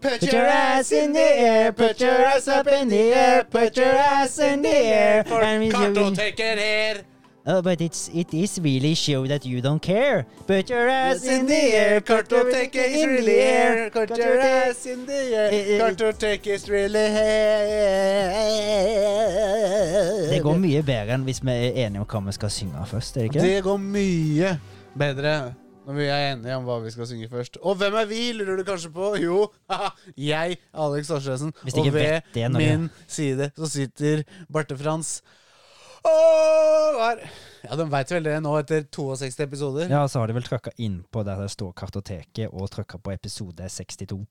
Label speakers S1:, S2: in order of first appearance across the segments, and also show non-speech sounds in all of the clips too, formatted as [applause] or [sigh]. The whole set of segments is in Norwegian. S1: Put your ass in the air, put your ass up in the air, put your ass in the air. I mean, you-
S2: Kartoteket her.
S1: Oh, but it's it is really show that you don't care. Put your ass in the air,
S2: Kartoteket is really here. Put your ass in the air.
S1: Eh, eh.
S2: Kartoteket is really here.
S1: Det går mye bedre enn hvis vi er enige om hva vi skal synge først, er det ikke?
S2: Det går mye bedre når vi er enige om hva vi skal synge først. Og hvem er vi, lurer du kanskje på? Jo, jeg, Alex Torstensen.
S1: Hvis
S2: Og
S1: ikke
S2: ved
S1: vet det når
S2: min side så sitter Barte Frans. Og her. Ja, de veit vel det nå etter 62 episoder. Ja.
S1: Ja, så har de vel trykka inn på der det står Kartoteket, og trykka på episode 62.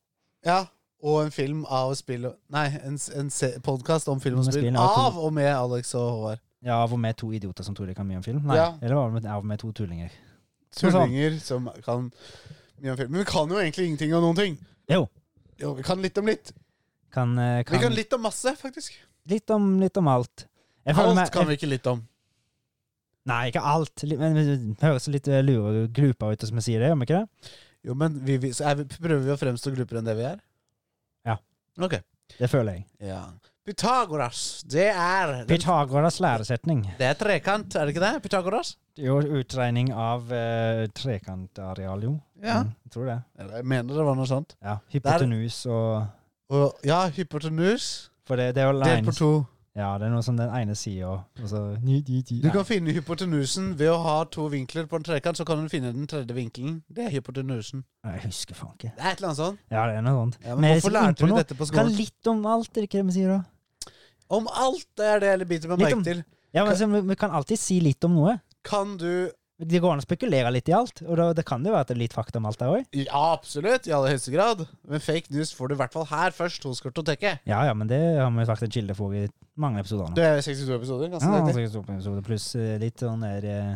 S2: Og en film av spill og Nei, en, s- en podkast om film og
S1: Om
S2: spill
S1: spill, ja, to-
S2: av og med Alex og Håvard.
S1: Ja, av og med to idioter som tror de kan mye om film? Nei,
S2: Ja.
S1: eller var det med- av og med to tullinger? sånn.
S2: Tullinger som kan mye om film. Men vi kan jo egentlig ingenting om noen ting.
S1: Jo.
S2: Jo, vi kan litt om litt.
S1: Kan, eh,
S2: Vi
S1: kan,
S2: kan
S1: litt,
S2: litt om masse, faktisk.
S1: om, litt om alt. Jeg føler meg-
S2: Alt kan vi ikke litt om.
S1: Nei, ikke alt. Litt- Men det høres litt eh, lure og glupa ut som vi sier det, gjør vi ikke det?
S2: Jo, men vi, vi, så er vi, prøver vi å fremstå glupere enn det vi er?
S1: Ja.
S2: Ok.
S1: Det føler jeg.
S2: Ja. Pythagoras, det er den,
S1: Pythagoras læresetning.
S2: Det er trekant, er det ikke det? Pythagoras?
S1: Jo, utregning av eh, trekantareal, jo.
S2: Ja.
S1: Mm, jeg tror det.
S2: Eller, Jeg mener det var noe sånt.
S1: Ja. Hypotenus og
S2: Og, ja, hypotenus
S1: For det, det er jo
S2: delt
S1: line,
S2: på to.
S1: Ja, det er noe som den ene sier, og så ni, ni, ni.
S2: Du kan finne hypotenusen ved å ha to vinkler på en trekant, så kan du finne den tredje vinkelen. Det er hypotenusen.
S1: Nei, Jeg husker faen ikke.
S2: Det er et eller annet sånt.
S1: Ja, det er noe sånt.
S2: Ja, men,
S1: Men jeg
S2: hvorfor
S1: skal inn på
S2: lærte vi
S1: noe.
S2: dette på
S1: Kan
S2: skolen?
S1: litt om alt, er det ikke det vi sier da?
S2: Om alt, det er det jeg biter meg
S1: Litt om-
S2: merke til.
S1: Ja, men så, vi, vi kan alltid si litt om noe.
S2: Kan du
S1: Det går an å spekulere litt i alt, og da, det kan det jo være at det er litt fakta om alt der òg.
S2: Ja, absolutt, i aller høyeste grad. Men fake news får du i hvert fall her først hos Kartoteket.
S1: Ja, ja, men det har vi faktisk en kilde for i mange episoder nå.
S2: Det er 62 episoder, ganske
S1: Ja,
S2: nøyaktig.
S1: altså, så på episode Pluss eh, litt sånn der eh,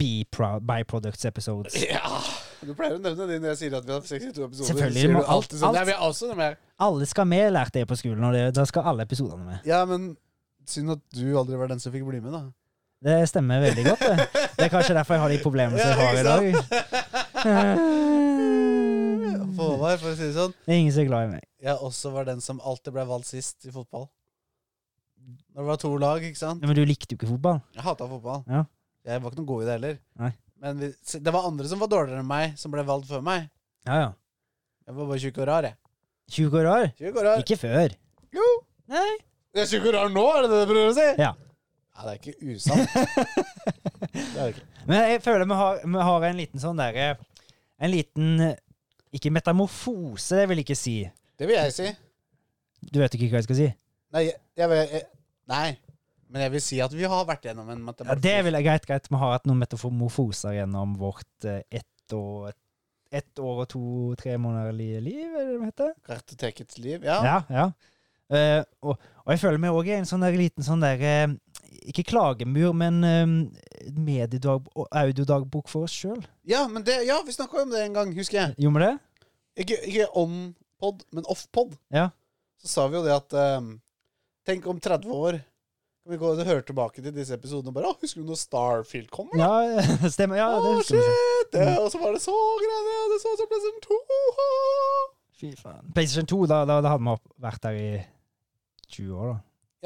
S1: bipro- byproducts episodes.
S2: Ja. Du pleier å nevne de når jeg sier at vi har 62 episoder.
S1: Selvfølgelig,
S2: Sier du
S1: men alt-
S2: alltid sånn,
S1: alt-
S2: Ja, vi er også med.
S1: Alle skal med, lærte jeg på skolen, og det, da skal alle episodene med.
S2: Ja, men synd at du aldri var den som fikk bli med, da.
S1: Det stemmer veldig godt,
S2: [laughs]
S1: det. Det er kanskje derfor jeg har de problemene som jeg har i dag. [laughs]
S2: For meg, for å si det sånn.
S1: Det er ingen som er glad i meg.
S2: Jeg også var den som alltid ble valgt sist i fotball. Når det var to lag, ikke sant.
S1: Ja, Men du likte jo ikke fotball.
S2: Jeg hata fotball.
S1: Ja.
S2: Jeg var ikke noe god i det heller.
S1: Nei.
S2: Men vi, se, det var andre som var dårligere enn meg, som ble valgt før meg.
S1: Ja, ja.
S2: Jeg var bare tjukk og rar, jeg.
S1: 20 år år?
S2: Tjukk og rar.
S1: Ikke før.
S2: Jo.
S1: Nei.
S2: Jeg er tjukk og rar nå, er det det du prøver å si?
S1: Ja.
S2: Nei, det er ikke
S1: [laughs]
S2: usant. det er det ikke.
S1: Men jeg føler vi har, vi har en liten sånn derre En liten eh, Ikke metamorfose, det vil jeg ikke si.
S2: Det vil jeg si.
S1: Du vet ikke hva jeg skal si?
S2: Nei, jeg, jeg, vil- jeg, nei. men jeg vil si at vi har vært gjennom en
S1: Ja,
S2: matematikk.
S1: det vil jeg greit, greit. Vi har hatt noen metamorfoser gjennom vårt eh, ett og ett år og to-tre måneder li- liv, er det det heter?
S2: Kartotekets liv, ja.
S1: Ja, ja. Eh, og, og jeg føler meg òg i en sånn der liten sånn der eh, Ikke klagemur, men eh, mediedag, og audiodagbok for oss sjøl.
S2: Ja, men det, ja vi snakka om det en gang, husker jeg.
S1: Gjorde vi det?
S2: Ikke, ikke on-pod, men off-pod.
S1: Ja.
S2: Så sa vi jo det at ehm, Tenk om 30 år kan vi gå og høre tilbake til disse episodene og bare Å, husker du når Starfield kommer?
S1: Ja, [laughs] stemmer. Ja, det
S2: Å,
S1: husker Mm. vi.
S2: shit! Det, og så var det så greiene, og det så ut som PlayStation 2!
S1: Fy faen. PlayStation 2, da, da, da hadde vi opp- vært der i 20 år, da.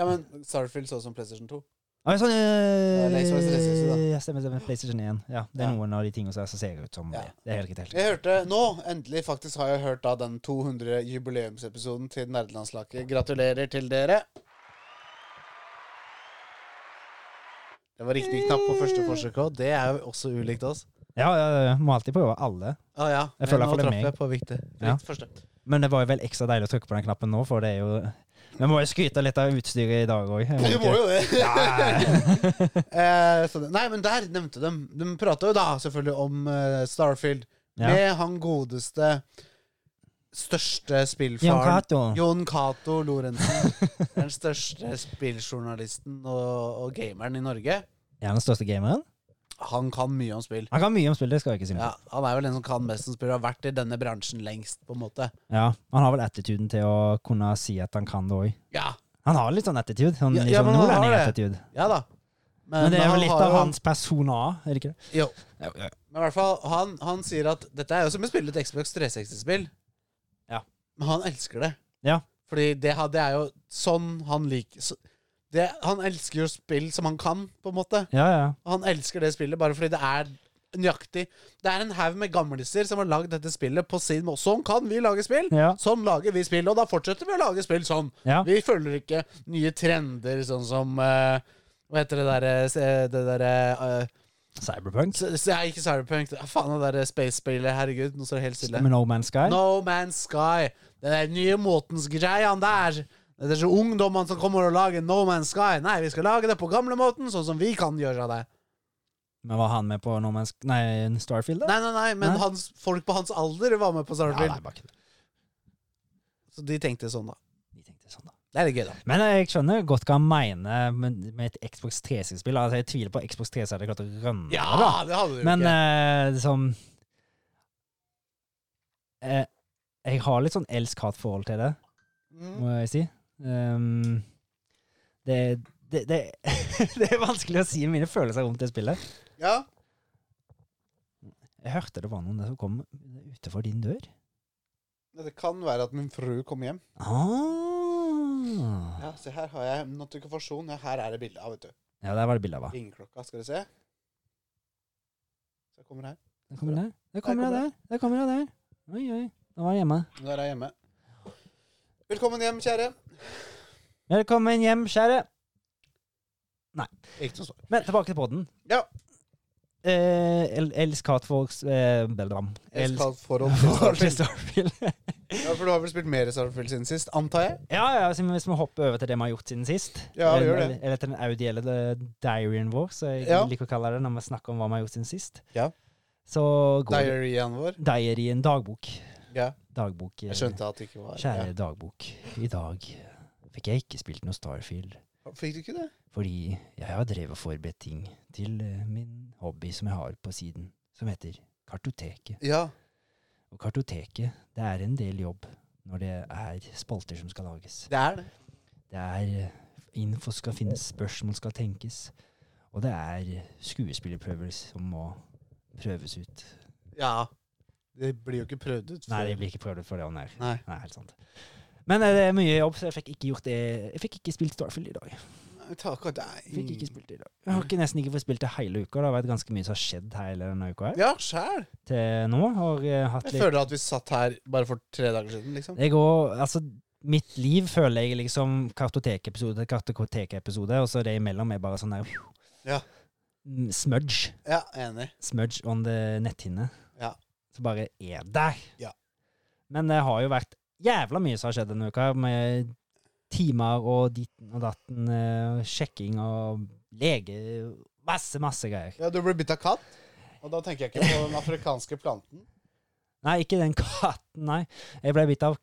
S2: Ja, men Starfield så ut som PlayStation 2.
S1: Ja, men sånn,
S2: Ja, Lake Forest Resistance, da.
S1: øh, ja, stemmer, stemmer. PlayStation 1. Ja, det er
S2: Ja.
S1: noen av de tingene som jeg ser ut som
S2: Ja.
S1: det. Det er helt riktig. helt riktig.
S2: Jeg hørte nå, endelig faktisk har jeg hørt da den 200 jubileumsepisoden til Nerdelandslaget. Gratulerer til dere. Det var riktig knapp på første forsøk òg. Det er jo også ulikt oss.
S1: Ja, ja, ja, må alltid prøve alle.
S2: Ah, ja.
S1: Jeg
S2: Men
S1: føler jeg
S2: nå
S1: følger
S2: traff
S1: meg.
S2: jeg på viktig.
S1: Ja.
S2: Riktig første.
S1: Men det var jo vel ekstra deilig å trykke på den knappen nå, for det er jo Vi må jo skryte litt av utstyret i dag òg.
S2: Du må jo det. [laughs]
S1: Ja.
S2: Eh, så det- Nei, men der nevnte de De prata jo da selvfølgelig om eh, Starfield
S1: Ja.
S2: med han godeste største
S1: Jon
S2: spillfaren
S1: Cato.
S2: Jon Cato Lorentzen. Den største spilljournalisten og, og gameren i Norge.
S1: Er han den største gameren?
S2: Han kan mye om spill.
S1: Han kan mye om spill, det skal jeg ikke si noe
S2: Ja, han er vel den som kan mest om spill, og har vært i denne bransjen lengst, på en måte.
S1: Ja. Han har vel attituden til å kunne si at han kan det òg.
S2: Ja,
S1: Han har litt sånn attitude. Sånn,
S2: Ja,
S1: litt
S2: ja,
S1: sånn
S2: men han har
S1: nordlending-attitude.
S2: ja da.
S1: Men det er
S2: han
S1: jo litt
S2: har
S1: av hans person òg, er det ikke det?
S2: Jo.
S1: Ja, ja.
S2: Men i hvert fall, han, han sier at dette er jo som å spille et Xbox 360-spill.
S1: Ja.
S2: Men han elsker det.
S1: Ja.
S2: Fordi det, ha- det er jo sånn han liker så- det, Han elsker jo spill som han kan, på en måte.
S1: Ja, ja.
S2: Han elsker det spillet bare fordi det er nøyaktig Det er en haug med gamliser som har lagd dette spillet på sin måte. Sånn kan vi lage spill!
S1: Ja.
S2: Sånn lager vi spill, og da fortsetter vi å lage spill sånn.
S1: ja.
S2: Vi følger ikke nye trender, sånn som eh, Hva heter det derre Det derre eh,
S1: Cyberpunk.
S2: s- s- Nei, ikke Cyberpunk. Ah, Faen, det derre space-spillet. Herregud, nå står det helt stille.
S1: Med No Man's Sky.
S2: No Man's Sky. Den der nye måtens greiene der. Det er så ungdommene som kommer og lager No Man's Sky. Nei, vi skal lage det på gamlemåten, sånn som vi kan gjøre det.
S1: Men var han med på No Man's Nei, Starfield, da?
S2: Nei, nei, nei, men
S1: Nei?
S2: Hans, folk på hans alder var med på Starfield.
S1: Ja, nei, bare ikke det.
S2: så de tenkte sånn, da.
S1: Vi tenkte sånn, da.
S2: Det er litt gøy, da.
S1: Men eh, jeg skjønner godt hva han mener med, med et Xbox 360-spill. Altså, jeg tviler på at Xbox 360 hadde klart å rømme
S2: Ja,
S1: det. da.
S2: det hadde du jo
S1: Men
S2: ikke.
S1: eh, liksom eh, Jeg har litt sånn elsk-hat-forhold til det,
S2: Mm.
S1: eh, må jeg si. Ehm, det, det, det, [laughs] det er vanskelig å si mine følelser rundt det spillet.
S2: Ja.
S1: Jeg hørte det var noen der som kom utenfor din dør.
S2: Det kan være at min fru kom hjem.
S1: Ah.
S2: Ja, Se, her har jeg notifikasjon. Ja, her er det bilde av, vet du.
S1: Ja, der var det bilde av henne.
S2: Ringeklokka, skal du se. Så jeg kommer her.
S1: Der kommer det. Der kommer det der. Der kommer det der. Oi, oi. Da var jeg hjemme.
S2: Nå er jeg hjemme. Velkommen hjem, kjære.
S1: Velkommen hjem, kjære.
S2: Ikke noe sånn svar.
S1: Men tilbake til podden.
S2: Ja.
S1: Eh, el- Elsk-hat-folks eh, Beldram.
S2: Jeg
S1: Elsk-
S2: skal forhold
S1: [laughs]
S2: til Starfield.
S1: Starfield.
S2: Ja, for du har vel spilt mer Starfield siden sist, antar jeg?
S1: [laughs] ja, ja, altså, hvis vi hopper over til det vi har gjort siden sist.
S2: Ja, vi gjør det.
S1: Eller, eller til den audielle eh, diaryen vår, som jeg
S2: Ja.
S1: liker å kalle det når vi snakker om hva vi har gjort siden sist.
S2: Ja.
S1: Så går det
S2: Diaryen vår.
S1: diaryen dagbok.
S2: Ja.
S1: Dagbok. eh,
S2: Jeg skjønte at det ikke var
S1: Kjære dagbok. I dag fikk jeg ikke spilt noe Starfield.
S2: Ja. Fikk du ikke det?
S1: Fordi jeg har drevet og forberedt ting til eh, min hobby som jeg har på siden, som heter Kartoteket.
S2: Ja.
S1: Og kartoteket, det er en del jobb når det er spalter som skal lages.
S2: Det er det.
S1: Det er eh, info skal finnes, spørsmål skal tenkes, og det er skuespillerprøver som må prøves ut.
S2: Ja. Det blir jo ikke prøvd ut.
S1: Nei,
S2: før-
S1: det blir ikke prøvd ut for det han er.
S2: Nei.
S1: Nei, helt sant. Men eh, det er mye jobb, så jeg fikk ikke gjort det. Jeg fikk ikke spilt Starfield i dag.
S2: Nei, Takk og deg.
S1: Fikk ikke spilt det i dag. Jeg har ikke, nesten ikke fått spilt det hele uka. Det har vært ganske mye som har skjedd hele denne uka her.
S2: Ja, sjæl.
S1: Til nå har jeg hatt
S2: Jeg
S1: litt
S2: føler at vi satt her bare for tre dager siden, liksom.
S1: Jeg går, altså Mitt liv føler jeg liksom kartotekepisode til kartotekepisode, og så det imellom er bare sånn der
S2: Ja.
S1: Mm, Smudge.
S2: Ja, enig.
S1: Smudge on the netthinne.
S2: Ja.
S1: Så bare er der.
S2: Ja.
S1: Men det har jo vært jævla mye som har skjedd denne uka, med timer og ditten og datten, eh, sjekking og lege Masse, masse greier.
S2: Ja, du ble bitt av katt. Og da tenker jeg ikke på den afrikanske planten.
S1: Nei, ikke den katten, nei. Jeg ble bitt av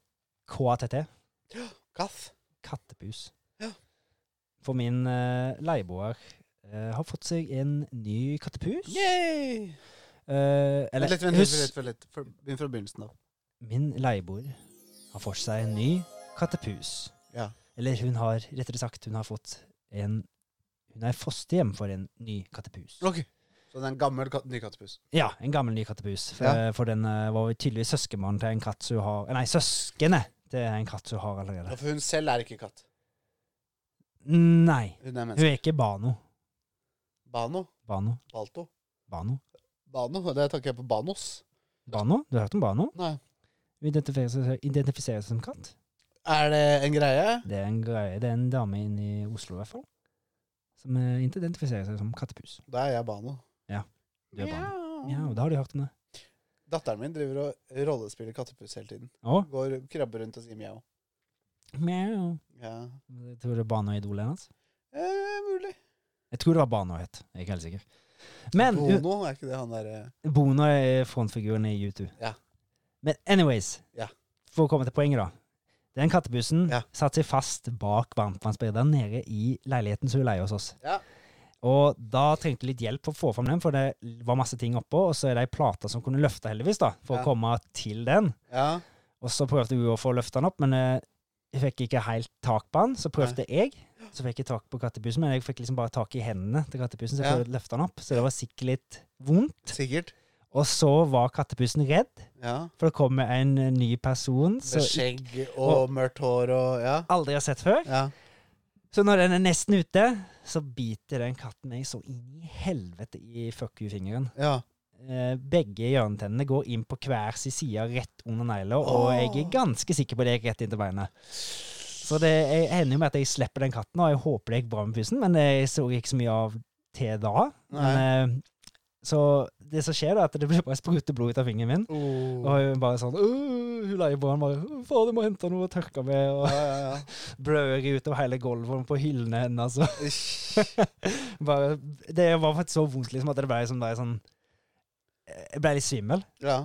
S1: KATT.
S2: Kaff.
S1: kattepus.
S2: Ja.
S1: For min uh, leieboer eh, har fått seg en ny kattepus.
S2: Yay!
S1: Eh, eller
S2: Vent litt, vent litt,
S1: hus.
S2: vent litt, vent litt. For- Begynn fra begynnelsen av.
S1: Min leieboer har fått seg en ny kattepus.
S2: Ja.
S1: Eller hun har, rettere sagt, hun har fått en Hun er fosterhjem for en ny kattepus.
S2: Ok. Så det er en gammel kat ny kattepus.
S1: Ja, en gammel ny kattepus. For,
S2: Ja.
S1: for den eh, var tydeligvis søskenbarn til en katt som hun har eh, Nei, søskenet til en katt som hun har
S2: Ja,
S1: allerede.
S2: for hun selv er ikke katt.
S1: Nei,
S2: Hun er
S1: hun
S2: menneske.
S1: er ikke Bano.
S2: Bano.
S1: Bano?
S2: Balto.
S1: Bano?
S2: Bano. Det tenker jeg på Banos.
S1: Bano? Du har hørt om Bano?
S2: Nei.
S1: identifiserer seg, identifiserer seg som katt.
S2: Er det en greie?
S1: Det er en greie, det er en dame inne i Oslo i hvert fall, som eh, identifiserer seg som kattepus.
S2: Da er jeg Bano.
S1: Ja. Du er Ja,
S2: Mjau.
S1: og da har du hørt om det.
S2: Datteren min driver og rollespiller kattepus hele tiden.
S1: Å,
S2: Går krabber rundt og sier mjau.
S1: mjau.
S2: Ja.
S1: Jeg tror det var Bano-idolet hennes.
S2: Eh, mulig.
S1: Jeg tror det var Bano het, jeg er ikke helt sikker. Men u-
S2: Bono, er ikke det han eh, derre
S1: Bono er frontfiguren i U2.
S2: Ja.
S1: Men anyways,
S2: Ja.
S1: for å komme til poenget da. Den kattebussen
S2: Ja.
S1: satt seg fast bak varmtvannsbrederen nede i leiligheten som hun leier hos oss.
S2: Ja.
S1: Og da trengte jeg litt hjelp for å få fram den, for det var masse ting oppå, og så er det ei plate som kunne løfte, heldigvis, da, for
S2: Ja.
S1: å komme til den.
S2: Ja.
S1: Og så prøvde hun å få løfta den opp, men eh, jeg fikk ikke helt tak på den. Så prøvde jeg, så fikk jeg tak på kattepusen, men jeg fikk liksom bare tak i hendene til kattepusen, så jeg
S2: Ja.
S1: prøvde å løfte den opp. Så det var sikkert litt vondt.
S2: Sikkert.
S1: Og så var kattepusen redd,
S2: Ja.
S1: for det kommer en eh, ny person
S2: Med
S1: som
S2: skjegg og mørkt hår og Ja.
S1: aldri har sett før.
S2: ja.
S1: Så når den er nesten ute, så biter den katten meg så inn i helvete i fuck you-fingeren.
S2: ja.
S1: Eh, begge hjørnetennene går inn på hver sin side rett under negla, og
S2: Åh.
S1: jeg er ganske sikker på det gikk rett inn til beinet. Så det jeg ender jo med at jeg slipper den katten, og jeg håper det gikk bra med pusen, men jeg så ikke så mye av til da. Men, eh, så det som skjer, da, er at det blir bare spruter blod ut av fingeren min. Og
S2: Oh.
S1: hun bare sånn «Øh», Hun leier på han bare «Øh, 'Faen, du må hente noe å tørke med.'
S2: Ja,
S1: Og [laughs]
S2: ja,
S1: blør utover hele gulvet og på hyllene hennes. og
S2: ja. Ish.
S1: [laughs] bare, det var faktisk så vondt liksom, at det ble liksom, da jeg sånn Jeg ble litt svimmel.
S2: ja.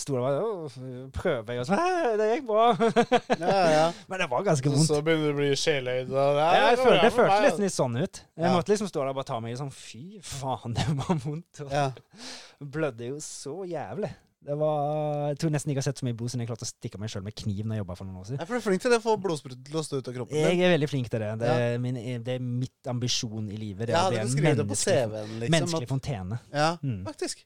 S1: Sto der bare «Åh, Prøver jeg og sånn «Hæ, Det gikk bra. [laughs]
S2: ja, ja, ja.
S1: Men [laughs] det var ganske
S2: Så,
S1: vondt.
S2: så begynner du å bli sjeløyd. og det er-
S1: Ja, jeg følte, det
S2: er for
S1: føltes
S2: meg, altså.
S1: nesten litt sånn ut. Jeg
S2: Ja.
S1: måtte liksom stå der og bare ta meg i sånn Fy faen, [laughs] det var vondt.
S2: altså. Ja.
S1: Og blødde jo så jævlig. Det var, jeg tror nesten ikke jeg har sett så mye blod siden jeg klarte å stikke meg sjøl med kniv når jeg jobba for noen år siden.
S2: Ja, for du er flink til det å få blodspruten til å stå ut av kroppen. din.
S1: Jeg er veldig flink til det. Det er, min, det er mitt ambisjon i livet. Det
S2: ja,
S1: å bli
S2: du
S1: en
S2: skriver det på
S1: menneskelig,
S2: CV-en, liksom.
S1: menneskelig fontene.
S2: At, ja,
S1: Mm.
S2: faktisk.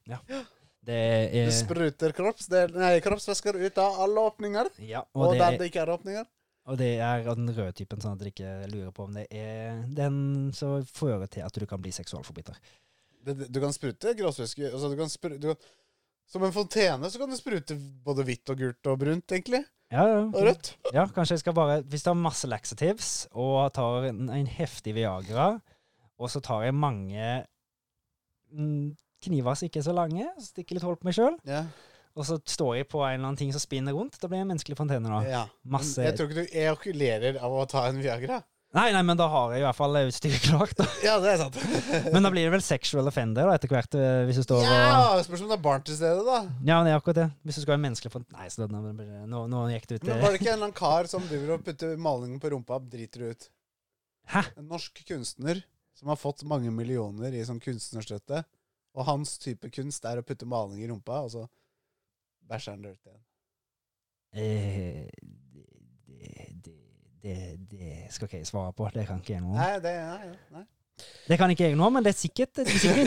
S1: Det
S2: Du
S1: er
S2: spruter kroppsdel, nei, kroppsvæsker ut av alle åpninger,
S1: Ja,
S2: og,
S1: og,
S2: der
S1: det,
S2: det ikke er åpninger.
S1: og det er av den røde typen, sånn at dere ikke lurer på om det er den som fører til at du kan bli seksualforbryter.
S2: Det, det- du kan sprute gråsvæske altså, du kan spru- du kan, Som en fontene så kan du sprute både hvitt og gult og brunt, egentlig.
S1: Ja,
S2: Og
S1: ja.
S2: rødt.
S1: ja, kanskje jeg skal bare Hvis du har masse laxatives og tar en, en heftig Viagra, og så tar jeg mange mm, kniver som ikke er så lange, stikker litt hull på meg sjøl,
S2: Ja.
S1: og så står jeg på en eller annen ting som spinner rundt, da blir jeg en menneskelig fontene da.
S2: ja.
S1: Masse
S2: Jeg tror ikke du ejakulerer av å ta en Viagra.
S1: Nei, nei, men da har jeg i hvert fall utstyret klart. Da.
S2: Ja, det er sant.
S1: Men da blir det vel sexual offender da, etter hvert, eh, hvis du står og
S2: Ja, Spørs om det er barn til stede, da.
S1: Ja, men det er akkurat det. Hvis du skal være menneskelig for Nei, så nå, nå, nå gikk det ut
S2: Men
S1: eh,
S2: var det ikke en eller annen kar som driver og putter malingen på rumpa, driter det ut?
S1: Hæ?
S2: En norsk kunstner som har fått mange millioner i sånn kunstnerstøtte, og hans type kunst er å putte maling i rumpa, og så bæsjer han det ut igjen.
S1: eh, det, det, det, det skal ikke jeg svare på. Det kan ikke jeg nå.
S2: Nei, det nei, nei.
S1: Det kan ikke jeg nå, men det er sikkert, [laughs] det er sikkert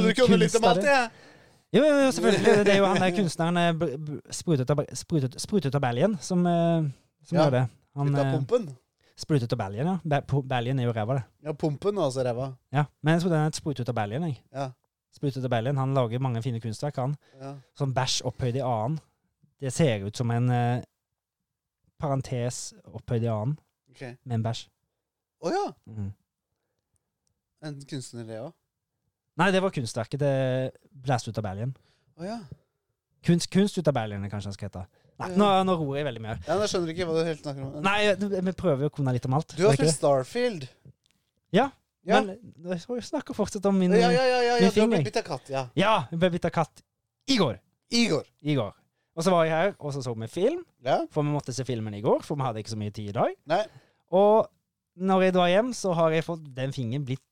S2: [laughs] ja, så du kunne litt om
S1: kunst. av
S2: alt,
S1: det.
S2: jeg.
S1: Jo, jo, jo, selvfølgelig. Det er jo han der kunstneren eh, br- br- Sprutet av- sprutet- Sprutet av Belgien som, eh, som
S2: Ja.
S1: gjør det. Han
S2: Litt av
S1: eh,
S2: pumpen.
S1: Sprutet av Belgien, ja. Ba- po- Belgien er jo ræva, det.
S2: Ja, pumpen og altså ræva.
S1: Ja. Men jeg trodde han het Sprutet av Belgien, jeg.
S2: Ja.
S1: Sprutet av Belgien. Han lager mange fine kunstverk, han.
S2: Ja.
S1: sånn bæsj opphøyd i annen. Det ser ut som en eh, parentes opphøyd i annen
S2: Ok. Å
S1: med en bæsj.
S2: ja,
S1: Mm.
S2: en kunstner det òg.
S1: Nei, det var kunstverket til Blæst ut av Berlin.
S2: Å ja.
S1: Kunst, kunst ut av Berlin, kanskje det skal hete. Nei, nå, nå ror jeg veldig mye.
S2: ja. men Jeg skjønner ikke hva du helt snakker om.
S1: Nei, eh, vi prøver jo å kunne litt om alt.
S2: du har
S1: skal vi
S2: spilt Starfield.
S1: Ja, ikke
S2: ja.
S1: det? Men eh, jeg skal jo snakke fortsatt om min
S2: Ja, ja, ja, ja, ja,
S1: min
S2: du har
S1: finger.
S2: blitt bitt av katt, ja.
S1: Ja, jeg ble bitt av katt i går.
S2: Igor.
S1: I går. Og så var jeg her, og så så vi film,
S2: Ja.
S1: for vi måtte se filmen i går, for vi hadde ikke så mye tid i dag.
S2: Nei.
S1: Og når jeg drar hjem, så har jeg fått den fingeren blitt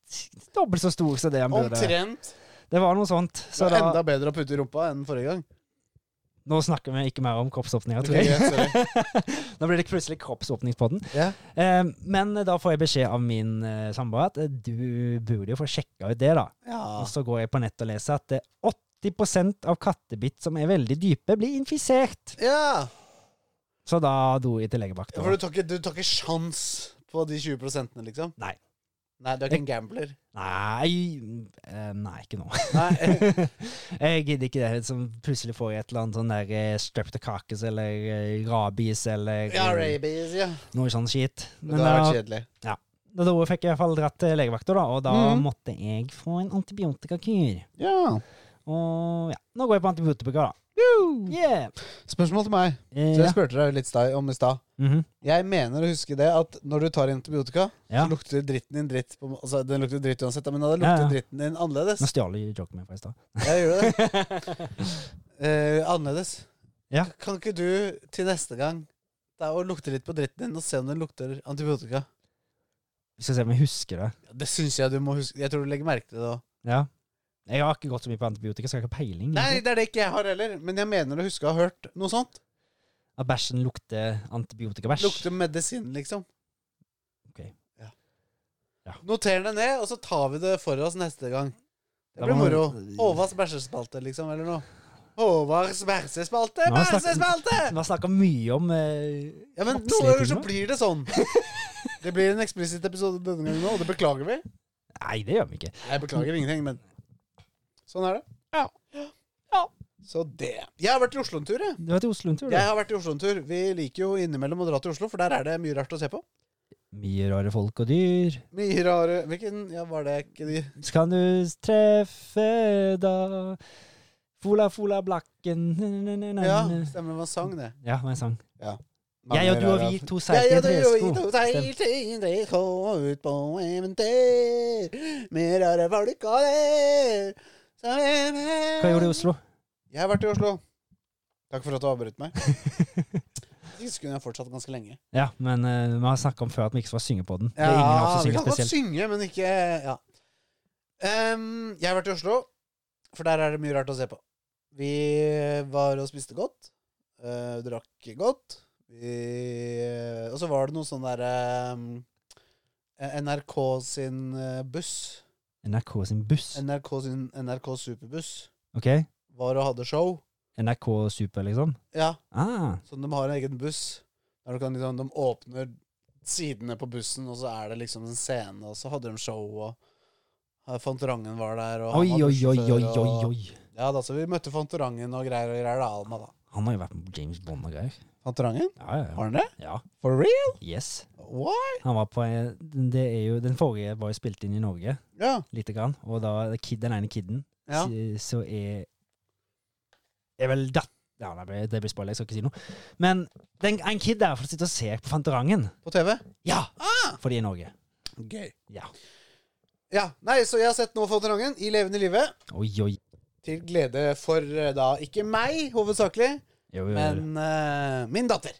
S1: dobbelt så stor som det han burde.
S2: Omtrent.
S1: Det var noe sånt. Så
S2: det var
S1: da,
S2: enda bedre å putte i rumpa enn forrige gang.
S1: nå snakker vi ikke mer om kroppsåpninger, tror
S2: Ok,
S1: jeg.
S2: greit, sorry.
S1: [laughs] Nå blir det plutselig kroppsåpningspodden.
S2: Ja.
S1: Eh, men da får jeg beskjed av min eh, samboer at eh, du burde jo få sjekka ut det, da.
S2: Ja.
S1: Og så går jeg på nett og leser at det er 80 av kattebitt som er veldig dype, blir infisert.
S2: ja.
S1: Så da dro jeg til legevakta.
S2: For du tar, ikke, du tar ikke sjans på de 20 prosentene, liksom?
S1: Nei.
S2: Nei, du er ikke en gambler?
S1: [laughs] Nei, eh, nei, ikke nå.
S2: Nei.
S1: [laughs] jeg gidder ikke det. Som plutselig får jeg et eller annet sånn der eh, streptokakis eller eh, rabies eller
S2: Ja,
S1: eh,
S2: rabies, ja.
S1: noe sånn skit.
S2: Mm. Men uh,
S1: Men
S2: det har
S1: da,
S2: vært kjedelig.
S1: da, da fikk jeg i hvert fall dratt til legevakta, da, og da
S2: Mhm.
S1: måtte jeg få en antibiotikakur.
S2: Ja.
S1: Og ja, nå går jeg på antibiotika, da. Yeah!
S2: Spørsmål til meg.
S1: Eh,
S2: Så
S1: ja.
S2: jeg spurte deg litt sta- om i stad.
S1: Mhm.
S2: Jeg mener å huske det at når du tar antibiotika,
S1: ja.
S2: så lukter dritten din dritt. På, altså, den lukter dritt uansett, men da lukter
S1: Ja, ja.
S2: dritten din annerledes.
S1: Nå stjal du joken min fra i stad.
S2: Jeg
S1: [laughs]
S2: gjorde det. Eh, annerledes.
S1: Ja.
S2: Kan ikke du til neste gang ta og lukte litt på dritten din og se om den lukter antibiotika?
S1: Skal se om jeg husker det.
S2: Ja, Det syns jeg du må huske. Jeg tror du legger merke til det òg.
S1: Ja. Jeg har ikke gått så mye på antibiotika, så jeg har ikke peiling.
S2: Nei,
S1: egentlig.
S2: det er det ikke jeg har heller, men jeg mener å huske å ha hørt noe sånt.
S1: At bæsjen lukter antibiotikabæsj.
S2: Lukter medisin, liksom.
S1: Ok.
S2: Ja.
S1: Ja.
S2: Noter det ned, og så tar vi det for oss neste gang. Det
S1: Da
S2: blir
S1: må-
S2: moro. Håvas bæsjespalte, liksom, eller noe. Håvards versespalte!
S1: Nå snakker-
S2: Versespalte!
S1: Vi har snakka mye om eh,
S2: Ja, men
S1: Oppslitt
S2: noen ganger så
S1: innimellom.
S2: blir det sånn. Det blir en eksplisitt episode denne gangen òg, og det beklager vi.
S1: Nei, det gjør vi ikke.
S2: Nei, jeg beklager ingenting, men sånn er det. Ja. Så det. Jeg har vært i Oslo en tur, jeg.
S1: Du var til Oslo en tur,
S2: Jeg
S1: du.
S2: har vært i Oslo en tur. Vi liker jo innimellom å dra til Oslo, for der er det mye rart å se på.
S1: Mye rare folk og dyr.
S2: Mye rare Hvilken Ja, var det ikke de
S1: Skal du treffe da Fola, fola, blakken
S2: Ja, stemmer, det var en sang, det.
S1: Ja, det var en sang.
S2: Mange
S1: eh, Jeg og du og
S2: rare-
S1: vi, to
S2: Ja,
S1: seiter i
S2: ja,
S1: en
S2: du og vi
S1: tresko.
S2: to
S1: Stem.
S2: seilte i en tresko ut på eventyr med rare folk og det
S1: Hva gjorde du i Oslo?
S2: Jeg har vært i Oslo. Takk for at du avbrøt
S1: [laughs]
S2: meg. Hvis Ikke kunne jeg fortsatt ganske lenge.
S1: Ja, men eh, vi har snakka om før at vi ikke skal synge på den. Det
S2: Ja,
S1: er ingen av oss som
S2: vi
S1: synger
S2: kan godt
S1: spesielt.
S2: synge, men ikke Ja. Em, jeg har vært i Oslo, for der er det mye rart å se på. Vi var og spiste godt. eh, drakk godt. Vi, og så var det noe sånn derre NRK sin eh, buss.
S1: NRK sin buss.
S2: NRK sin NRK Superbuss
S1: OK?
S2: var og hadde show.
S1: NRK Super, liksom?
S2: Ja.
S1: Ah,
S2: Sånn, de har en egen buss. Der du kan, liksom, de åpner sidene på bussen, og så er det liksom en scene, og så hadde de show, og eh, Fantorangen var der. Og
S1: oi,
S2: han var
S1: oi, oi, oi,
S2: bussjåfør,
S1: oi,
S2: og-
S1: oi.
S2: Ja, da, så vi møtte Fantorangen og greier og greier. Da, Alma, da.
S1: Han har jo vært med på James Bond og greier.
S2: Fantorangen?
S1: Ja, ja,
S2: Har han det?
S1: ja.
S2: For real?
S1: ja. Yes.
S2: What?
S1: Han var på en- Det er jo Den forrige var jo spilt inn i Norge,
S2: Ja.
S1: lite grann. Og da er det kid, den ene kiden
S2: ja.
S1: så, så er Er vel datt... Ja, det blir, det blir spoiler, jeg skal ikke si noe. Men den, en kid der får sitte og se på Fantorangen.
S2: På TV?
S1: Ja!
S2: Ah!
S1: For de er i Norge.
S2: Gøy.
S1: Ja.
S2: Ja, Nei, så jeg har sett nå Fantorangen i levende livet.
S1: Oi, oi.
S2: Til glede for eh, da ikke meg, hovedsakelig,
S1: Jo, jo, jo. Men,
S2: men eh, min datter.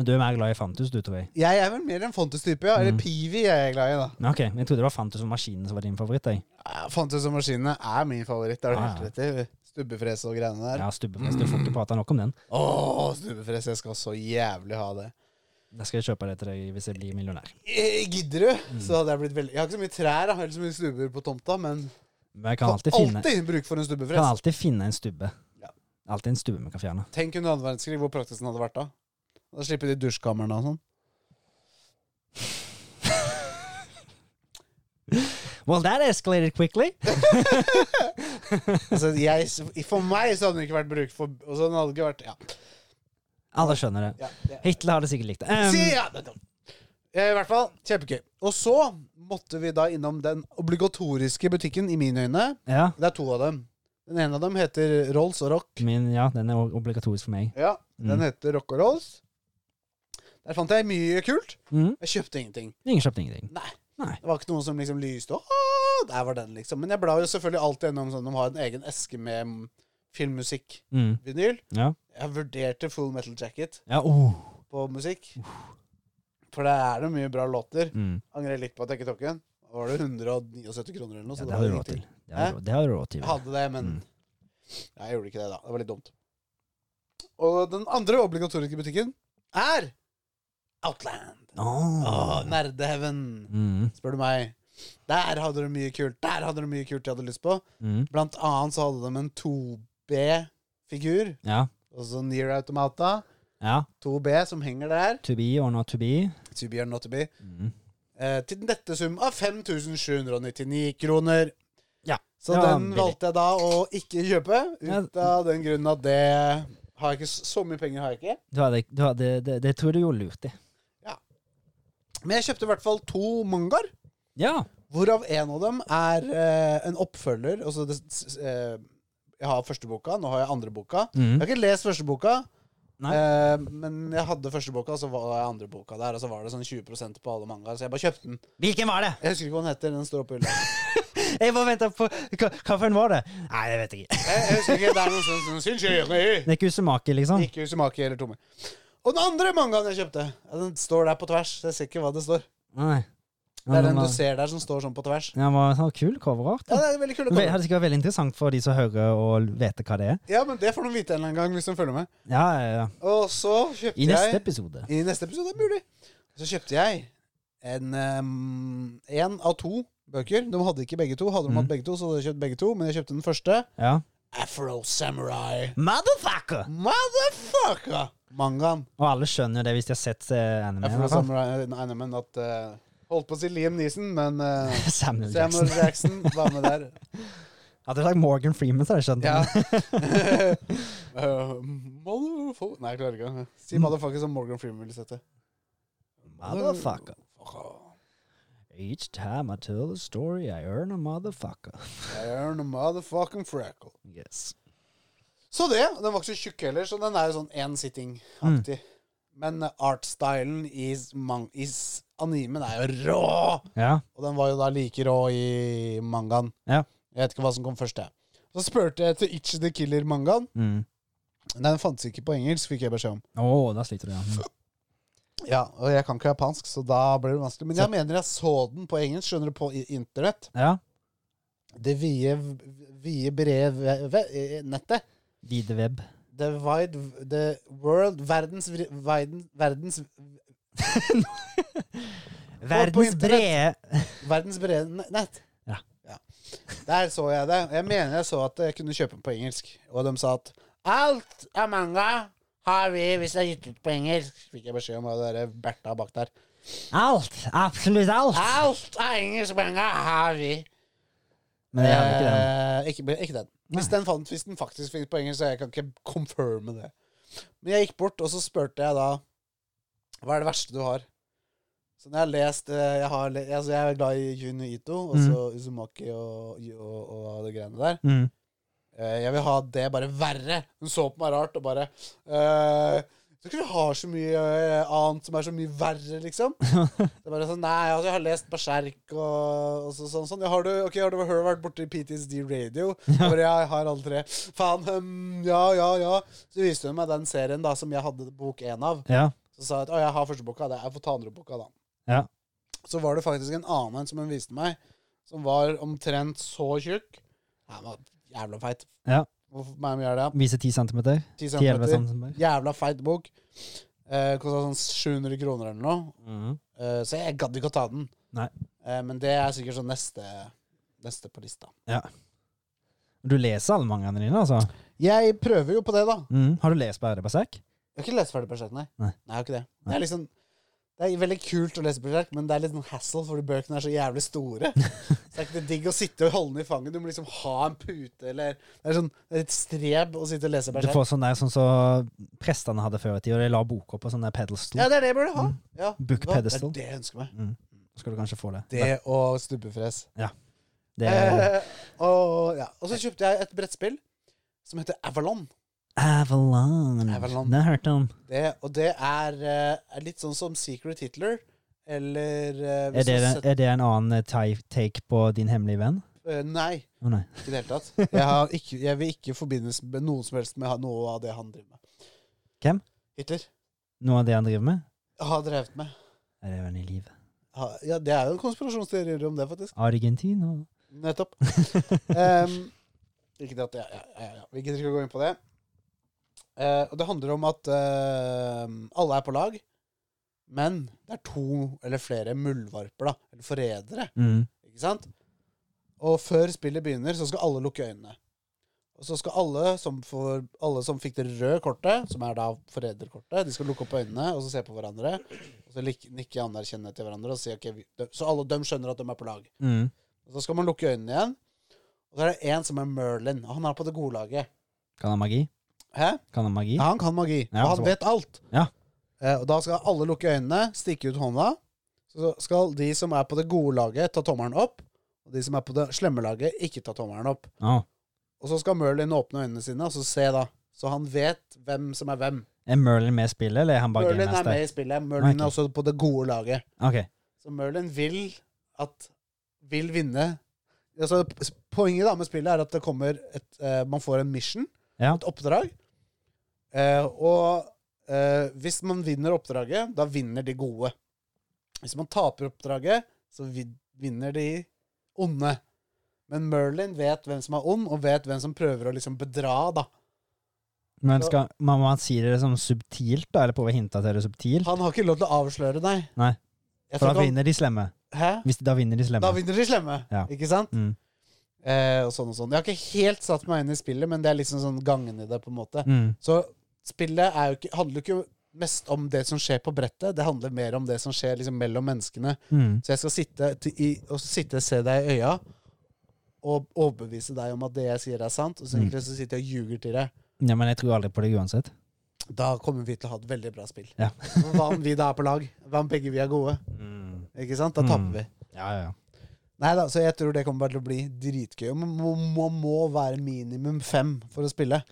S1: du er mer glad i Fantus, du, tror jeg.
S2: Jeg er vel mer en Fontus-type, ja. Eller
S1: Mm.
S2: Pivi er jeg glad i, da.
S1: Men Ok, men Jeg trodde det var Fantus og Maskinen som var din favoritt. Jeg.
S2: Ja, Eh, Fantes og maskinene er min favoritt. Det er du
S1: Ja,
S2: helt rett i. Stubbefres og greiene der.
S1: Ja, Stubbefest. Du får ikke prata nok om den.
S2: Åh, stubbefres. Jeg skal så jævlig ha det.
S1: Da skal jeg kjøpe det til deg hvis jeg blir millionær.
S2: Eh, Gidder du?
S1: Mm.
S2: Så hadde jeg blitt veldig Jeg har ikke så mye trær da, eller så mye stubber på tomta, men
S1: Men jeg
S2: kan
S1: kan alltid finne,
S2: bruk for en
S1: kan
S2: stubbefres.
S1: alltid finne en stubbe.
S2: Ja.
S1: Alltid en stubbe vi kan fjerne.
S2: Tenk under annen verdenskrig hvor praktisk den hadde vært da. Da slipper de dusjkamrene og sånn.
S1: Well, that escalated quickly.
S2: Altså, jeg, for meg så hadde det ikke vært bruk for og så den hadde det ikke vært, ja,
S1: Alle skjønner det.
S2: ja, ja.
S1: Hitler hadde sikkert likt det. Um,
S2: Si ja! det- Eh, I hvert fall, kjempegøy. Og så måtte vi da innom den obligatoriske butikken, i mine øyne,
S1: Um, ja.
S2: Det er to av dem. Den ene av dem heter Rolls og Rock.
S1: Min, ja, den er obligatorisk for meg.
S2: Ja, Den
S1: Mm.
S2: heter Rock og Rolls. Der fant jeg mye kult.
S1: Mm.
S2: Jeg kjøpte ingenting.
S1: Ingen kjøpte ingenting.
S2: Nei.
S1: Nei.
S2: Det var ikke noen som liksom lyste Åh, Der var den, liksom. Men jeg blar jo selvfølgelig alltid gjennom sånn de har en egen eske med mm, filmmusikk.
S1: Mm.
S2: Vinyl.
S1: Ja.
S2: Jeg vurderte Full Metal Jacket
S1: Ja, oh.
S2: på musikk. For det er det mye bra låter.
S1: mm.
S2: Angrer litt på at jeg ikke tok den. Da Var det 179 kroner eller noe? så
S1: ja, det
S2: det
S1: hadde
S2: var
S1: du råd
S2: ingenting.
S1: til. Det hadde du- Det hadde du råd til.
S2: Jeg hadde det, men
S1: Mm.
S2: Nei, jeg gjorde ikke det da. Det var litt dumt. Og den andre obligatoriske butikken er Outland. Åh,
S1: Åh.
S2: Nerdeheaven,
S1: Mm.
S2: spør du meg. Der hadde du mye kult. Der hadde du mye kult jeg hadde lyst på.
S1: Mm.
S2: Blant annet så hadde de en 2B-figur,
S1: Ja.
S2: altså Near Automata.
S1: ja.
S2: 2B som henger der.
S1: To be or not to be.
S2: To be or not to be.
S1: Mm.
S2: Eh, til dette sum av 5799 kroner.
S1: Ja,
S2: Så
S1: det var
S2: den
S1: billig.
S2: valgte jeg da å ikke kjøpe, ut
S1: Ja.
S2: av den grunnen at det har jeg ikke Så mye penger har jeg ikke.
S1: Du hadde, du hadde, det, det tror jeg du gjorde lurt i.
S2: Men jeg kjøpte i hvert fall to mangaer,
S1: Ja.
S2: hvorav en av dem er eh, en oppfølger. Altså det, s- s- eh, jeg har første boka, nå har jeg andre boka. Jeg
S1: Mm.
S2: har ikke lest første boka,
S1: Nei.
S2: eh, men jeg hadde første boka, og så var jeg andre boka der, og så var det sånn 20 på alle mangaer, så jeg bare kjøpte den.
S1: Hvilken var det?
S2: Jeg husker ikke hva den heter, den står oppe i hylla.
S1: Jeg bare venter på Hva, hva for en var det? Nei, jeg vet ikke.
S2: Jeg, jeg husker ikke, det er noe sånn sånn, «Syns jeg gjør det».
S1: Det er ikke Usemaki, liksom?
S2: Ikke Usumaki eller Tomme. Og den andre mangaen jeg kjøpte, ja, den står der på tvers. Jeg ser ikke hva det står.
S1: Nei.
S2: Det er den du ser der som står sånn på tvers.
S1: Ja, det var sånn kul coverart.
S2: Ja, det er veldig kule
S1: Det
S2: cover.
S1: hadde sikkert vært veldig interessant for de som hører og vet hva det er.
S2: Ja, men det får de vite en eller annen gang hvis de følger med.
S1: Ja, ja, ja.
S2: Og så kjøpte
S1: I neste
S2: jeg
S1: episode.
S2: I neste episode, er mulig. Så kjøpte jeg en ehm, en av to bøker. De hadde ikke begge to. Hadde de
S1: Mm.
S2: hatt begge to, så hadde jeg kjøpt begge to. Men jeg kjøpte den første,
S1: Ja.
S2: Afro Samurai.
S1: Motherfucker!
S2: Motherfucker! Mangaen.
S1: Og alle skjønner jo det hvis de har sett eh, anime. i
S2: Afro
S1: hvert fall. [laughs]
S2: Samurai eh, Animen at eh, Holdt på å si Liam Neeson, men eh,
S1: Samuel
S2: Samuel Jackson
S1: Jackson.
S2: var med [laughs] der.
S1: Hadde jeg sagt Morgan Freeman, så hadde jeg skjønt
S2: Ja.
S1: det.
S2: [laughs] Eh, motherfucker Nei, jeg klarer ikke. Si motherfucker som Morgan Freeman ville sett det.
S1: Motherfucker.
S2: Fucker.
S1: Each time I tell a story, I earn a motherfucker.
S2: I earn a motherfucking freckle.
S1: Yes.
S2: Så det. og Den var ikke så tjukk heller, så den er jo sånn én sitting-aktig. Men eh, artstylen i, s- man- i s- animen er jo rå!
S1: Ja.
S2: Og den var jo da like rå i mangaen.
S1: Ja.
S2: Jeg vet ikke hva som kom først, jeg. Så spurte jeg etter Itch the Killer-mangaen.
S1: Mm.
S2: Den fantes ikke på engelsk, fikk jeg beskjed om.
S1: Å, da sliter du, ja. Mm.
S2: Ja, Og jeg kan ikke japansk, så da ble det vanskelig. Men jeg mener jeg så den på engelsk, skjønner du, på i- internett.
S1: Ja.
S2: Det vide, vide brede nettet.
S1: Vide web.
S2: The wide The world Verdens vri- Verdens, verdens,
S1: Verdens brede
S2: verdens brede ne- nett.
S1: Ja.
S2: Der så jeg det. Jeg mener jeg så at jeg kunne kjøpe den på engelsk. Og de sa at alt av manga har vi hvis det er gitt ut på engelsk. Fikk jeg beskjed om av dere Bertha bak der.
S1: Alt! Absolutt alt!
S2: Alt av engelsk manga har vi.
S1: Men jeg hadde ikke den.
S2: Eh, ikke, ikke den. Hvis den, fant, hvis den faktisk finnes på engelsk, så jeg kan ikke confirme det. Men jeg gikk bort, og så spurte jeg da Hva er det verste du har? Så når jeg har lest eh, Jeg, har, le- altså jeg er glad i Jun Ito, og så Uzumaki og, og, og det greiene der.
S1: Mm.
S2: Eh, jeg vil ha det bare verre. Hun så på meg rart og bare eh, Jeg tror ikke du har så mye eh, annet som er så mye verre, liksom. Det er bare sånn, Nei, altså, jeg har lest Berserk og, og så, sånn. sånn. Ja, har, du, ok, har du hørt vært borti PTSD Radio? Hvor jeg har alle tre. Faen, hm, ja, ja, ja. Så viste hun meg den serien da som jeg hadde bok én av.
S1: Ja.
S2: Så sa jeg at å, jeg har første boka, det jeg får ta andre boka da.
S1: Ja.
S2: Så var det faktisk en annen en som hun viste meg, som var omtrent så tjukk. Han var jævla feit.
S1: Ja.
S2: Hvorfor hvor mye er det?
S1: Vise 10 centimeter.
S2: 10
S1: 10-11
S2: centimeter.
S1: centimeter.
S2: Jævla feit bok. Eh, Kosta sånn 700 kroner eller noe.
S1: Mm.
S2: Eh, så jeg gadd ikke å ta den.
S1: Nei.
S2: Eh, men det er sikkert sånn neste, neste på lista.
S1: Du leser alle mangaene dine, altså?
S2: Jeg prøver jo på det, da.
S1: Mm. Har du lest Bære Berserk?
S2: Jeg har ikke lest ferdig Berserk, nei.
S1: Nei.
S2: jeg har ikke det. Det er liksom Det er veldig kult å lese Berserk, men det er litt sånn hassle, fordi bøkene er så jævlig
S1: [laughs]
S2: store. så det er ikke det digg å sitte og holde den i fanget. Du må liksom ha en pute, eller Det er sånn det er litt streb å sitte og lese
S1: Du
S2: Berserk.
S1: får sånn der sånn som prestene hadde før i tida. De la boka på sånn der pedestal.
S2: Ja, det er det jeg burde ha. Ja.
S1: Mm. Book
S2: Hva? Det
S1: pedestal.
S2: er det jeg ønsker meg.
S1: Mm. Så skal du kanskje få det.
S2: Det og stubbefres.
S1: Det er
S2: Eh, og, ja. og så kjøpte jeg et brettspill som heter Avalon.
S1: Avalon.
S2: Avalon.
S1: Det har jeg hørt om.
S2: Det, og det er, eh, er litt sånn som Secret Hitler, eller eh,
S1: Er
S2: hvis
S1: det,
S2: du setter-
S1: er det en annen eh, ti- take på din hemmelige venn?
S2: eh, Nei,
S1: Å nei.
S2: ikke i det hele tatt. Jeg, har ikke, jeg vil ikke forbindes med noen som helst med ha- noe av det han driver med.
S1: Hvem?
S2: Hitler.
S1: Noe av det han driver med?
S2: Har drevet med.
S1: Er det venn i livet?
S2: Ha, ja, det er jo en konspirasjonsteori om det, faktisk.
S1: Argentina?
S2: Nettopp. Em, ikke det at ja, ja, ja, ja. Vi gidder ikke å gå inn på det. Eh, og det handler om at eh, alle er på lag, men det er to eller flere muldvarper, da, eller forrædere,
S1: Mm.
S2: ikke sant? Og før spillet begynner, så skal alle lukke øynene. Og så skal alle som, får, alle som fikk det røde kortet, som er da forræderkortet, de skal lukke opp øynene og så se på hverandre. Og så lik- nikke anerkjennende til hverandre og si ok, vi, Så alle dem skjønner at de er på lag.
S1: Mm.
S2: Og så skal man lukke øynene igjen. Og så er det en som er Merlin. Og han er på det gode laget.
S1: Kan han magi?
S2: Hæ?
S1: Kan han magi?
S2: Ja, han kan magi. og
S1: Ja, så
S2: han
S1: bra.
S2: vet alt.
S1: Ja.
S2: Eh, og da skal alle lukke øynene, stikke ut hånda. Så skal de som er på det gode laget, ta tommelen opp. Og de som er på det slemme laget, ikke ta tommelen opp.
S1: Å.
S2: Og så skal Merlin åpne øynene sine og så se, da. Så han vet hvem som er hvem.
S1: Er Merlin med i spillet, eller er han bare
S2: Merlin er
S1: gamemester?
S2: med i spillet. Merlin
S1: Ok.
S2: er også på det gode laget.
S1: Ok.
S2: Så Merlin vil at Vil vinne. Altså, p- poenget da med spillet er at det kommer et, eh, man får en mission,
S1: Ja.
S2: et oppdrag. Eh, og eh, hvis man vinner oppdraget, da vinner de gode. Hvis man taper oppdraget, så vi- vinner de onde. Men Merlin vet hvem som er ond, og vet hvem som prøver å liksom bedra. da.
S1: Men skal, må man si det sånn subtilt, da? Eller prøve å hinte til det subtilt?
S2: Han sånn- har ikke lov til å avsløre deg.
S1: Nei.
S2: Jeg
S1: For
S2: tror
S1: da
S2: ikke han-
S1: vinner de slemme.
S2: Hæ?
S1: Hvis de, da vinner de slemme.
S2: Da vinner de slemme,
S1: Ja.
S2: ikke sant?
S1: Mm.
S2: Eh, og sånn og sånn. Jeg har ikke helt satt meg inn i spillet, men det er liksom sånn gangen i det, på en måte.
S1: Mm.
S2: Så spillet er jo ikke, handler jo ikke mest om det som skjer på brettet, det handler mer om det som skjer liksom mellom menneskene.
S1: Mm.
S2: Så jeg skal sitte, til- i, og sitte og se deg i øya og overbevise deg om at det jeg sier, er sant, og så
S1: Mm.
S2: egentlig så sitter jeg og ljuger til deg.
S1: Ja, men jeg tror aldri på deg uansett.
S2: Da kommer vi til å ha et veldig bra spill.
S1: Ja.
S2: Og Hva om vi da er på lag? Hva om begge vi er gode? Ikke sant? Da
S1: Mm.
S2: taper vi.
S1: Ja, ja, ja.
S2: Nei da, så jeg tror det kommer bare til å bli dritgøy. Og Man må, må, må være minimum fem for å spille.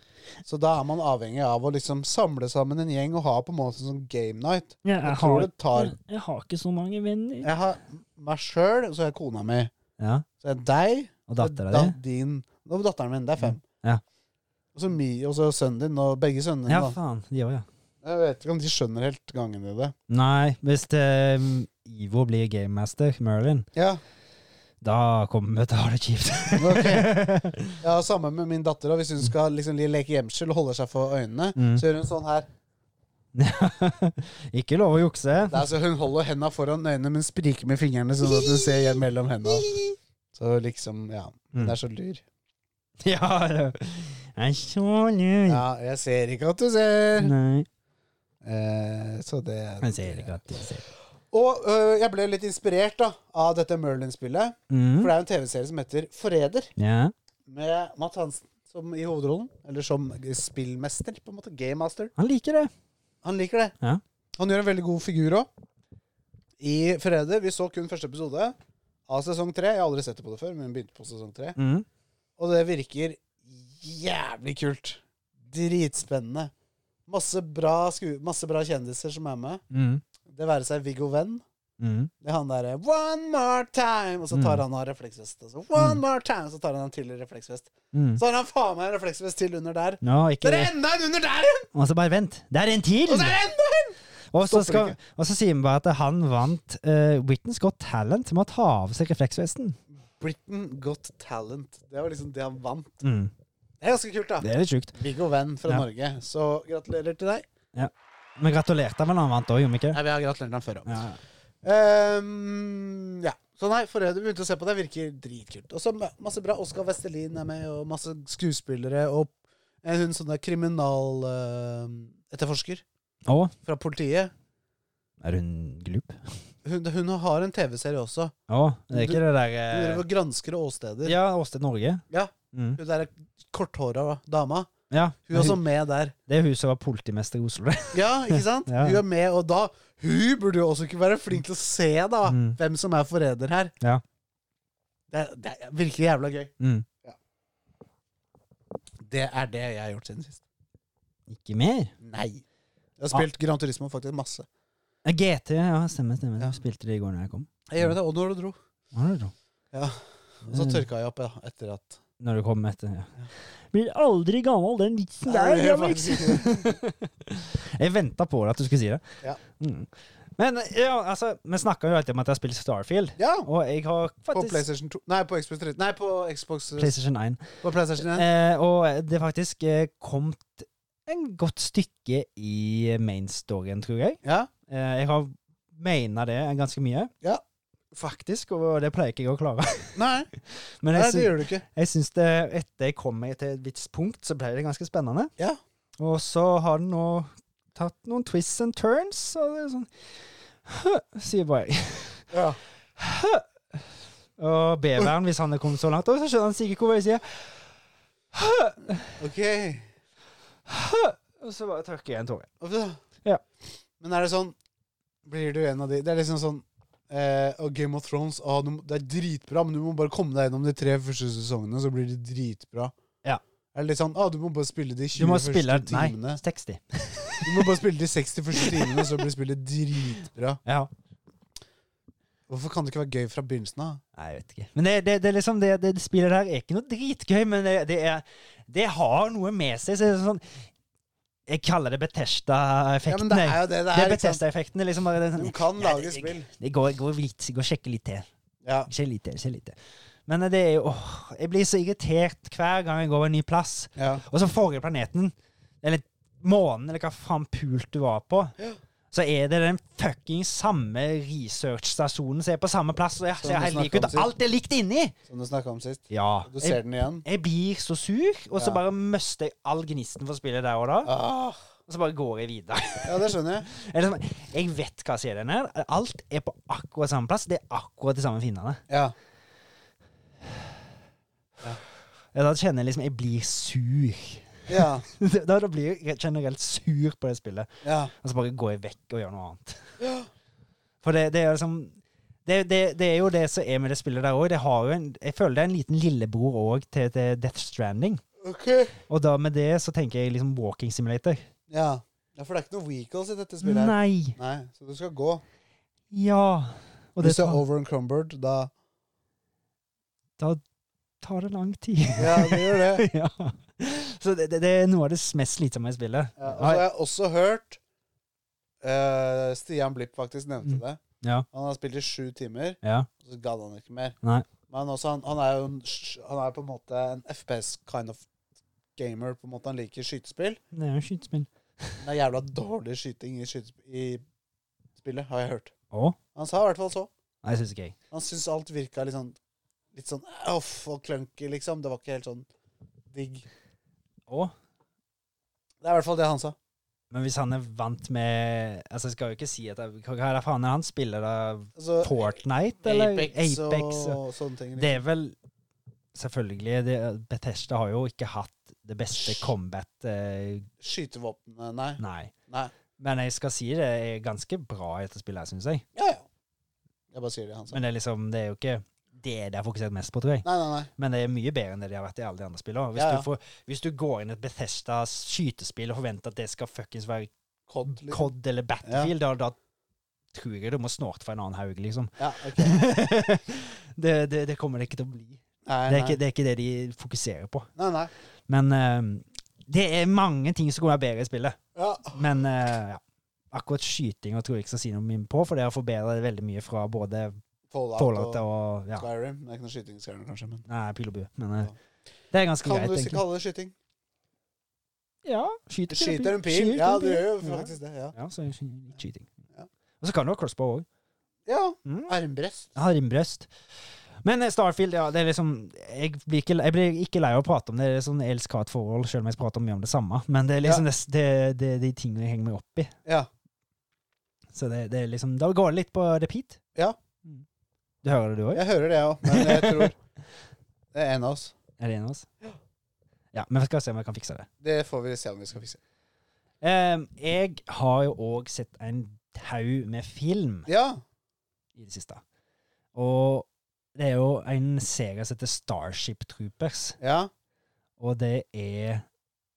S2: Så da er man avhengig av å liksom samle sammen en gjeng og ha på en måte sånn game night.
S1: Jeg,
S2: Jeg tror
S1: har,
S2: det tar
S1: jeg har ikke så mange venner.
S2: Jeg har meg sjøl, og så har jeg kona mi.
S1: Ja,
S2: Så er det deg,
S1: Og
S2: så er
S1: dattera
S2: da-
S1: di. Mm,
S2: din Og datteren min. Det er fem.
S1: Ja.
S2: Og så mi, og så sønnen din, og begge sønnene
S1: Ja,
S2: dine. da.
S1: faen. De òg, ja.
S2: Jeg vet ikke om de skjønner helt gangen i det.
S1: Nei, hvis eh, Ivo blir gamemaster, Merlin,
S2: Ja,
S1: da kommer vi til å ha det kjipt.
S2: Ok.
S1: [laughs]
S2: ja Samme med min datter. Og hvis hun skal liksom leke gjemsel og holder seg for øynene,
S1: Mm.
S2: så gjør hun sånn her.
S1: ikke lov å jukse.
S2: [laughs] Det er så Hun holder henda foran øynene, men spriker med fingrene sånn at hun ser igjen mellom henda. Så liksom, ja. Hun
S1: Mm.
S2: er så lur.
S1: Ja, ja. Jeg er så lur.
S2: Ja, jeg ser ikke at du ser.
S1: Nei.
S2: Eh, så det
S1: Jeg ser ikke at jeg ser.
S2: Og øh, jeg ble litt inspirert da av dette Merlin-spillet. For
S1: Mm.
S2: det er jo en TV-serie som heter Forræder,
S1: Ja.
S2: med Matt Hansen som i hovedrollen. Eller som spillmester, på en måte. Gamemaster.
S1: Han liker det.
S2: Han liker det.
S1: Ja.
S2: Han gjør en veldig god figur òg. I Forræder Vi så kun første episode av sesong tre. Jeg har aldri sett det på det før, men begynte på sesong tre.
S1: Mm.
S2: Og det virker jævlig kult. Dritspennende. Masse bra, sku masse bra kjendiser som er med.
S1: Mm.
S2: Det være seg Viggo Venn.
S1: Mm.
S2: Det er han derre 'one more time', og så tar han av refleksvest. Og så 'one more time', så tar han av til refleksvest.
S1: Mm.
S2: Så har han faen meg en refleksvest til under der.
S1: Nå,
S2: Så
S1: ikke
S2: er
S1: det.
S2: det enda en under der igjen!
S1: Og så bare vent. Det er en til!
S2: Og så er det enda en!
S1: Og så,
S2: Stopper
S1: skal, og så sier vi bare at han vant uh, Britain's Got Talent med å ta av seg refleksvesten.
S2: Britain Got Talent. Det var liksom det han vant.
S1: Mm.
S2: Det er ganske kult, da.
S1: Det er litt sjukt.
S2: Viggo Venn fra
S1: Ja.
S2: Norge. Så gratulerer til deg.
S1: Men gratulerte han vel når han vant òg, gjorde vi ikke?
S2: Nei, vi har gratulert ham før òg.
S1: Ja.
S2: Ehm, ja. Så nei, Forræder begynte å se på det. Virker dritkult. Og så ma- masse bra. Oskar Vestelin er med, og masse skuespillere. Og en hun sånn der kriminaletterforsker
S1: Og
S2: ehm, fra politiet.
S1: er hun glup?
S2: Hun, hun har en TV-serie også.
S1: Å, det er ikke det der
S2: Hun driver
S1: eh,
S2: og gransker åsteder.
S1: Ja, Åsted Norge.
S2: Ja.
S1: Mm.
S2: Hun der korthåra dama.
S1: ja.
S2: Hun er også med der.
S1: Det er hun som var politimester i Oslo. det.
S2: Ja, ikke sant?
S1: Ja.
S2: Hun er med, og da Hun burde jo også ikke være flink til å se da
S1: Mm.
S2: hvem som er forræder her.
S1: Ja.
S2: Det, er- det er virkelig jævla gøy.
S1: Mm.
S2: Det er det jeg har gjort siden sist.
S1: Ikke mer?
S2: Nei. Jeg har spilt Gran Turismo faktisk masse.
S1: Ja, GT, ja. Stemmer, stemmer.
S2: Ja.
S1: Du spilte det i går når jeg kom.
S2: Jeg gjør det, og når du dro.
S1: Hva er det da?
S2: Ja. Og så tørka jeg opp ja, etter at
S1: Når du kom etter, ja. Blir aldri gammel, den vitsen der.
S2: Nei, det er
S1: Jamix.
S2: faktisk
S1: jeg venta på det at du skulle si det.
S2: Ja.
S1: Mm. Men ja, altså, vi snakka jo alltid om at jeg har spilt Starfield,
S2: Ja!
S1: og jeg har
S2: På
S1: faktisk
S2: PlayStation 2 Nei, på Xbox 3. Nei, på Xbox eh,
S1: PlayStation 1.
S2: På PlayStation 1.
S1: Eh, og det er faktisk eh, kommet en godt stykke i mainstoryen, tror jeg.
S2: Ja.
S1: Eh, jeg har mena det ganske mye.
S2: Ja.
S1: Faktisk, og det pleier ikke jeg å klare. [laughs]
S2: Nei,
S1: Men
S2: nei,
S1: jeg,
S2: det
S1: sy
S2: gjør du ikke.
S1: jeg syns det, etter jeg kom meg til et visst punkt, så ble det ganske spennende.
S2: Ja.
S1: Og så har den nå tatt noen twists and turns, og det er sånn «Hø», Sier bare jeg.
S2: Ja.
S1: Og beveren, hvis han er kommet så langt, også, så skjønner han sikkert hvor jeg sier
S2: Ok.
S1: Og så bare tørker jeg en tåre.
S2: Og da-
S1: Ja.
S2: Men er det sånn Blir du en av de Det er liksom sånn eh, og Game of Thrones ah, du, må- Det er dritbra, men du må bare komme deg gjennom de tre første sesongene, så blir det dritbra.
S1: Ja.
S2: Er det litt sånn ah, Du må bare spille de 20
S1: Du må
S2: første
S1: spille Nei,
S2: timene.
S1: 60.
S2: Du må bare spille de 60 første timene, så blir spillet dritbra.
S1: Ja.
S2: Hvorfor kan det ikke være gøy fra begynnelsen av?
S1: Nei, jeg vet ikke. Men det, det, det, er liksom, det, det spillet der er ikke noe dritgøy, men det, det, er, det har noe med seg. Så det er sånn, jeg kaller det
S2: Ja, men
S1: Betesta-effekten.
S2: det
S1: jeg.
S2: er jo det det er.
S1: det er
S2: ikke sant?
S1: Betesta-effekten. Det er liksom bare det, er
S2: Du
S1: sånn,
S2: kan
S1: Ja,
S2: lage
S1: det-
S2: spill.
S1: det går, går, litt, går og sjekker litt til.
S2: Ja.
S1: Sjekker litt til, sjekker litt til. Men eh, det er jo åh, Jeg blir så irritert hver gang jeg går en ny plass.
S2: ja.
S1: Og så forrige planeten, eller månen, eller hva faen pult du var på. så er det den fucking samme researchstasjonen som er på samme plass. Og jeg
S2: Som
S1: ser
S2: du
S1: helt lik
S2: snakket om
S1: ut. og Alt er likt inni!
S2: Som du snakka om sist.
S1: Ja.
S2: Du
S1: Jeg,
S2: ser den igjen.
S1: jeg blir så sur, og så
S2: Ja.
S1: bare mister jeg all gnisten for å spille der og da.
S2: Ah,
S1: Og så bare går jeg videre. [laughs]
S2: ja, det skjønner jeg.
S1: Jeg, er liksom, jeg vet hva som er den her. Alt er på akkurat samme plass. Det er akkurat de samme fiendene.
S2: Ja.
S1: Ja, Da kjenner jeg liksom Jeg blir sur. [laughs]
S2: Ja.
S1: Da, da blir jeg generelt sur på det spillet.
S2: Ja.
S1: Og så bare går jeg vekk og gjør noe
S2: [gasps]
S1: annet.
S2: ja.
S1: For det, det er liksom det, det, det er jo det som er med det spillet der òg. Jeg føler det er en liten lillebror òg til, til Death Stranding.
S2: OK.
S1: Og da med det så tenker jeg liksom walking simulator.
S2: Ja. ja, for det er ikke noe weakles i dette spillet. her.
S1: Nei.
S2: Nei, så du skal gå.
S1: Ja. Og det
S2: Hvis du er
S1: tar,
S2: over encumbered, da
S1: tar det lang tid. [laughs]
S2: Ja, det gjør det.
S1: ja. Så det, det, det er noe av det mest slitsomme i spillet.
S2: Ja, og så har jeg også hørt eh, Stian Blipp faktisk nevnte
S1: Mm.
S2: det.
S1: Ja.
S2: Han har spilt i sju timer,
S1: Ja.
S2: og så gadd han ikke mer.
S1: Nei.
S2: Men også, han, han er jo en, sj- han er på en måte en FPS kind of gamer. på en måte Han liker skytespill.
S1: Det er jo skytespill.
S2: Men det er jævla dårlig skyting i, skytesp- i spillet, har jeg hørt.
S1: Å?
S2: Han sa i hvert fall så.
S1: Nei, syns ikke jeg.
S2: Han syntes alt virka litt sånn Litt sånn off og clunky, liksom. Det var ikke helt sånn digg.
S1: Å?
S2: Det er i hvert fall det han sa.
S1: Men hvis han er vant med Altså, jeg skal jo ikke si at jeg- Hva er det faen er han spiller da?
S2: Altså,
S1: Fortnite, eller?
S2: Apex,
S1: Apex,
S2: og, sånne ting.
S1: Det er vel Selvfølgelig. Det, Bethesda har jo ikke hatt det beste combat eh,
S2: Skytevåpnene, nei.
S1: Nei.
S2: Nei.
S1: Men jeg skal si det er ganske bra etter spillet, syns jeg.
S2: Ja, ja. Jeg bare sier det han sa.
S1: Men det er liksom Det er jo ikke det de har fokusert mest på, tror jeg.
S2: Nei, nei, nei.
S1: Men det er mye bedre enn det de har vært i alle de andre spillene. Hvis,
S2: Ja, ja.
S1: Du, får, hvis du går inn i et Bethesda skytespill og forventer at det skal fuckings være
S2: Cod, liksom.
S1: COD eller Battlefield, da, da tror jeg du må snorte for en annen haug, liksom.
S2: Ja, ok.
S1: [laughs] det, det, det kommer det ikke til å bli.
S2: Nei,
S1: Det er
S2: nei.
S1: ikke det, er ikke det de fokuserer på.
S2: nei, nei.
S1: Men eh, det er mange ting som kunne være bedre i spillet.
S2: Ja.
S1: Men eh, ja. akkurat skytinga tror jeg ikke skal si noe mye på, for det har forbedret veldig mye fra både
S2: Fallout,
S1: Fallout
S2: og,
S1: og ja.
S2: Skyrim. Det er ikke noe skyting i Skyrim, kanskje, men
S1: Nei, pil og bue. Men eh,
S2: Ja.
S1: det er ganske
S2: Kan
S1: greit,
S2: du ikke
S1: egentlig.
S2: kalle det skyting?
S1: Ja, skyter,
S2: Du
S1: pil og
S2: skyter en pil.
S1: Skyter
S2: Ja,
S1: en
S2: du
S1: pil.
S2: gjør jo
S1: Ja.
S2: faktisk det. Ja.
S1: Ja, så er det litt skyting.
S2: Ja.
S1: Og så kan du ha crossbow òg.
S2: ja.
S1: Mm.
S2: Armbrest.
S1: Jeg har rimbrøst. Men eh, Starfield, ja, det er liksom Jeg blir ikke, jeg blir ikke lei av å prate om det. Det er sånn elsk-hat-forhold, selv om jeg prater mye om det samme. Men det er liksom det, det, det er de tingene jeg henger meg opp i.
S2: Ja.
S1: Så det, det er liksom Da går det litt på repeat.
S2: Ja.
S1: Mm. Du hører det, du òg?
S2: Jeg hører det, jeg òg, men
S1: [laughs]
S2: jeg tror det er en av oss.
S1: Er det en av oss? Ja. Men vi skal se om jeg kan fikse det.
S2: Det får vi se om vi skal fikse.
S1: Eh, jeg har jo òg sett en haug med film
S2: Ja.
S1: i det siste. Og det er jo en serie som heter Starship Troopers.
S2: Ja.
S1: Og det er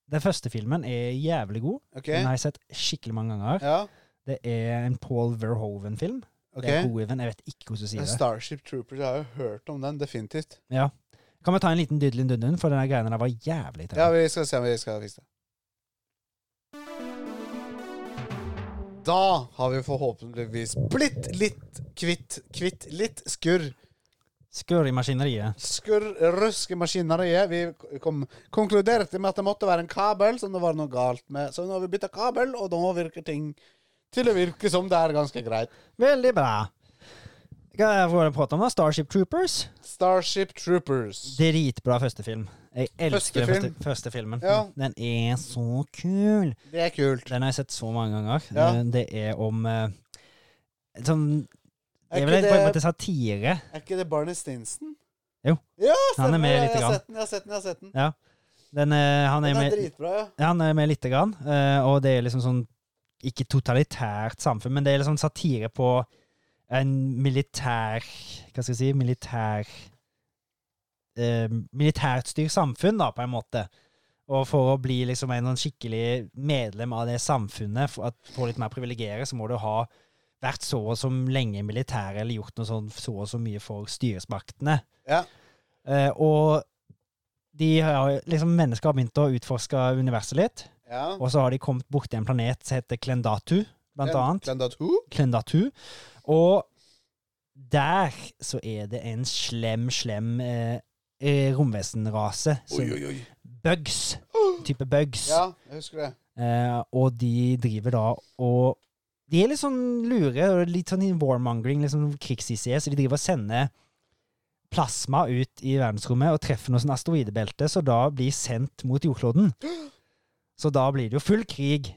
S1: Den første filmen er jævlig god.
S2: OK.
S1: Den har jeg sett skikkelig mange ganger.
S2: Ja.
S1: Det er en Paul Verhoeven-film.
S2: OK.
S1: Det er Hoeven, jeg vet ikke hvordan du sier det.
S2: Starship Troopers, jeg har jo hørt om den, definitivt.
S1: Ja. Kan vi ta en liten dydlin dundun, for denne greia der var jævlig
S2: Ja,
S1: tøff.
S2: vi skal se om vi skal fikse det. Da har vi forhåpentligvis blitt litt kvitt, kvitt litt skurr.
S1: Skør i maskineriet.
S2: Skurrrøskemaskineriet. Vi kom, konkluderte med at det måtte være en kabel som det var noe galt med. Så nå har vi bytta kabel, og nå virker ting til å virke som det er ganske greit.
S1: Veldig bra. Hva er det jeg prate om, da? Starship Troopers.
S2: Starship Troopers.
S1: Dritbra første film. Jeg
S2: Første
S1: elsker den første, første filmen.
S2: Ja.
S1: Den er så kul.
S2: Det er kult.
S1: Den har jeg sett så mange ganger.
S2: Ja.
S1: Eh, Det er om eh, sånn,
S2: Er
S1: Det er vel
S2: ikke
S1: en- på en
S2: det-
S1: måte satire.
S2: Er ikke det Barney Stinson?
S1: Jo.
S2: Ja,
S1: Han er med
S2: stemmer. Jeg
S1: lite
S2: har
S1: grann.
S2: sett den, jeg har sett den. jeg har sett den.
S1: Den, eh, han, er
S2: Den er
S1: med,
S2: dritbra, ja.
S1: ja, han er med lite grann, eh, og det er liksom sånn Ikke totalitært samfunn, men det er liksom satire på en militær Hva skal jeg si Militær eh, Militært styrt samfunn, da, på en måte. Og for å bli liksom en sånn skikkelig medlem av det samfunnet, for at få litt mer privilegere, så må du ha vært så og så lenge i militæret eller gjort noe sånn så og så mye for styresmaktene.
S2: Ja.
S1: Eh, og de har, liksom, mennesker har begynt å utforske universet litt,
S2: ja.
S1: og så har de kommet borti en planet som heter Klendatu, blant annet.
S2: Glendat who?
S1: Klendatu. Og der så er det en slem, slem eh, eh, romvesenrase. som-
S2: Oi, oi, oi.
S1: Bugs. Type bugs.
S2: Ja, jeg husker det.
S1: Eh, og de driver da og De er litt sånn lure og litt sånn i warmongering, litt sånn krigs-IC, så de driver og sender plasma ut i verdensrommet og treffer noe sånn asteroidebelte, så da blir sendt mot
S2: [gasps]
S1: jordkloden. Så da blir det jo full krig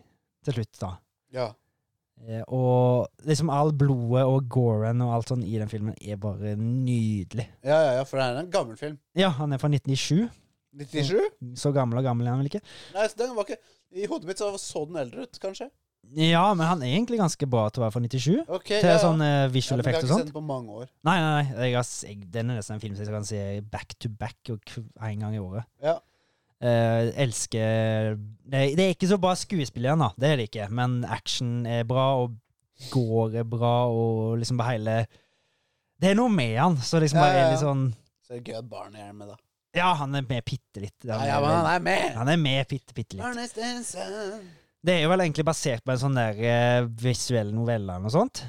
S1: til slutt, da.
S2: Ja.
S1: Eh, Og liksom all blodet og Goran og alt sånn i den filmen er bare nydelig.
S2: Ja, ja, ja, for det er en gammel film.
S1: Ja, han er fra 1997.
S2: 97?
S1: Så gammel og gammel er han vel ikke.
S2: Nei, så den var ikke I hodet mitt så så den eldre ut, kanskje.
S1: Ja, men han er egentlig ganske bra til å være fra 97.
S2: Ok,
S1: Til
S2: ja, ja.
S1: sånn eh,
S2: ja,
S1: visual
S2: men jeg har
S1: effect
S2: ikke
S1: og sånt.
S2: sett den på mange år.
S1: Nei, nei, nei. Jeg har, s- jeg, den er nesten en film som jeg kan se back to back og k- en gang i året.
S2: Ja.
S1: Eh, elsker det, det er ikke så bra skuespilleren, da. Det er det ikke. Men action er bra, og går er bra, og liksom bare hele Det er noe med han, så liksom
S2: Ja,
S1: bare
S2: ja,
S1: er litt
S2: ja.
S1: sånn
S2: Så det er gøy at barnet er med, da.
S1: Ja, han er med bitte litt.
S2: Ja, ja, men han er med!
S1: han er med bitte, bitte litt.
S2: Ernest Hansen.
S1: Det er jo vel egentlig basert på en sånn der eh, visuell novelle eller noe sånt.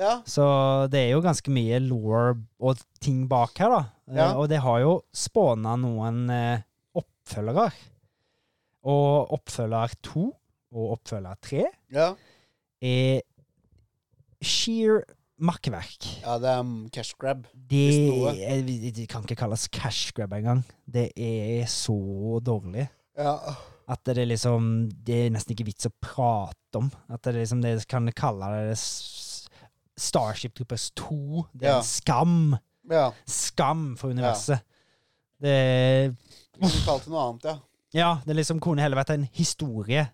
S2: Ja.
S1: Så det er jo ganske mye lore og ting bak her, da. Eh,
S2: Ja.
S1: Og det har jo spåna noen eh, oppfølgere. Og oppfølger to og oppfølger tre
S2: ja.
S1: er sheer makkverk.
S2: Ja, det er mm, cash grab.
S1: Det
S2: Hvis noe.
S1: er- det kan ikke kalles cash grab engang. Det er så dårlig
S2: Ja.
S1: at det er liksom Det er nesten ikke vits å prate om. At det er liksom det kan kalle det s- Starship Troopers 2. Det er
S2: Ja.
S1: en skam.
S2: ja.
S1: skam for universet. Det,
S2: Du kalte noe annet, ja.
S1: ja, det liksom kunne heller vært en historie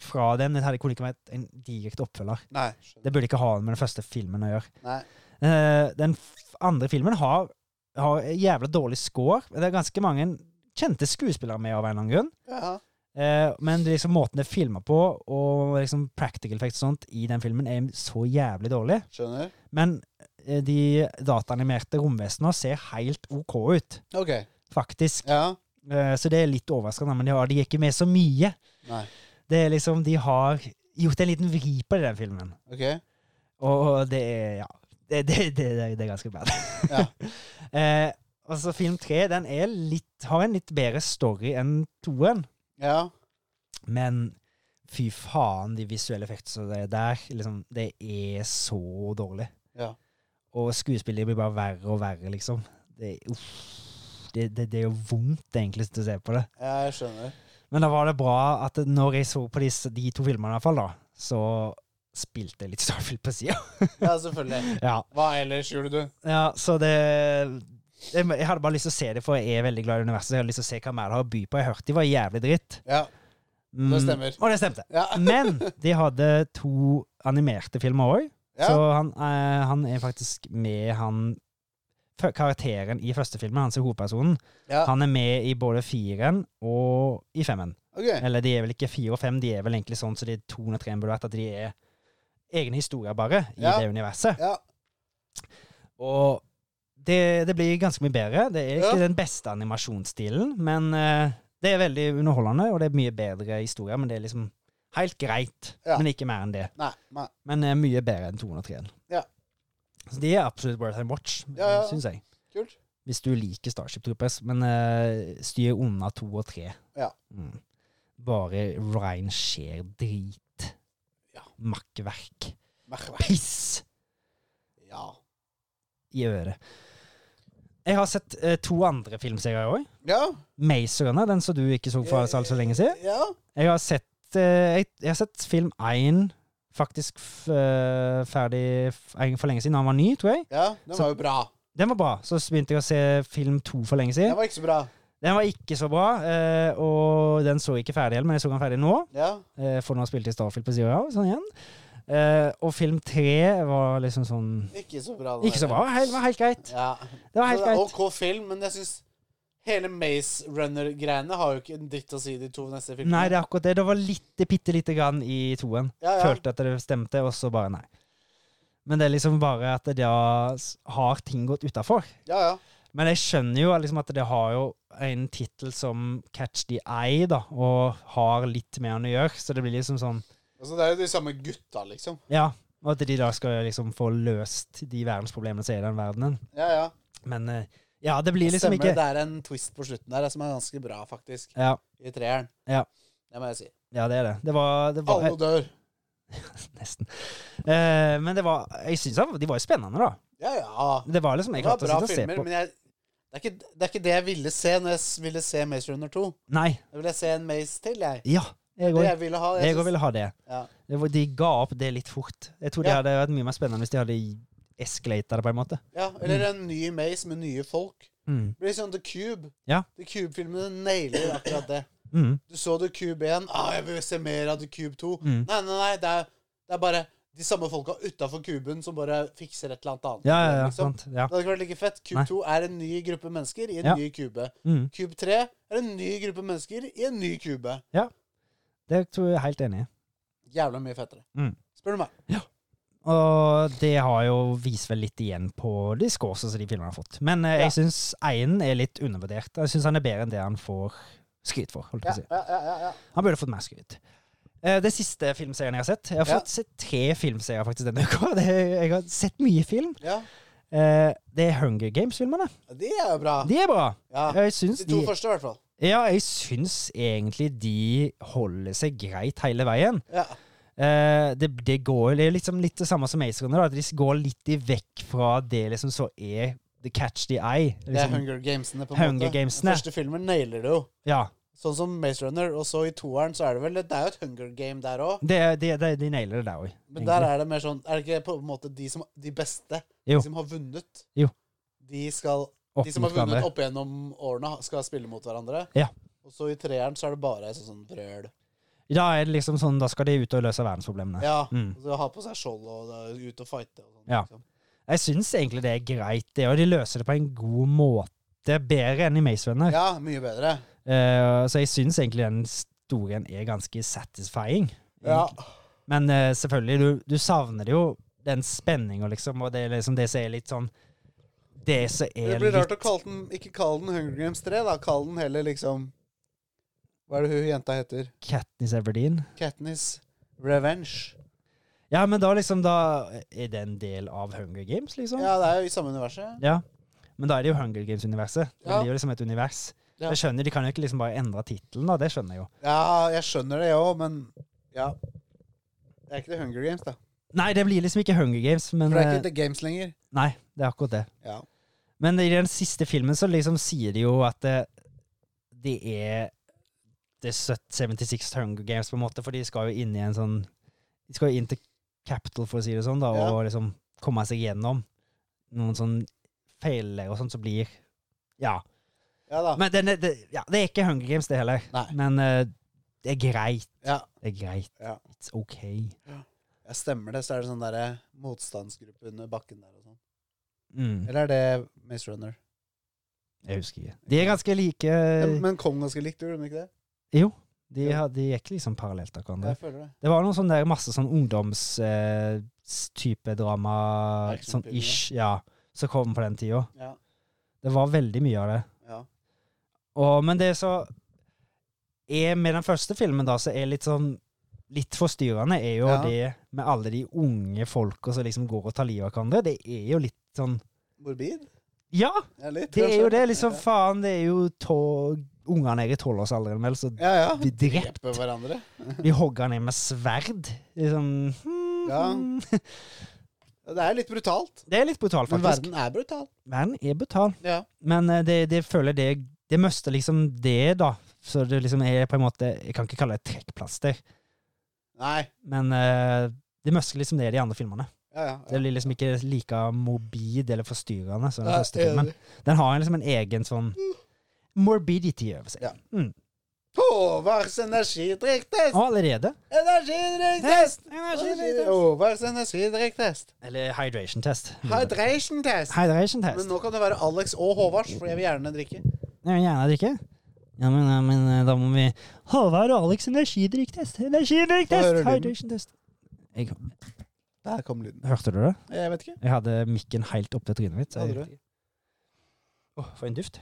S1: fra den. Det hadde- kunne ikke vært en direkte oppfølger.
S2: Nei.
S1: Det burde ikke ha noe med den første filmen å gjøre.
S2: Nei.
S1: Eh, Den f- andre filmen har, har jævla dårlig score. Det er ganske mange kjente skuespillere med av en eller annen grunn.
S2: Ja.
S1: Eh, Men det er liksom måten det er filma på, og liksom practical effects og sånt i den filmen, er så jævlig dårlig.
S2: Skjønner.
S1: Men eh, de dataanimerte romvesenene ser helt OK ut,
S2: OK.
S1: faktisk.
S2: Ja.
S1: Eh, Så det er litt overraskende, men de, har, de er ikke med så mye.
S2: Nei.
S1: Det er liksom, De har gjort en liten vri på det i den filmen.
S2: OK.
S1: Og det er ja, det, det, det, det, det er ganske bad.
S2: Ja.
S1: [laughs] eh, og så film tre den er litt, har en litt bedre story enn toen,
S2: Ja.
S1: men fy faen, de visuelle effektene som er der, liksom, det er så dårlig.
S2: Ja.
S1: Og skuespillet blir bare verre og verre, liksom. Det, uff, det, det, det er jo vondt, egentlig, å se på det.
S2: Ja, jeg skjønner.
S1: Men da var det bra at når jeg så på disse, de to filmene, i hvert fall da, så spilte jeg litt Starfield på sida.
S2: Ja, selvfølgelig.
S1: Ja.
S2: Hva ellers gjorde du?
S1: ja, så det jeg, jeg hadde bare lyst til å se det, for jeg er veldig glad i universet. Så jeg hadde lyst til å se hva mer det har å by på. Jeg hørte de var jævlig dritt.
S2: Ja.
S1: Mm,
S2: Det stemmer.
S1: Og det stemte.
S2: Ja.
S1: Men de hadde to animerte filmer òg,
S2: Ja.
S1: så han, eh, han er faktisk med han f- Karakteren i første filmen, han som er hovedpersonen,
S2: ja.
S1: han er med i både fireren og i femmen.
S2: OK.
S1: Eller de er vel ikke fire og fem, de er vel egentlig sånn som de to og tre burde vært, at de er egne historier bare i
S2: Ja.
S1: det universet.
S2: Ja.
S1: Og det, det blir ganske mye bedre. Det er ikke
S2: Ja.
S1: den beste animasjonsstilen, men eh, det er veldig underholdende, og det er mye bedre historier, men det er liksom helt greit,
S2: Ja.
S1: men ikke mer enn det.
S2: Nei. Nei.
S1: Men eh, mye bedre enn 203-en.
S2: Ja.
S1: Så de er absolutt worth a watch,
S2: Ja, ja.
S1: syns jeg.
S2: Kult.
S1: Hvis du liker Starship Troopers, men eh, styr unna to og tre.
S2: Ja.
S1: Mm. Bare rein skjer drit.
S2: Ja.
S1: Makkverk.
S2: Merkevær.
S1: Piss
S2: Ja.
S1: i øret. Jeg har sett eh, to andre filmserier òg.
S2: Ja.
S1: Maze Runner, den som du ikke så for så, så lenge siden.
S2: Ja.
S1: Jeg har sett, eh, jeg, jeg har sett film én faktisk f, eh, ferdig f, for lenge siden. Han var ny, tror jeg.
S2: ja. Den
S1: Så-
S2: var jo bra.
S1: Den var bra. Så begynte jeg å se film to for lenge siden.
S2: Den var ikke så bra.
S1: Den var ikke så bra, eh, og den så jeg ikke ferdig heller, men jeg så den ferdig nå.
S2: Ja.
S1: Eh, for nå spilte jeg Starfield på sida av, sånn igjen. Eh, og film tre var liksom sånn
S2: Ikke så bra. den
S1: Ikke så
S2: der.
S1: bra. Det var helt- var helt greit.
S2: Ja.
S1: Det var helt
S2: Det er
S1: greit.
S2: OK film, men jeg syns hele Maze Runner-greiene har jo ikke en dritt å si de to neste filmene.
S1: Nei, det er akkurat det. Det var litt, bitte lite grann i toen.
S2: ja, ja.
S1: Følte at det stemte, og så bare nei. Men det er liksom bare at da s- har ting gått utafor.
S2: ja, ja.
S1: Men jeg skjønner jo liksom at det har jo en tittel som Catch the Eye, da, og har litt med han å gjøre, så det blir liksom sånn
S2: Altså, det er jo de samme gutta, liksom.
S1: Ja, og at de da skal liksom få løst de verdensproblemene som er i den verdenen.
S2: Ja, ja.
S1: Men eh, ja, det blir liksom
S2: Stemmer,
S1: ikke
S2: det er en twist på slutten der som er ganske bra, faktisk.
S1: ja,
S2: I treeren.
S1: Ja.
S2: Det må jeg si.
S1: ja, det er det. Det var, det var
S2: Alle dør.
S1: [laughs] Nesten. Eh, men det var, jeg synes han- de var jo spennende, da.
S2: Ja, ja.
S1: Det var liksom, jeg
S2: Det var
S1: klarte å
S2: bra
S1: sitte og se
S2: filmer,
S1: på.
S2: men jeg, det, er ikke, det er ikke det jeg ville se når jeg s- ville se Maze Runner 2.
S1: Nei.
S2: Da ville jeg se en Maze til, jeg.
S1: Ja. Jeg
S2: Det
S1: òg
S2: jeg ville ha. jeg
S1: jeg
S2: synes-
S1: også ville ha det.
S2: Ja.
S1: det var, de ga opp det litt fort. Jeg tror det
S2: Ja.
S1: hadde vært mye mer spennende hvis de hadde escalata det, på en måte.
S2: ja, Eller en ny Maze med nye folk.
S1: Mm.
S2: Det blir sånn The Cube.
S1: Ja.
S2: The Cube-filmene nailer akkurat det.
S1: Mm.
S2: Du så The Cube 1. Ah, jeg vil se mer av The Cube 2.
S1: Mm.
S2: Nei, nei, nei. Det er, det er bare de samme folka utafor kuben som bare fikser et eller annet annet.
S1: Ja, ja, ja.
S2: liksom.
S1: Sant. Ja.
S2: Det hadde ikke vært like fett. Cube
S1: Nei.
S2: 2 er en ny gruppe mennesker i en
S1: Ja.
S2: ny kube.
S1: Mm.
S2: Cube 3 er en ny gruppe mennesker i en ny kube.
S1: Det tror jeg er helt enig i.
S2: Jævla mye fettere.
S1: Mm.
S2: Spør du meg.
S1: Og det har jo vist vel litt igjen på de scoresene som de filmene har fått. Men eh,
S2: Ja.
S1: jeg syns Einen er litt undervurdert. Jeg syns han er bedre enn det han får skryt for. holdt jeg på å si.
S2: ja, ja, ja, ja.
S1: Han burde fått mer skryt. Eh, Det siste filmserien jeg har sett Jeg har
S2: Ja.
S1: fått sett tre filmserier faktisk denne uka. [laughs] Det, jeg har sett mye film.
S2: ja.
S1: Eh, Det er Hunger Games-filmene.
S2: Det er jo bra.
S1: De er bra.
S2: Ja.
S1: Jeg syns,
S2: De to
S1: de,
S2: første, i hvert fall.
S1: ja, jeg syns egentlig de holder seg greit hele veien.
S2: Ja.
S1: Eh, det, det går det er liksom litt det samme som Maze Runner, da, at de går litt i vekk fra det liksom så er The Catch the Eye.
S2: Det er
S1: Liksom.
S2: Hunger Gamesene, på en
S1: Hunger
S2: måte.
S1: Gamesene.
S2: Den første filmen nailer det jo.
S1: Ja, Games.
S2: Sånn som Maze Runner, og så i toeren så er det vel Det er jo et Hunger Game der òg,
S1: Det, det, det, de nailer det der òg.
S2: men der er det mer sånn Er det ikke på en måte de, som, de beste,
S1: Jo.
S2: de som har vunnet,
S1: Jo.
S2: de skal De som har vunnet opp gjennom årene, skal spille mot hverandre.
S1: Ja.
S2: Og så i treeren så er det bare sånn, sånn brøl.
S1: Da er det liksom sånn, da skal de ut og løse verdensproblemene.
S2: Ja.
S1: Mm.
S2: Og så ha på seg skjold og da, ut og fighte og sånn.
S1: Ja.
S2: Liksom.
S1: Jeg syns egentlig det er greit, det, og de løser det på en god måte. Bedre enn i Maze Runner.
S2: ja, mye bedre.
S1: Eh, så jeg syns egentlig den storyen er ganske satisfying.
S2: Ja.
S1: Men eh, selvfølgelig, du, du savner jo den spenninga, liksom, og det er liksom det som er litt sånn Det som
S2: Det
S1: er litt
S2: blir rart å kalle den Ikke kalle den Hunger Games 3, da. Kall den heller liksom Hva er det hun jenta heter?
S1: Katniss Everdeen.
S2: Katniss Revenge.
S1: Ja, men da liksom da Er det en del av Hunger Games, liksom?
S2: Ja, det er jo i samme universet.
S1: Ja. Men da er det jo Hunger Games-universet. Det
S2: Ja.
S1: blir jo liksom et univers.
S2: Ja.
S1: Jeg skjønner, De kan jo ikke liksom bare endre tittelen, da. Det skjønner jeg jo.
S2: Ja, jeg skjønner det òg, men ja. Det er ikke The Hunger Games, da.
S1: Nei, det blir liksom ikke Hunger Games, men
S2: For det er ikke
S1: eh,
S2: The Games lenger.
S1: Nei, det er akkurat det.
S2: Ja.
S1: Men i den siste filmen så liksom sier de jo at det, det er The 76 Hunger Games, på en måte, for de skal jo inn i en sånn De skal jo inn til Capital, for å si det sånn, da,
S2: Ja.
S1: og liksom komme seg gjennom noen sånn feiler og sånt som blir Ja.
S2: Ja da.
S1: Men den er, det, ja, det er ikke Hunger Games, det heller.
S2: Nei.
S1: Men eh, det er greit.
S2: Ja.
S1: Det er greit.
S2: Ja.
S1: It's ok.
S2: ja, stemmer det, så er det sånn derre motstandsgruppe under bakken der og sånn.
S1: Mm.
S2: Eller er det Maze Runner?
S1: Jeg husker ikke. De er ganske like.
S2: Ja, men kom ganske likt, gjorde de ikke det?
S1: De, har- de gikk liksom parallelt av hverandre.
S2: Jeg føler det.
S1: Det var noen sånn der masse sånn ungdomstype eh, s- type drama, sånn
S2: Actionfilmer.
S1: ish, ja, som kom på den tida.
S2: Ja.
S1: Det var veldig mye av det.
S2: ja.
S1: Og, men det som er med den første filmen, da, som er litt sånn Litt forstyrrende, er jo
S2: Ja.
S1: det med alle de unge folka som liksom går og tar livet av hverandre. Det er jo litt sånn
S2: Morbid?
S1: Ja,
S2: Ja, litt.
S1: det er
S2: kanskje.
S1: jo det. Liksom,
S2: Ja.
S1: faen, det er jo tå- Ungene er i tolvårsalderen, vel, så
S2: Ja, ja.
S1: blir drept.
S2: Drepe hverandre.
S1: De hogger ned med sverd. Liksom hmm,
S2: Ja.
S1: hmm.
S2: Ja, Det er litt brutalt.
S1: Det er litt brutalt,
S2: Men
S1: faktisk.
S2: verden er brutal.
S1: Verden er brutal.
S2: Ja.
S1: Men eh, det, det føler det Det møster liksom det, da. Så det liksom er på en måte Jeg kan ikke kalle det et trekkplaster,
S2: Nei.
S1: men eh, det møster liksom det i de andre filmene.
S2: Ja, ja.
S1: Det
S2: ja.
S1: blir liksom ikke like morbid eller forstyrrende som den
S2: Ja,
S1: første filmen. Den har liksom en egen sånn morbidity over seg.
S2: Ja.
S1: Mm.
S2: Håvards energidrikktest!
S1: Og allerede
S2: Energidrikktest!
S1: Eller
S2: Håvards energidrikktest.
S1: hydration test.
S2: Hydration test.
S1: Hydration
S2: Men
S1: test.
S2: nå kan det være Alex og Håvards, for jeg vil gjerne drikke.
S1: Jeg vil gjerne drikke. Ja, men, ja, men eh, da må vi Håvard og Alex energidrikktest.
S2: Hva
S1: Energidrikktest!
S2: hører du?
S1: Hydration test. Jeg,
S2: Der kom lyden.
S1: hørte du det?
S2: Jeg vet ikke.
S1: Jeg hadde mikken helt opp til trynet mitt. så jeg-
S2: Hadde
S1: Åh, for en duft.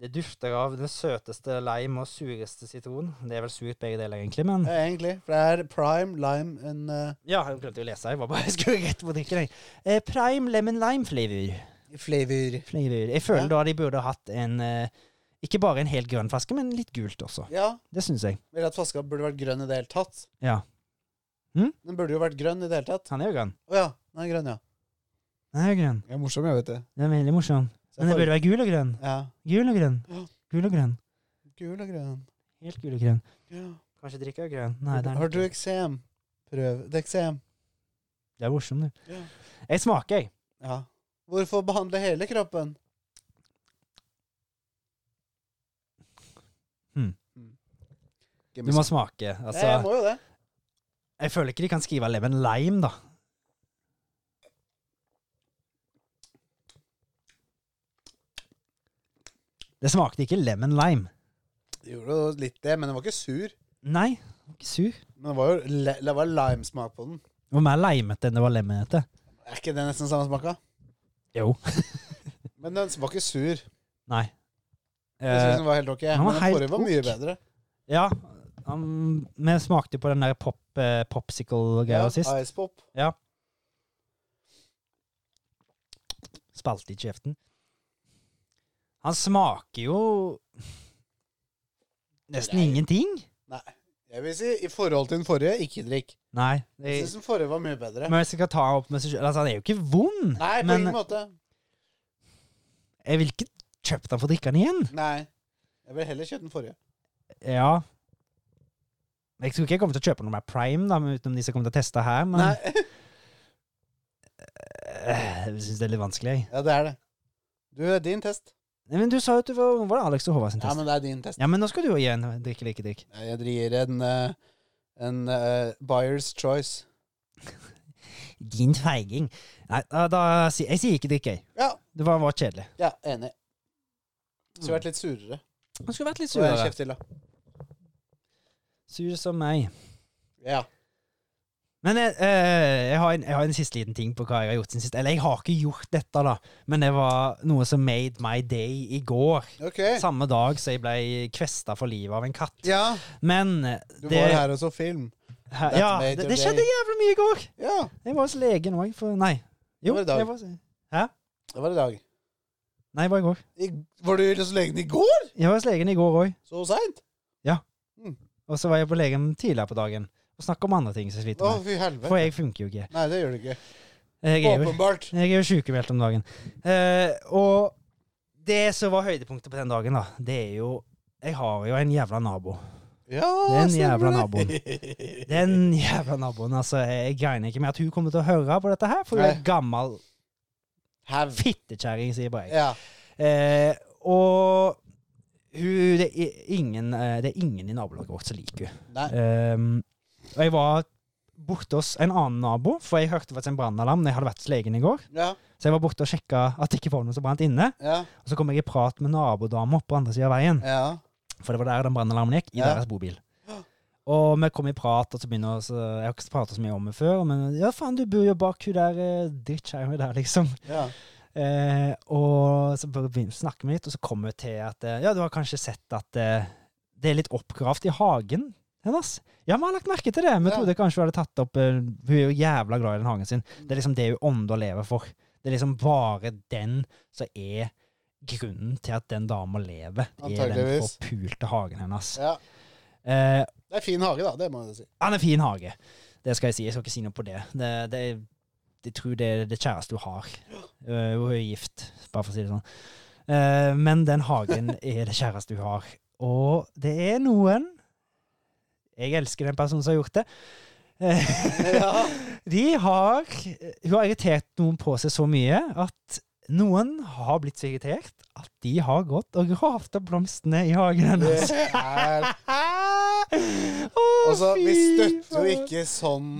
S1: Det dufter av den søteste lime og sureste sitron. Det er vel surt begge deler, egentlig, men
S2: Ja, egentlig. For det er prime, lime and eh,
S1: Eh, Ja, jeg glemte jo å lese. Jeg var bare [laughs] jeg skulle rett på drikken. jeg. Eh, prime lemon lime flavor.
S2: flavor.
S1: flavor. Jeg
S2: Ja.
S1: føler da de burde hatt en eh, Ikke bare en helt grønn flaske, men litt gult også.
S2: Ja.
S1: Det syns jeg.
S2: Eller at flaska burde vært grønn i det hele tatt.
S1: Ja. Mm.
S2: Den burde jo vært grønn i det hele tatt.
S1: Han er jo grønn.
S2: Å ja, den er grønn, ja.
S1: Han er jo grønn.
S2: Jeg er morsom, jeg, vet det.
S1: Den er veldig morsom. Men det burde være gul og grønn.
S2: Ja.
S1: Gul og grønn.
S2: Ja.
S1: Gul og grønn.
S2: Gul og grønn.
S1: Helt gul og grønn.
S2: Ja.
S1: Kanskje drikke er grønn. Nei, det er,
S2: Har du eksem? Prøv det er eksem.
S1: det er morsom, du.
S2: Ja.
S1: Jeg smaker, jeg.
S2: ja. Hvorfor behandle hele kroppen?
S1: Hmm.
S2: Mm. Give
S1: Du
S2: me
S1: må
S2: some.
S1: smake.
S2: Nei, jeg
S1: Altså,
S2: må jo det.
S1: jeg føler ikke de kan skrive lemon lime, da. Det smakte ikke lemon lime.
S2: Det gjorde jo litt det, men den var ikke sur.
S1: Nei, den var ikke sur.
S2: Men det var jo le- det var limesmak på den.
S1: Det var mer limete enn det var lemonete.
S2: Er ikke det nesten samme smaka?
S1: Jo.
S2: Men den var ikke sur. Jeg
S1: Nei.
S2: synes
S1: Eh,
S2: den var helt ok.
S1: var
S2: Men den
S1: helt
S2: forrige var mye
S1: ok.
S2: bedre.
S1: ja, han- vi smakte på den der pop, eh, popsicle-greia sist.
S2: Ice pop.
S1: Spalte i kjeften. Han smaker jo nesten
S2: Nei.
S1: ingenting.
S2: Jeg vil si, i forhold til den forrige, ikke drikk.
S1: Nei.
S2: Jeg
S1: det-
S2: synes den forrige var mye bedre.
S1: [laughs] Men jeg skal ta han opp med seg selv. Altså, han er jo ikke vond,
S2: Nei, på
S1: men
S2: ingen måte.
S1: jeg vil ikke kjøpe den for å drikke den igjen.
S2: Nei. Jeg vil heller kjøpe den forrige.
S1: Ja. Jeg tror ikke jeg kommer til å kjøpe noe mer Prime, da, utenom de som kommer til å teste her, [laughs] men
S2: Nei.
S1: Eh, jeg syns det er litt vanskelig, jeg.
S2: Ja, det er det. Du, det er din test.
S1: Nei, Men du sa jo at det var, var det Alex og Håvard sin
S2: Ja,
S1: test.
S2: men det er din test.
S1: Ja, men nå skal du jo igjen drikke like drikk.
S2: Jeg gir en, eh, en eh, buyer's choice.
S1: Din feiging. Nei, da, da si- Jeg sier ikke drikke, jeg.
S2: Ja.
S1: Det var, var kjedelig.
S2: Ja, enig. Skulle vært litt surere.
S1: Han skulle vært litt
S2: Så en
S1: surere.
S2: kjeft til, da.
S1: Sur som meg.
S2: Ja.
S1: Men jeg, eh, jeg, har en, jeg har en siste liten ting på hva jeg har gjort siden sist. Eller jeg har ikke gjort dette, da, men det var noe som made my day i går.
S2: Ok.
S1: Samme dag som jeg ble kvesta for livet av en katt.
S2: Ja,
S1: Men eh, det,
S2: du var her og så film.
S1: her, ja,
S2: made
S1: det,
S2: your
S1: det skjedde
S2: day.
S1: jævlig mye i går.
S2: Ja,
S1: Jeg var hos legen òg, for Nei. Jo,
S2: Det var i dag.
S1: jeg var, nei,
S2: det var i dag.
S1: jeg var i går.
S2: I, var du hos legen i går?
S1: Jeg var hos legen i går òg.
S2: Så seint?
S1: Og så var jeg på legen tidligere på dagen og snakka om andre ting som jeg sliter
S2: Å,
S1: med.
S2: fy
S1: For
S2: helvete.
S1: jeg funker jo ikke.
S2: Nei, det gjør du ikke.
S1: Jeg er jo,
S2: Åpenbart.
S1: jeg er jo sykemeldt om dagen. Eh, og det som var høydepunktet på den dagen, da, det er jo Jeg har jo en jævla nabo.
S2: Ja,
S1: Den
S2: stemmer
S1: jævla
S2: det. [laughs]
S1: naboen. Den jævla naboen, altså. Jeg regner ikke med at hun kommer til å høre på dette her, for hun er
S2: Nei.
S1: gammel
S2: Hev.
S1: fittekjerring, sier bare jeg.
S2: Ja.
S1: Eh, og hun det er, ingen, eh, det er ingen i nabolaget vårt som liker hun.
S2: Nei.
S1: Ehm, og jeg var borte hos en annen nabo, for jeg hørte faktisk en brannalarm når jeg hadde vært hos legen i går.
S2: Ja.
S1: Så jeg var borte og sjekka at det ikke var noe som brant inne.
S2: Ja.
S1: Og så kom jeg i prat med nabodama på andre sida av veien,
S2: Ja.
S1: for det var der den brannalarmen gikk, i
S2: Ja.
S1: deres bobil. Og vi kom i prat, og så begynner vi å Jeg har ikke prata så mye om det før, men ja, faen, du bor jo bak hun der eh, drittkjerringa der, liksom.
S2: ja.
S1: Eh, og så bare begynner vi å snakke med litt, og så kommer vi til at eh, Ja, du har kanskje sett at eh, det er litt oppgravd i hagen hennes. Ja, vi har lagt merke til det. Vi
S2: Ja.
S1: trodde kanskje hun hadde tatt opp eh, Hun er jo jævla glad i den hagen sin. Det er liksom det hun ånder og lever for. Det er liksom bare den som er grunnen til at den dama lever. Det er den
S2: Antageligvis.
S1: forpulte hagen hennes.
S2: ja.
S1: Eh,
S2: Det er fin hage, da. Det må jeg si.
S1: han er fin hage. Det skal jeg si. Jeg skal ikke si noe på det. Det, det Jeg tror det er det kjæreste hun har. Eh, hun er gift, bare for å si det sånn. Eh, men den hagen er det kjæreste hun har. Og det er noen Jeg elsker den personen som har gjort det. Eh,
S2: Ja.
S1: De har Hun har irritert noen på seg så mye at noen har blitt så irritert at de har gått og gravd opp blomstene i hagen hennes.
S2: Det er
S1: [laughs] Å,
S2: Altså, vi
S1: fy
S2: støtter jo
S1: faen.
S2: ikke sånn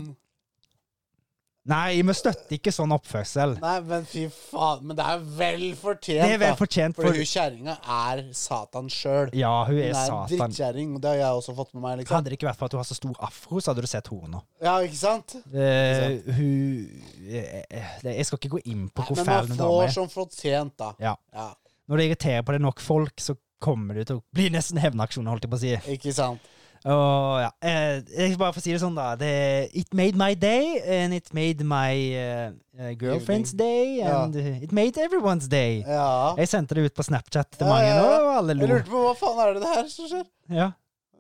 S1: Nei, vi støtter ikke sånn oppførsel.
S2: Nei, men fy faen. Men det er vel fortjent,
S1: Det er vel
S2: da.
S1: fortjent,
S2: For
S1: for
S2: hun kjerringa er Satan sjøl.
S1: ja, hun
S2: Hun er
S1: er
S2: en
S1: satan.
S2: drittkjerring. og Det har jeg også fått med meg. liksom
S1: Hadde det ikke vært for at hun har så stor afro, så hadde du sett henne nå.
S2: Ja, ikke sant?
S1: Eh, hun eh, eh, det- Jeg skal ikke gå inn på hvor
S2: Men
S1: fæl
S2: man
S1: hun dame
S2: får
S1: er.
S2: som fortjent, da.
S1: Ja.
S2: ja.
S1: Når det irriterer på deg nok folk, så kommer du til å bli nesten hevnaksjon, holdt jeg på å si.
S2: Ikke sant?
S1: Og ja, eh, jeg skal bare få si det sånn, da. Det, it made my day, and it made my eh, eh, girlfriend's day,
S2: Ja.
S1: and eh, it made everyone's day.
S2: Ja.
S1: Jeg sendte det ut på Snapchat
S2: Ja,
S1: til mange
S2: ja,
S1: nå,
S2: ja.
S1: og
S2: Jeg
S1: alle lo.
S2: lurte på hva faen er det det her som skjer?
S1: Ja.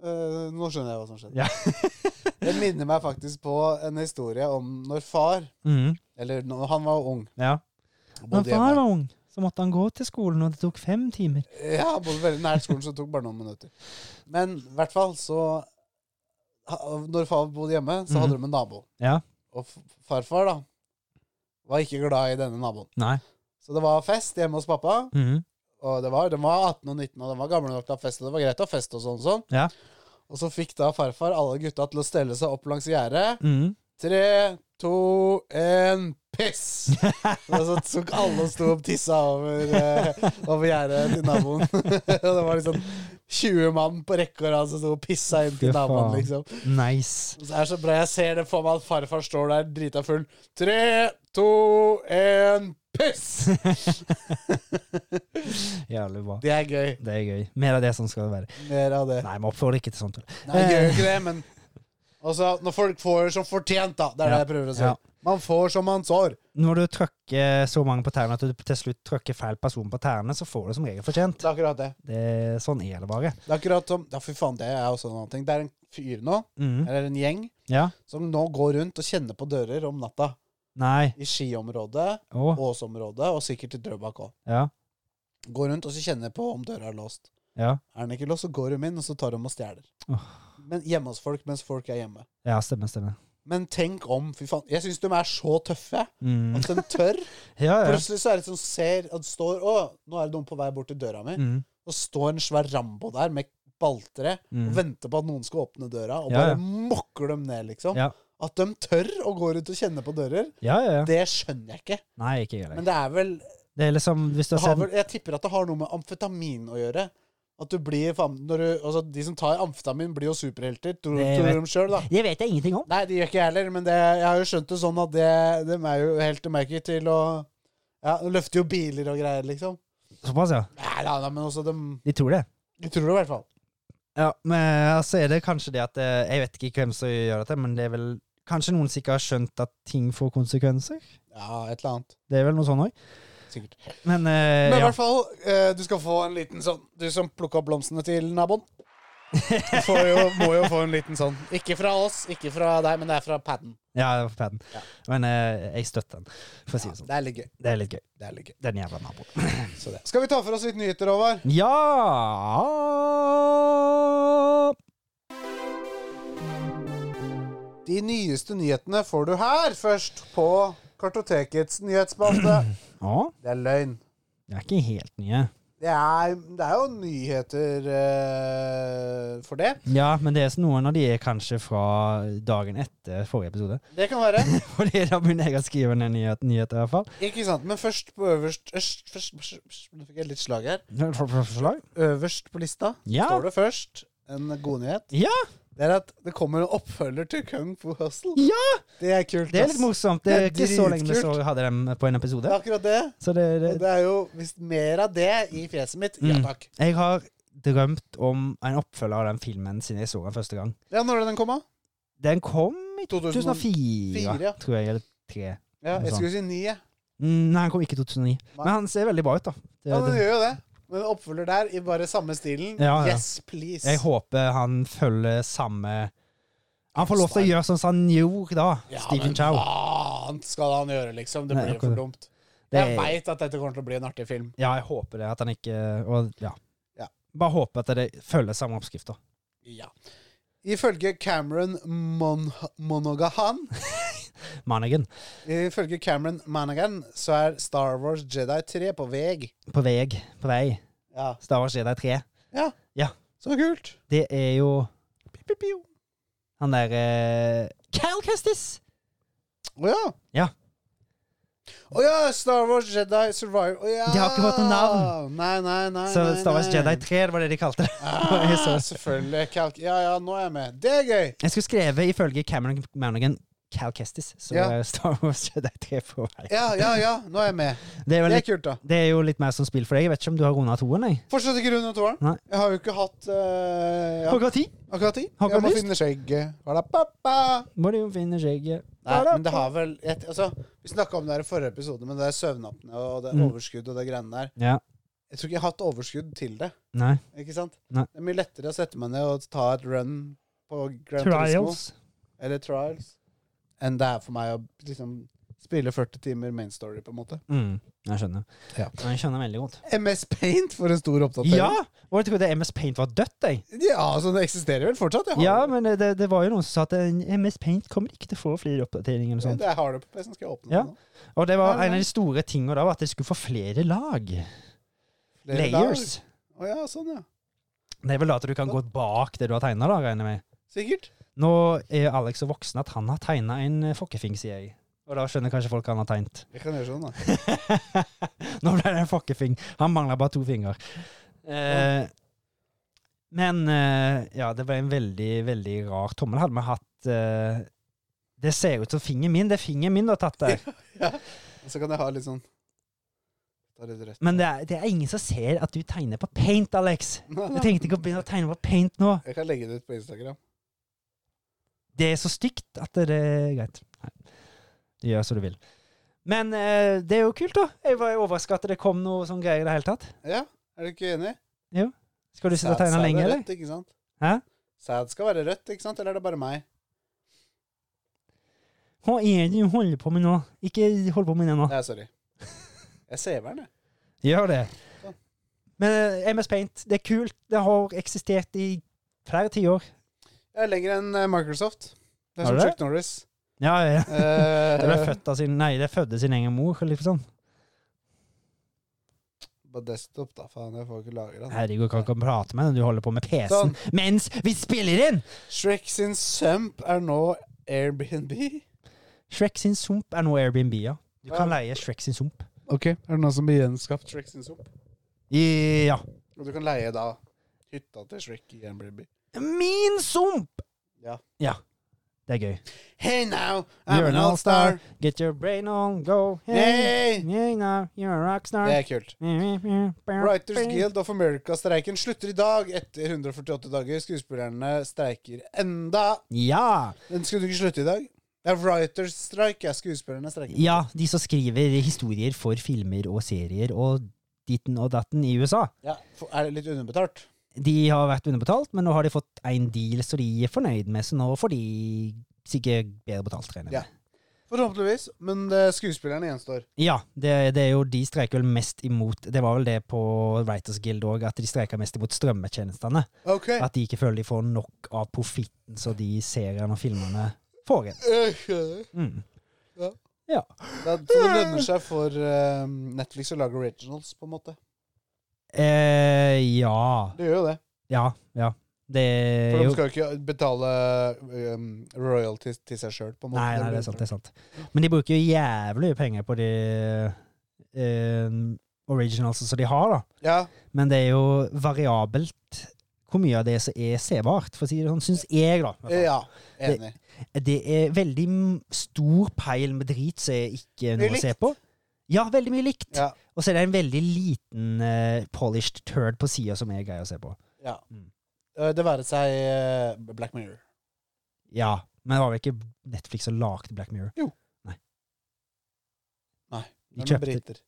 S2: Eh, nå skjønner jeg hva som skjedde.
S1: Ja.
S2: [laughs] Det minner meg faktisk på en historie om når far
S1: Mhm,
S2: Eller når han var ung.
S1: ja.
S2: og
S1: Når
S2: bodde
S1: far
S2: hjemme.
S1: var ung, så måtte han gå til skolen, og det tok fem timer.
S2: Ja, han bodde veldig nært skolen, så det tok bare noen minutter. Men i hvert fall så ha- Når far bodde hjemme, så hadde
S1: Mhm.
S2: de en nabo.
S1: Ja.
S2: Og f- farfar, da, var ikke glad i denne naboen.
S1: Nei.
S2: Så det var fest hjemme hos pappa.
S1: Mhm,
S2: Og det var, de var 18 og 19, og de var gamle nok til å ha fest, og det var greit å ha fest og sånn. sånn.
S1: Ja.
S2: Og så fikk da farfar alle gutta til å stelle seg opp langs gjerdet.
S1: mhm.
S2: Tre, to, én,
S1: [laughs]
S2: piss! Og så tok alle og sto og tissa over, eh, over gjerdet til naboen. [laughs] og det var liksom 20 mann på rekke og rad som sto og pissa inn til
S1: Fy
S2: naboen,
S1: faen.
S2: liksom.
S1: Nice.
S2: Og så er det så bra. Jeg ser det for meg at farfar står der drita full. Tre, to, én, piss!
S1: Jævlig bra.
S2: Det er gøy.
S1: Det er gøy. Mer av det som skal det være.
S2: Mer av det.
S1: Nei, vi oppfordrer ikke til sånt. vel.
S2: Nei, jeg gjør jo ikke det, men altså, når folk får som fortjent, da. Det er det
S1: Ja,
S2: jeg prøver å si.
S1: ja.
S2: Man får som man sår.
S1: Når du tråkker så mange på tærne at du til slutt tråkker feil person på tærne, så får du som regel fortjent.
S2: Det er akkurat det.
S1: Det, sånn er det bare.
S2: Det er akkurat som Ja, fy faen, det er også en annen ting. Det er en fyr nå,
S1: Mhm.
S2: eller en gjeng,
S1: Ja.
S2: som nå går rundt og kjenner på dører om natta.
S1: Nei.
S2: I Skiområdet,
S1: Å.
S2: Åsområdet og sikkert i Drøbak òg.
S1: Ja.
S2: Går rundt og så kjenner på om døra er låst.
S1: Ja.
S2: Er den ikke låst, så går de inn, og så tar de og stjeler.
S1: Åh.
S2: Men hjemme hos folk mens folk er hjemme.
S1: Ja, stemmer, stemmer.
S2: Men tenk om, fy faen. Jeg syns de er så tøffe
S1: Mm.
S2: at de tør
S1: [laughs] Ja, ja.
S2: Plutselig så er det som ser at står Å, nå er det noen på vei bort til døra mi.
S1: Mm.
S2: Og står en svær Rambo der med baltre og
S1: Mm.
S2: venter på at noen skal åpne døra, og
S1: Ja,
S2: bare
S1: ja.
S2: mokker dem ned, liksom.
S1: Ja.
S2: At de tør å gå rundt og kjenne på dører,
S1: Ja, ja, ja.
S2: det skjønner jeg ikke.
S1: Nei, ikke jeg heller.
S2: Men det er vel,
S1: Det er liksom, hvis du
S2: det
S1: har
S2: har vel
S1: sett
S2: Jeg tipper at det har noe med amfetamin å gjøre. At du blir faen når du, altså, De som tar amfetamin, blir jo superhelter. Tror,
S1: Det
S2: tror
S1: vet-
S2: de sjøl, da.
S1: Det vet jeg ingenting om.
S2: Nei, det gjør ikke jeg heller, men det, jeg har jo skjønt det sånn at det, de er jo helt De er ikke til å Ja, de løfter jo biler og greier, liksom.
S1: Såpass, ja.
S2: Nei da, nei, men også de
S1: De tror det.
S2: De tror det i hvert fall.
S1: Ja, men altså er det kanskje det at eh, Jeg vet ikke hvem som gjør dette, men det er vel Kanskje noen sikkert har skjønt at ting får konsekvenser?
S2: Ja, et eller annet.
S1: Det er vel noe sånn òg.
S2: Sikkert.
S1: Men, eh,
S2: Men i
S1: ja.
S2: hvert fall, eh, du skal få en liten sånn Du som plukka opp blomstene til naboen. Du får jo, må jo få en liten sånn. Ikke fra oss, ikke fra deg, men det er fra paden.
S1: ja, det var på paden.
S2: Ja.
S1: Men eh, jeg støtter den, for å si
S2: Ja,
S1: det sånn.
S2: det er litt gøy.
S1: Det er litt gøy.
S2: Det er litt gøy.
S1: Den jævla naboen.
S2: Så det. Skal vi ta for oss litt nyheter, Håvard?
S1: Ja
S2: De nyeste nyhetene får du her først, på Kartotekets nyhetsspalte.
S1: [clears throat] Ja,
S2: Det er løgn.
S1: de er ikke helt nye.
S2: Det er, det er jo nyheter eh, for det.
S1: Ja, men det er så noen av de er kanskje fra dagen etter forrige episode. [laughs]
S2: Det kan være.
S1: For det er da begynner jeg å skrive ned nyhet, nyhet i hvert fall.
S2: Ikke sant, men først på øverst øst, først, først, først, Nå fikk jeg litt slag her.
S1: Forslag?
S2: Øverst på lista
S1: Ja.
S2: står det først en god nyhet.
S1: Ja!
S2: Det er at det kommer en oppfølger til Kung Fu Hustle.
S1: Ja!
S2: Det er kult.
S1: Det er
S2: ass.
S1: litt morsomt. Det er
S2: Det er
S1: ikke så lenge
S2: dritkult.
S1: så hadde dem på en
S2: Det er
S1: episode.
S2: akkurat det.
S1: Så det, det,
S2: Og det er jo hvis mer av det i fjeset mitt. Ja
S1: Mm.
S2: takk.
S1: Jeg har drømt om en oppfølger av den filmen siden jeg så den første gang.
S2: Ja, Når er det den kom, da?
S1: Den kom i
S2: 2004,
S1: 2004,
S2: ja.
S1: tror jeg, eller 3.
S2: Ja, jeg skulle si ni, jeg.
S1: Mm, Nei, han kom ikke i 2009. Men han ser veldig bra ut, da.
S2: Ja,
S1: Det,
S2: men den
S1: det,
S2: gjør jo det. Men en oppfølger der i bare samme stilen.
S1: Ja, ja.
S2: Yes, please.
S1: jeg håper han følger samme Han får lov til å gjøre sånn som han gjorde da.
S2: ja,
S1: Stephen
S2: men
S1: Chow.
S2: hva annet skal han gjøre, liksom? Det
S1: Nei,
S2: blir jo
S1: akkurat.
S2: for dumt.
S1: Det,
S2: Jeg veit at dette kommer til å bli en artig film.
S1: ja, jeg håper det. At han ikke og, ja.
S2: Ja.
S1: Bare håper at det følger samme oppskrift, da.
S2: Ja. Ifølge Cameron Mon Monaghan
S1: Mannigan.
S2: Ifølge Cameron Monaghan så er Star Wars Jedi 3 på vei.
S1: På vei. På vei.
S2: Ja.
S1: Star Wars Jedi 3.
S2: Så kult!
S1: Det er jo
S2: Piu, piu, piu.
S1: han der eh, Cal Kestis!
S2: Å ja.
S1: Ja.
S2: Å ja! Star Wars Jedi Survivor. Å ja.
S1: De har ikke fått noe navn.
S2: Nei, nei, nei.
S1: Så
S2: nei,
S1: Star Wars
S2: nei.
S1: Jedi 3, det var det de kalte det. [laughs]
S2: Ah,
S1: Jeg så det.
S2: selvfølgelig. Kalk. Ja, ja, nå er jeg med. Det er gøy!
S1: Jeg skulle skrevet ifølge Cameron Manigan Cal Kestis, så
S2: Ja.
S1: er Star Wars Jedi 3 på
S2: [laughs]
S1: vei.
S2: Ja, ja, ja. Nå er jeg med.
S1: Det er, vel
S2: Det er
S1: litt,
S2: kult, da.
S1: det er jo litt mer som spill for deg. Jeg vet ikke om du har runda toen, jeg.
S2: Fortsatt ikke rundt toeren.
S1: Nei.
S2: Jeg har jo ikke hatt eh, ja,
S1: Klokka ti
S2: akkurat tid.
S1: Har ikke
S2: Jeg må
S1: lyst.
S2: finne skjegget. Ba-da-ba-ba.
S1: må du jo finne skjegget.
S2: Nei, men det har vel jeg, altså, Vi snakka om det her i forrige episode, men det er søvnapne og det er
S1: Mm.
S2: overskudd og det greiene der.
S1: Ja.
S2: Jeg tror ikke jeg har hatt overskudd til det.
S1: Nei.
S2: Ikke sant?
S1: Nei.
S2: Det er mye lettere å sette meg ned og ta et run på Grand Turismo.
S1: Trials.
S2: eller trials enn det er for meg å liksom spille 40 timer main story, på en måte.
S1: Mm, jeg skjønner.
S2: Ja.
S1: Men jeg skjønner veldig godt.
S2: MS Paint for en stor oppdatering.
S1: Ja! Hva trodde jeg MS Paint var dødt, jeg?
S2: ja altså, det eksisterer vel fortsatt? Jeg har
S1: Ja,
S2: det.
S1: men det, det var jo noen som sa at eh, MS Paint kommer ikke til å få flere oppdateringer eller sånt.
S2: Jeg har det på PC-en. Skal jeg åpne
S1: sånn. Ja.
S2: den nå?
S1: Og det var
S2: Nei,
S1: en
S2: nei.
S1: av de store tingene da, var at det skulle få flere lag.
S2: Flere dager.
S1: Layers.
S2: Å ja, sånn, ja.
S1: Det er vel da at du kan gå bak det du har tegna, regner jeg med.
S2: Sikkert.
S1: Nå er Alex så voksen at han har tegna en eh, fokkefing, sier jeg. Og da skjønner kanskje folk hva han har tegnet. [laughs]
S2: Vi kan gjøre sånn, da.
S1: Nå ble det en fokkefing. Han mangla bare to fingre. Eh, men eh, ja, det ble en veldig, veldig rar tommel. Hadde vi hatt eh, Det ser ut som fingeren min. Det er fingeren min du har tatt der. [laughs]
S2: Og så kan jeg ha litt sånn Ta litt rødt.
S1: Men det er, det er ingen som ser at du tegner på paint, Alex.
S2: Nei,
S1: Jeg
S2: nei.
S1: tenkte ikke å begynne å tegne på paint nå.
S2: Jeg kan legge det ut på Instagram.
S1: Det er så stygt at det er greit. Nei. Du gjør som du vil. Men eh, det er jo kult, da. Jeg var overraska at det kom noe sånn greier i det hele tatt.
S2: Ja, er du ikke enig?
S1: Skal du sitte og
S2: Sæd-
S1: tegne
S2: sæd er
S1: lenge, eller?
S2: Rødt, ikke sant?
S1: Hæ?
S2: Sæd skal være rødt, ikke sant? Eller er det bare meg?
S1: Hva er det du holder på med nå? Ikke hold på med det nå.
S2: Nei, sorry. Jeg ser den, jeg.
S1: Gjør det.
S2: Sånn.
S1: Men eh, MS Paint, det er kult. Det har eksistert i flere tiår.
S2: Jeg er lenger enn eh, Microsoft. Det
S1: Er
S2: er som
S1: det?
S2: Chuck Norris.
S1: Ja, ja.
S2: Eh,
S1: [laughs] Det ble født av sin Nei, det fødte sin egen mor. eller Liksom.
S2: På desktop, da. Faen, jeg får ikke lagra den.
S1: Herregud, kan ikke prate med deg. Du holder på med PC-en
S2: Sånn.
S1: mens vi spiller inn!
S2: Shrek sin sump er nå Airbnb.
S1: Shrek sin sump er nå Airbnb, ja. Du kan
S2: Ja.
S1: leie Shrek sin sump.
S2: Ok, Er det noen som har gjenskapt Shrek sin sump?
S1: Ja.
S2: Og du kan leie da hytta til Shrek i Airbnb.
S1: Min sump!
S2: Ja.
S1: Det er gøy.
S2: Hey now, I'm an all-star.
S1: Get your brain on, go. Hey.
S2: Hey!
S1: Hey now, you're a rockstar.
S2: Det er kult. Writers Guild of America-streiken slutter i dag. Etter 148 dager. Skuespillerne streiker enda.
S1: Ja.
S2: Den skulle ikke slutte i dag. Det er writers strike. Ja, skuespillerne streiker.
S1: ja, de som skriver historier for filmer og serier og ditten og datten i USA.
S2: Ja, for- Er det litt underbetalt?
S1: De har vært underbetalt, men nå har de fått en deal som de er fornøyd med, så nå får de sikkert bedre betalt, regner jeg med.
S2: Ja. Forhåpentligvis. Men det, skuespillerne gjenstår.
S1: Ja, det, det er jo de streiker vel mest imot Det var vel det på Writers Guild òg, at de streiker mest imot strømmetjenestene.
S2: Ok. [laughs]
S1: At de ikke føler de får nok av profitten som de seriene og filmene får igjen.
S2: Ok.
S1: Mm.
S2: Det, er- så det lønner seg for eh, Netflix å lage originals, på en måte.
S1: Eh, ja.
S2: Det gjør jo det.
S1: Ja. Ja. Det
S2: For
S1: er
S2: de
S1: jo
S2: skal jo ikke betale um, royalties til seg sjøl, på en måte.
S1: Nei, nei, det
S2: blir-
S1: er sant. det er sant. Men de bruker jo jævlig mye penger på de eh, originals som de har, da.
S2: Ja,
S1: Men det er jo variabelt hvor mye av det som er sebart, for å si det sånn, syns jeg, da. i hvert fall.
S2: ja, enig.
S1: det er veldig m- stor peil med drit som er ikke noe
S2: Mye
S1: å se på. Ja, veldig mye likt.
S2: Ja,
S1: Og så er det en veldig liten eh, polished turd på sida som er grei å se på.
S2: ja.
S1: Mm.
S2: Eh, Det være seg eh, Black Mirror.
S1: Ja, men det var vel ikke Netflix som lagde Black Mirror?
S2: Jo.
S1: Nei.
S2: Nei, Det
S1: De
S2: er noen
S1: kjøpte,
S2: briter.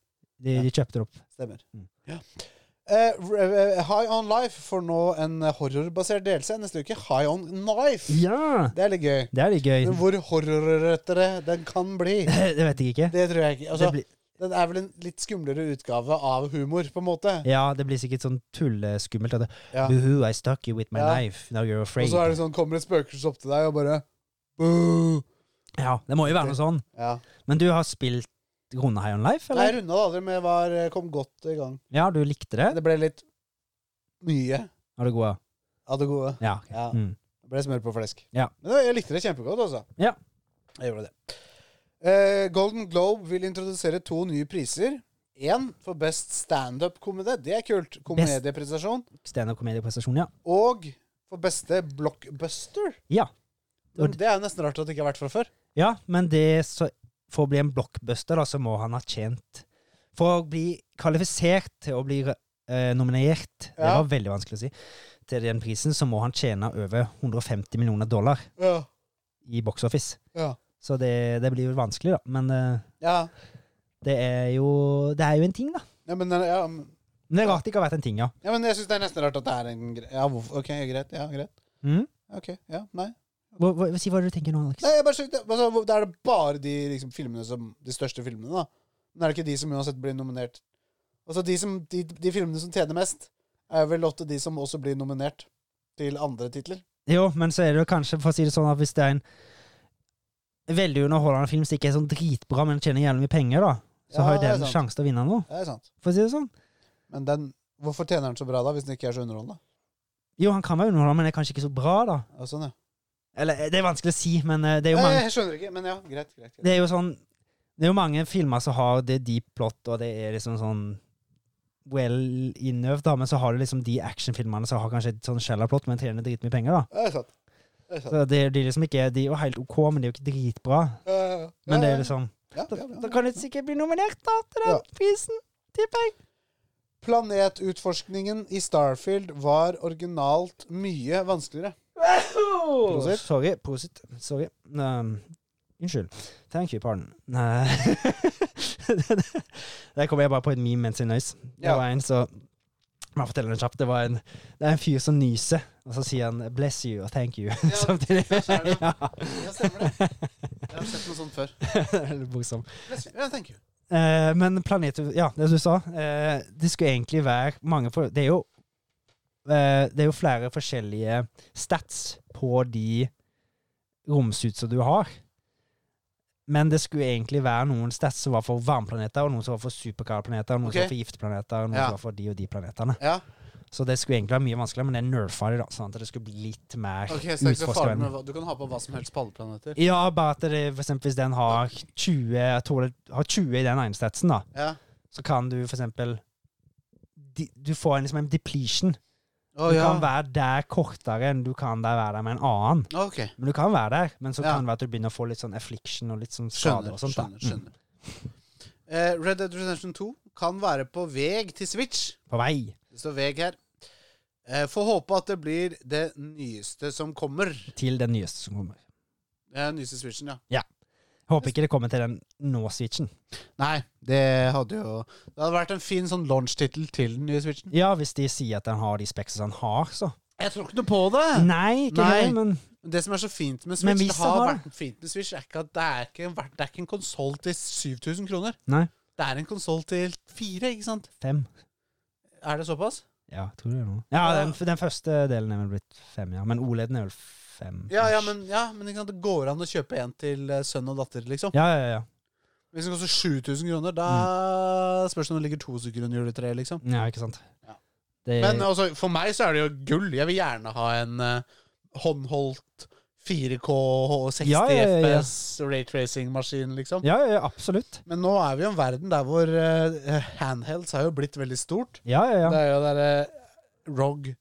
S1: de, de kjøpte det opp.
S2: Stemmer.
S1: Mm.
S2: Ja. Eh, r- eh, High On Life får nå en eh, horrorbasert delelse neste uke. High On Knife!
S1: Ja!
S2: Det er litt gøy.
S1: Det er litt gøy.
S2: Men hvor horrorrettere den kan bli,
S1: [laughs] Det vet jeg ikke.
S2: det tror jeg ikke.
S1: Det
S2: Altså,
S1: blir,
S2: Den er vel en litt skumlere utgave av humor, på en måte.
S1: ja, det blir sikkert sånn tulleskummelt. at det-
S2: Ja.
S1: Boohoo, I stuck you with my
S2: Ja.
S1: knife. Now you're
S2: Og
S1: afraid.
S2: så er det sånn, kommer et spøkelse opp til deg og bare Boo!
S1: Ja, det må jo være noe sånn.
S2: Ja.
S1: Men du har spilt Rune High on
S2: Nei,
S1: Life, eller?
S2: jeg runda det aldri, men jeg var, eh, kom godt i gang.
S1: Ja, du likte det?
S2: Det ble litt mye
S1: Har du gode?
S2: av det gode.
S1: Ja. ok.
S2: Ja.
S1: Mm.
S2: Det ble smør på flesk.
S1: Ja.
S2: Men det- jeg likte det kjempegodt, altså.
S1: Ja.
S2: Jeg gjorde det. Eh, Golden Globe vil introdusere to nye priser. Én for best standup-komedie. Det er kult. Komedieprestasjon.
S1: Standup-komedieprestasjon, ja.
S2: Og for beste blockbuster.
S1: Ja.
S2: Men Det er jo nesten rart at det ikke har vært fra før.
S1: Ja, men det så, for å bli en blockbuster, da, så må han ha tjent For å bli kvalifisert til å bli eh, nominert, det
S2: Ja.
S1: var veldig vanskelig å si, til den prisen, så må han tjene over 150 millioner dollar
S2: Ja.
S1: i box office.
S2: Ja.
S1: Så det, det blir vel vanskelig, da. Men eh,
S2: ja.
S1: det er jo Det er jo en ting, da.
S2: ja men, ja, men
S1: Men det er rart det ikke har vært en ting, ja.
S2: Ja, men jeg syns det er nesten rart at det er en greie. Ja, hvorfor? ok, greit. Ja, greit.
S1: Mm?
S2: Ok, ja, nei.
S1: Hva, hva, si hva er det du tenker nå, Alex.
S2: Nei, jeg bare søkte. Altså, hvor- da er det bare de liksom, filmene som De største filmene, da. Men er det ikke de som uansett blir nominert? Altså, de, som, de, de filmene som tjener mest, er vel ofte de som også blir nominert til andre titler.
S1: Jo, men så er det jo kanskje, for å si det sånn, at hvis det er en veldig underholdende film som ikke er sånn dritbra, men tjener jævlig mye penger, da, så
S2: Ja,
S1: har jo
S2: det er
S1: den
S2: sant.
S1: sjanse til å vinne noe,
S2: Det er sant.
S1: for å si det sånn.
S2: Men den, hvorfor tjener den så bra, da, hvis den ikke er så underholdende?
S1: Jo, han kan være underholdende, men det er kanskje ikke så bra, da.
S2: Ja, sånn, ja.
S1: Eller, eh, det er vanskelig å si, men eh, det er jo
S2: Nei,
S1: mange,
S2: jeg skjønner ikke, men ja, greit. greit, greit.
S1: det er jo sånn, det er jo mange filmer som har det deep plot, og det er liksom sånn well innøvd, da, men så har du liksom de actionfilmene som har kanskje et sånn shallow plot, men tjener dritmye penger, da.
S2: Det er sant. Det er sant.
S1: Så det, de er liksom ikke, de er jo helt ok, men de er jo ikke dritbra.
S2: Ja, ja, ja.
S1: Men det
S2: Ja,
S1: er liksom
S2: ja,
S1: Da,
S2: ja, ja,
S1: da
S2: ja.
S1: kan du sikkert bli nominert da, til den
S2: Ja.
S1: prisen, tipper jeg.
S2: Planetutforskningen i Starfield var originalt mye vanskeligere. Prosit.
S1: Sorry. Prosit. Sorry. Um, unnskyld. Thank you, pardon. Nei. [laughs] Der kom jeg bare på en meme mens jeg nøys. Det
S2: Ja.
S1: var en så Man forteller det kjapt. Det var en Det er en fyr som nyser, og så sier han 'bless you' og 'thank you' [laughs] samtidig.
S2: ja, så er det.
S1: Ja.
S2: Ja, stemmer det. Jeg har sett noe sånt før.
S1: [laughs] det er litt morsomt.
S2: Ja, thank you.
S1: Eh, men planet Ja, det du sa. eh, det skulle egentlig være mange for, Det er jo eh, Det er jo flere forskjellige stats på de romsuitsa du har. Men det skulle egentlig være noen stats som var for varmeplaneter, og noen som var for superkaldplaneter, og noen
S2: Ok.
S1: som var for giftplaneter, og noen
S2: Ja.
S1: som var for de og de planetene.
S2: Ja,
S1: Så det skulle egentlig være mye vanskeligere, men det nerfa de, da, sånn at det skulle bli litt mer
S2: ok, så det er ikke så farlig
S1: utforskervennlig.
S2: med hva Du kan ha på hva som helst på alle planeter.
S1: Ja, bare at det, for eksempel, hvis den har 20, jeg tror det- har 20 i den ene statsen, da,
S2: Ja.
S1: så kan du for eksempel de, Du får en, liksom en depletion.
S2: Å,
S1: du
S2: ja.
S1: kan være der kortere enn du kan der være der med en annen.
S2: Ok,
S1: Men du kan være der, men så
S2: Ja.
S1: kan det være at du begynner å få litt sånn affliction og litt sånn skader
S2: skjønner,
S1: og sånt. da.
S2: skjønner, skjønner. Eh, Red Dead Redemption 2 kan være på veg til Switch.
S1: Mm. På vei.
S2: Det står veg her. Eh, Får håpe at det blir det nyeste som kommer.
S1: Til den nyeste som kommer.
S2: Eh, nyeste Switchen, ja.
S1: Håper ikke det kommer til den nå-switchen.
S2: Nei, det hadde jo Det hadde vært en fin sånn launch-tittel til den nye Switchen.
S1: Ja, hvis de sier at den har de speksene den har, så.
S2: Jeg tror ikke noe på det!
S1: Nei, ikke
S2: Nei.
S1: det, men
S2: Det som er så fint med
S1: Men
S2: Switch, det
S1: hvis
S2: har
S1: den har-
S2: vært fint med Switch, er ikke at det er ikke, en verd- det er ikke en konsoll til 7000 kroner.
S1: Nei.
S2: Det er en konsoll til fire, ikke sant?
S1: Fem.
S2: Er det såpass?
S1: Ja, tror du det nå. Ja, den, den første delen er vel blitt fem, ja. Men OLED-en er vel fem.
S2: Ja, ja,
S1: ish.
S2: men, ja, men ikke sant? det går an å kjøpe en til eh, sønn og datter, liksom.
S1: Ja, ja, ja.
S2: Hvis den koster 7000 kroner, da
S1: Mm.
S2: spørs det om det ligger to stykker under juletreet, liksom.
S1: Ja, ikke sant.
S2: Ja.
S1: Det,
S2: Men altså, for meg så er det jo gull. Jeg vil gjerne ha en eh, håndholdt 4K og 60
S1: Ja, ja, ja, ja.
S2: FPS raytracing-maskin, liksom.
S1: ja, ja, absolutt.
S2: Men nå er vi i en verden der hvor eh, handhelds har jo blitt veldig stort.
S1: Ja, ja, ja.
S2: Det er jo derre ROG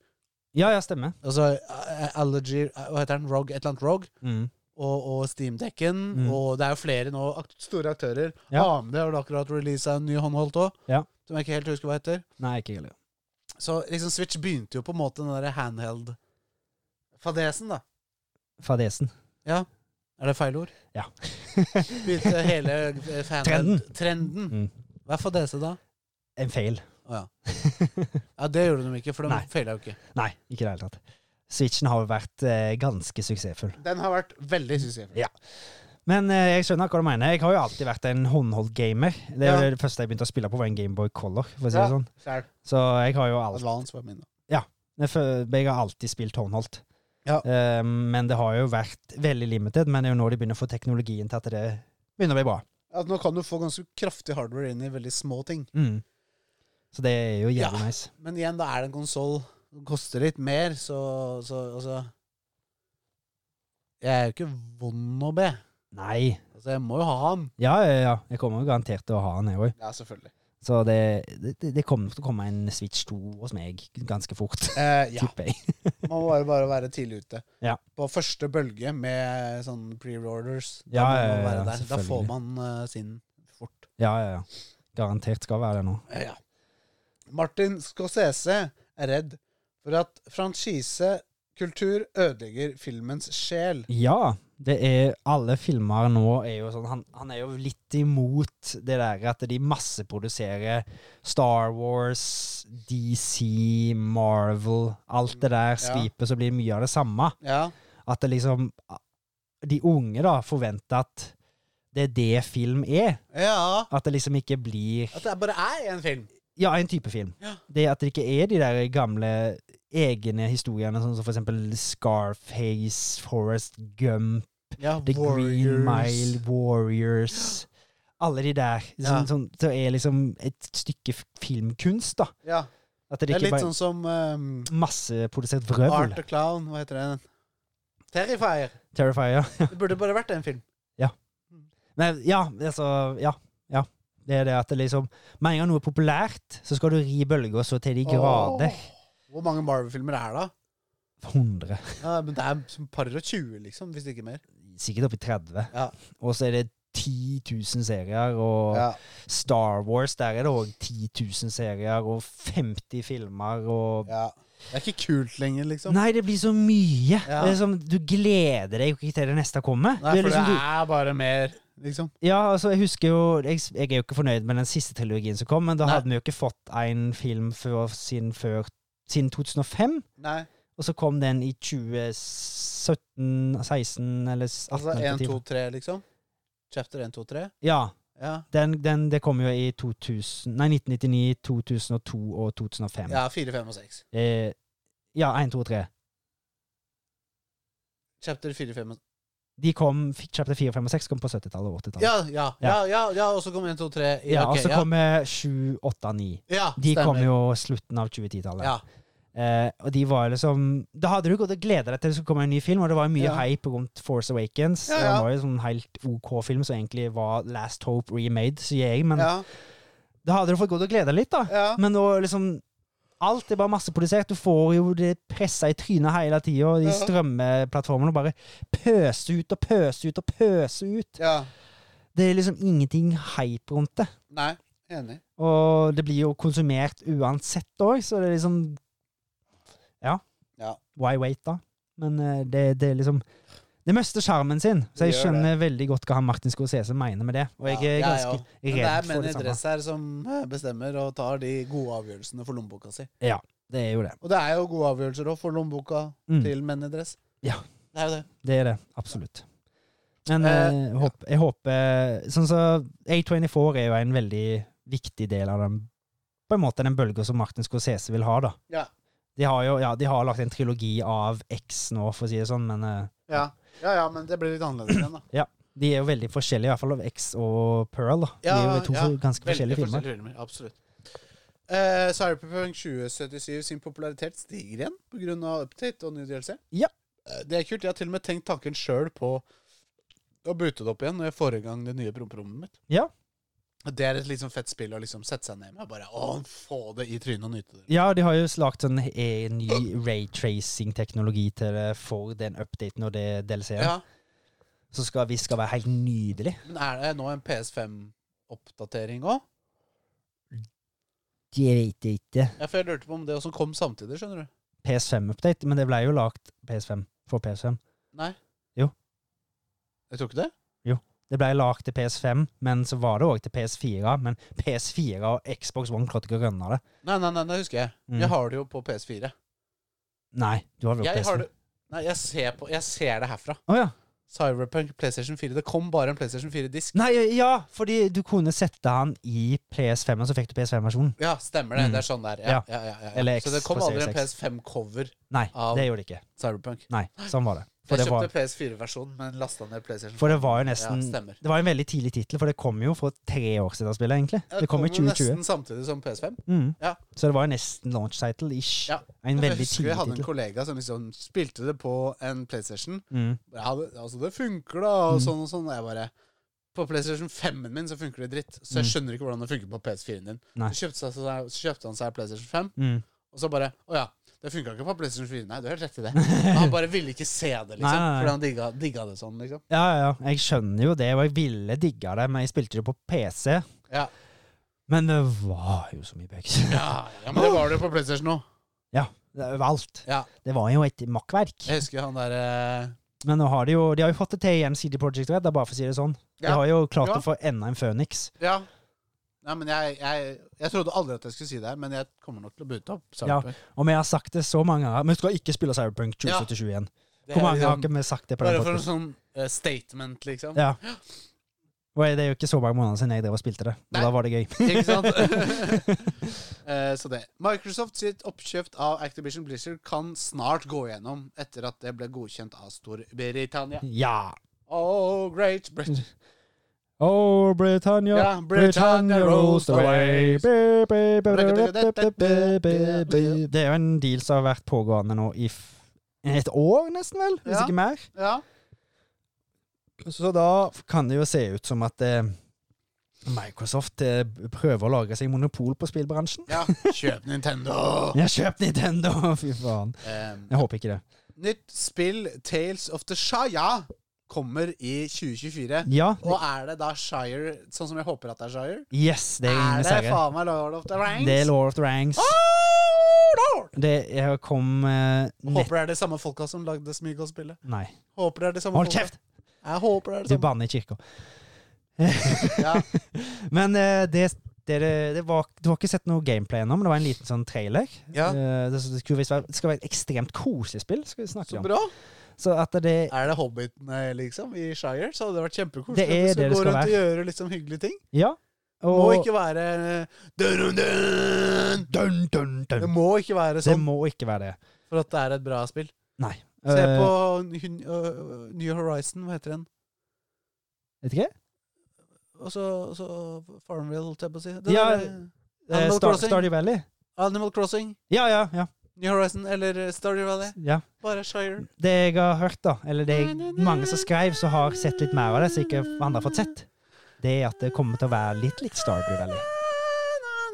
S1: Ja, ja, stemmer.
S2: Altså eh, Allergy eh, Hva heter den? ROG? Et eller annet ROG?
S1: Mm.
S2: Og, og Steamdekken.
S1: Mm.
S2: Og det er jo flere nå ak store aktører.
S1: Ja.
S2: AMD har vel akkurat releasa en ny håndholdt òg,
S1: Ja.
S2: som jeg ikke helt husker hva heter.
S1: Nei, ikke heller.
S2: Så liksom Switch begynte jo på en måte den derre handheld-fadesen, da.
S1: Fadesen.
S2: Er det feil ord?
S1: Ja.
S2: [laughs] Begynte hele eh, handheld Trenden.
S1: Mm.
S2: Hva er fadese, da?
S1: En feil.
S2: Å ja. ja, det gjorde de ikke, for de
S1: Nei.
S2: feila jo ikke.
S1: [laughs] Nei, ikke i det hele tatt. Switchen har jo vært eh, ganske suksessfull.
S2: Den har vært veldig suksessfull.
S1: Men eh, jeg skjønner hva du mener. Jeg har jo alltid vært en håndholdt gamer. Det er
S2: Ja.
S1: jo det første jeg begynte å spille på, var en Gameboy Color. For å si
S2: Ja. Altså-
S1: det sånn.
S2: Skjær.
S1: Så jeg har jo alt,
S2: Advance var min, da.
S1: jeg fø- jeg har alltid spilt håndholdt.
S2: Ja.
S1: Eh, men det har jo vært veldig limited. Men det er jo nå de begynner å få teknologien til at det begynner å bli bra.
S2: At nå kan du få ganske kraftig hardware inn i veldig små ting.
S1: Mm. Så det er jo
S2: Ja.
S1: jævlig nice.
S2: Men igjen, da er det en konsoll. Den koster litt mer, så, så altså Jeg er jo ikke vond å be.
S1: Nei.
S2: Altså, jeg må jo ha den.
S1: Ja, ja, ja. Jeg kommer jo garantert til å ha den, jeg òg.
S2: Ja, selvfølgelig.
S1: Så det, det, det kommer til å komme en Switch 2 hos meg ganske fort, [laughs]
S2: Eh, ja.
S1: tipper jeg.
S2: Man må bare, bare være tidlig ute.
S1: Ja.
S2: På første bølge med sånn pre-orders. Da må
S1: Ja, ja,
S2: man
S1: ja,
S2: være der.
S1: ja,
S2: Da får
S1: selvfølgelig.
S2: man eh, sin fort.
S1: Ja, ja, ja. Garantert skal være det nå.
S2: Eh, ja. Martin Scorsese er redd for at franchisekultur ødelegger filmens sjel.
S1: Ja, det er alle filmer nå er jo sånn Han, han er jo litt imot det der at de masseproduserer Star Wars, DC, Marvel, alt det
S2: Ja.
S1: der
S2: Mm.
S1: skvipet, så blir det mye av det samme.
S2: Ja.
S1: At det liksom De unge da forventer at det er det film er.
S2: Ja.
S1: At det liksom ikke blir
S2: At det bare er én film.
S1: Ja, en type film.
S2: Ja.
S1: Det at det ikke er de der gamle egne historiene, sånn som for eksempel Scarface, Forest Gump,
S2: Ja,
S1: The Green Mile, Warriors Alle de der. Sånn,
S2: Ja.
S1: sånn, det er liksom et stykke f- filmkunst, da.
S2: Ja.
S1: At det
S2: Det er
S1: ikke
S2: litt
S1: bare
S2: sånn som ehm,
S1: masseprodusert
S2: Art
S1: vrøvl.
S2: the Clown. Hva heter den? Terrifier.
S1: Terrifier.
S2: Det burde bare vært en film.
S1: Nei, ja, altså Ja. ja. Det er det at det liksom Med en gang noe er populært, så skal du ri bølger så til de grader.
S2: Åh, Hvor mange Marvel-filmer er det da?
S1: 100.
S2: Ja, men det er som par og 20, liksom, hvis ikke mer.
S1: Sikkert oppi 30.
S2: Ja.
S1: Og så er det 10 000 serier, og
S2: Ja.
S1: Star Wars, der er det òg 10 000 serier, og 50 filmer, og
S2: ja. Det er ikke kult lenger, liksom.
S1: Nei, det blir så mye!
S2: Ja.
S1: Det er som, du gleder deg jo ikke til det neste kommer.
S2: Nei,
S1: Det er
S2: for
S1: liksom,
S2: det
S1: du,
S2: er bare mer, liksom.
S1: ja, altså, jeg husker jo jeg, jeg er jo ikke fornøyd med den siste trilogien som kom, men da
S2: Nei.
S1: hadde vi jo ikke fått en film før, siden, før, siden 2005.
S2: Nei,
S1: Og så kom den i 2017, 16 eller 18.
S2: altså
S1: eller
S2: 1, 2,
S1: 10.
S2: 3, liksom. Chapter 1, 2, 3.
S1: Ja.
S2: Ja,
S1: Den, den, det kom jo i 2000, nei, 1999, 2002 og 2005.
S2: ja 4, 5 og 6.
S1: Eh, ja 1, 2 og 3.
S2: Chapter 4, 5 og
S1: De kom, f- Chapter 4, 5 og 6 kom på 70-tallet og 80-tallet.
S2: Ja, ja, ja, ja, ja og så kom 1, 2, 3. Ja,
S1: Ja, og
S2: ok,
S1: så
S2: ja.
S1: kom eh, 7, 8, 9.
S2: ja,
S1: De
S2: stemmer.
S1: kom jo slutten av 2010-tallet.
S2: Ja,
S1: Eh, og de var liksom Da hadde du gått og gleda deg til det skulle komme en ny film, og det var jo mye
S2: Ja.
S1: hype rundt Force Awakens.
S2: Ja,
S1: Det
S2: ja.
S1: var jo en sånn helt OK film som egentlig var Last Hope remade, sier jeg, men
S2: ja,
S1: da hadde du fått gått og gleda litt, da.
S2: ja.
S1: Men nå liksom Alt er bare masseprodusert. Du får jo det pressa i trynet hele tida. og De
S2: Ja.
S1: strømmeplattformene bare pøser ut og pøser ut og pøser ut.
S2: ja.
S1: Det er liksom ingenting hype rundt det.
S2: Nei, enig.
S1: Og det blir jo konsumert uansett òg, så det er liksom Ja.
S2: Ja.
S1: Why wait, da? Men eh, det, det er liksom Det mister sjarmen sin, så
S2: Det
S1: jeg
S2: gjør
S1: skjønner veldig godt hva han Martin Scorsese mener med det. Og jeg er
S2: Ja, jeg
S1: ganske
S2: også. Men det
S1: redd
S2: er
S1: for
S2: menn
S1: det
S2: i
S1: samme.
S2: dress her som eh, bestemmer og tar de gode avgjørelsene for lommeboka si.
S1: Det er jo det.
S2: Og det er jo gode avgjørelser òg, for lommeboka
S1: Mm.
S2: til menn i dress.
S1: Ja.
S2: Det er jo det.
S1: Det er det, absolutt. Men
S2: Eh,
S1: eh, jeg, håper, jeg håper Sånn så A24 er jo en veldig viktig del av den På en måte den bølga som Martin Scorsese vil ha, da.
S2: Ja.
S1: De har jo ja, de har lagt en trilogi av X nå, for å si det sånn, men eh,
S2: Ja. ja, ja, men det blir litt annerledes igjen, da.
S1: de er jo veldig forskjellige, i hvert fall av X og Pearl. da. De
S2: Ja,
S1: er jo to
S2: ja.
S1: ganske forskjellige
S2: Veldig
S1: filmer.
S2: filmer, Absolutt. Eh, Cyberpunk 2077 sin popularitet stiger igjen pga. Update og ny DLC.
S1: Ja.
S2: Eh, Det er kult. Jeg har til og med tenkt tanken sjøl på å bute det opp igjen når jeg får i gang det nye promperommet mitt.
S1: Ja.
S2: Og Det er et liksom fett spill å liksom sette seg ned med og bare å, få det i trynet og nyte det.
S1: Ja, de har jo lagt sånn eh, ny raytracing-teknologi til det for den updaten og det DLC-en,
S2: Ja.
S1: som skal, visst skal være helt nydelig.
S2: Men er det nå en PS5-oppdatering òg?
S1: De vet jeg ikke.
S2: Ja, for jeg lurte på om det også kom samtidig, skjønner du.
S1: PS5-update, men det ble jo lagt PS5 for PS5.
S2: Nei.
S1: Jo.
S2: Jeg tror ikke det.
S1: Det ble lagt til PS5, men så var det òg til PS4. Men PS4 og Xbox One klarte ikke å rønne det.
S2: Nei, nei, nei, det husker jeg.
S1: Mm.
S2: Jeg har det jo på PS4.
S1: Nei, du har vel
S2: Jeg
S1: PS5?
S2: har det Nei, jeg ser, på, jeg ser det herfra.
S1: Å ja.
S2: Cyberpunk, PlayStation 4. Det kom bare en PlayStation 4-disk.
S1: Nei, ja, fordi du kunne sette han i PS5, og så fikk du PS5-versjonen.
S2: Ja, stemmer det.
S1: Mm.
S2: Det er sånn det er. Ja,
S1: Ja.
S2: ja, ja, ja, ja.
S1: Eller X
S2: Så det kom
S1: på
S2: aldri en
S1: Series
S2: PS5-cover
S1: Nei,
S2: Av-
S1: det gjorde det ikke.
S2: Cyberpunk.
S1: Nei, sånn var det. For
S2: Jeg
S1: det var,
S2: kjøpte PS4-versjonen, men lasta ned PlayStation 4.
S1: for det var jo nesten
S2: ja, stemmer.
S1: Det var en veldig tidlig tittel, for det kom jo for tre år siden av spillet, egentlig.
S2: Ja,
S1: Det kom i
S2: jo
S1: 2020.
S2: nesten samtidig som PS5.
S1: Mm.
S2: Ja.
S1: Så det var jo nesten launch title-ish.
S2: Ja.
S1: En
S2: Jeg
S1: veldig
S2: husker vi
S1: tidlig
S2: hadde en
S1: tittel.
S2: kollega som liksom spilte det på en PlayStation.
S1: Mm.
S2: Ja, det, altså det funker da, og sånn og sånn. Og jeg bare På PlayStation 5-en min så funker det dritt. Så jeg
S1: Mm.
S2: skjønner ikke hvordan det funker på PS4-en din.
S1: Nei.
S2: Så kjøpte, seg, så, så kjøpte han seg PlayStation 5,
S1: Mm.
S2: og så bare Å ja, det funka ikke på PlayStation 4. Nei, du har helt rett i det.
S1: [laughs]
S2: Men han bare ville ikke se det, liksom.
S1: Nei, nei, nei.
S2: Fordi han digga, digga det sånn, liksom.
S1: Ja, ja, ja. Jeg skjønner jo det, og jeg ville digga det, men jeg spilte det på PC.
S2: Ja.
S1: Men det var jo så mye bugs.
S2: Ja, ja men det var det jo på PlayStation nå.
S1: [laughs] Det var Overalt.
S2: Ja.
S1: Det var jo et makkverk.
S2: Jeg husker han eh, derre
S1: Men nå har de jo De har jo fått det til igjen, CD Projekt Red, da, bare for å si det sånn. De
S2: Ja.
S1: har jo klart
S2: Ja.
S1: å få enda en Phoenix.
S2: Ja. Nei, men jeg, jeg, jeg trodde aldri at jeg skulle si det her, men jeg kommer nok til å bute opp.
S1: Ja.
S2: Cyberpunk.
S1: Og vi har sagt det så mange ganger, men du skal ikke spille Cyberpunk 2077 igjen.
S2: Det
S1: Hvor
S2: er
S1: mange har
S2: liksom-
S1: ikke vi sagt det på den
S2: Bare for en
S1: podcasten?
S2: sånn eh, statement, liksom.
S1: Ja. Og det er jo ikke så mange måneder siden jeg drev og spilte det. Og
S2: Nei.
S1: da var det gøy. [laughs]
S2: Ikke sant? [laughs] Eh, så det. Microsoft sitt oppkjøpt av Activision Blizzard kan snart gå gjennom etter at det ble godkjent av
S1: Mm.
S2: Storbritannia.
S1: Ja.
S2: Oh, great Brit
S1: Oh, Britannia.
S2: Ja, Britannia rolls the waves.
S1: Det er jo en deal som har vært pågående nå i f et år, nesten vel, hvis
S2: Ja.
S1: ikke mer.
S2: Ja.
S1: Så da kan det jo se ut som at eh, Microsoft eh, prøver å lage seg monopol på spillbransjen.
S2: ja. Kjøp
S1: [laughs]
S2: Nintendo!
S1: Jeg har kjøpt Nintendo! [laughs] Fy faen.
S2: Em,
S1: Jeg håper ikke det.
S2: nytt spill, Tales of the Shaya, kommer i 2024.
S1: Ja.
S2: Og er det da Shire, sånn som jeg håper at det er Shire?
S1: Yes, det er
S2: Er
S1: ingen
S2: det
S1: serie.
S2: faen meg Lord of the Rings?
S1: Det er Lord of the Ranks.
S2: Oh, Lord!
S1: Det jeg kom eh, nett...
S2: Håper det er de samme folka som lagde Smygolspillet.
S1: Nei.
S2: Håper det er de samme
S1: Hold
S2: folka.
S1: kjeft!
S2: Jeg håper det er
S1: Du
S2: det samme.
S1: banner i kirka.
S2: Sånn. Ja.
S1: [laughs] Men eh, det, det, det var, du har ikke sett noe gameplay ennå, men det var en liten sånn trailer.
S2: Ja.
S1: Eh, det, det, skulle visst være, det skal være et ekstremt kosespill, skal vi snakke
S2: Så
S1: om.
S2: bra.
S1: Så at det
S2: Er det Hobbitene, liksom, i Shire, så hadde det vært kjempekoselig.
S1: Det er
S2: hvis
S1: det det
S2: går
S1: skal
S2: rundt og gjør liksom hyggelige ting.
S1: Ja.
S2: Det
S1: Og,
S2: må ikke være eh, dun, dun, dun.
S1: Dun, dun,
S2: Det
S1: dun.
S2: må ikke være
S1: Det
S2: sånn
S1: må ikke være det.
S2: for at det er et bra spill.
S1: Nei.
S2: Se
S1: Eh,
S2: på hun- øh, New Horizon, hva heter den?
S1: Vet ikke.
S2: Og så og så Farmville, holdt jeg på å si. Den
S1: Ja,
S2: der,
S1: Eh,
S2: Animal
S1: Star,
S2: Crossing.
S1: Stardew Valley.
S2: Animal Crossing,
S1: Ja, ja, ja.
S2: New Horizon eller Stardew Valley.
S1: ja.
S2: Bare Shire.
S1: Det jeg har hørt, da, eller det jeg, mange som skrev, som har sett litt mer av det, som ikke andre har fått sett, det er at det kommer til å være litt litt Stardew Valley.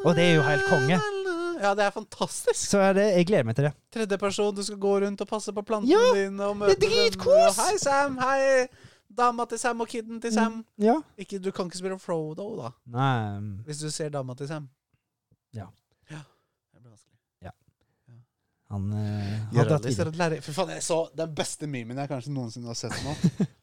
S1: Og det er jo helt konge.
S2: Ja, det er fantastisk.
S1: Så er det, jeg gleder meg til det.
S2: Tredjeperson, du skal gå rundt og passe på plantene
S1: Ja,
S2: dine. Og
S1: det er
S2: møte venner,
S1: dritkos!
S2: og Hei, Sam. Hei, dama til Sam og kiden til Sam.
S1: Ja.
S2: Ikke, du kan ikke spille Frodo, da,
S1: Nei um,
S2: hvis du ser dama til Sam.
S1: Ja.
S2: ja. Det blir vanskelig.
S1: Han uh, har dratt
S2: Gjøralister
S1: videre.
S2: og lærer Fy faen, jeg så den beste memen jeg kanskje noensinne har sett nå.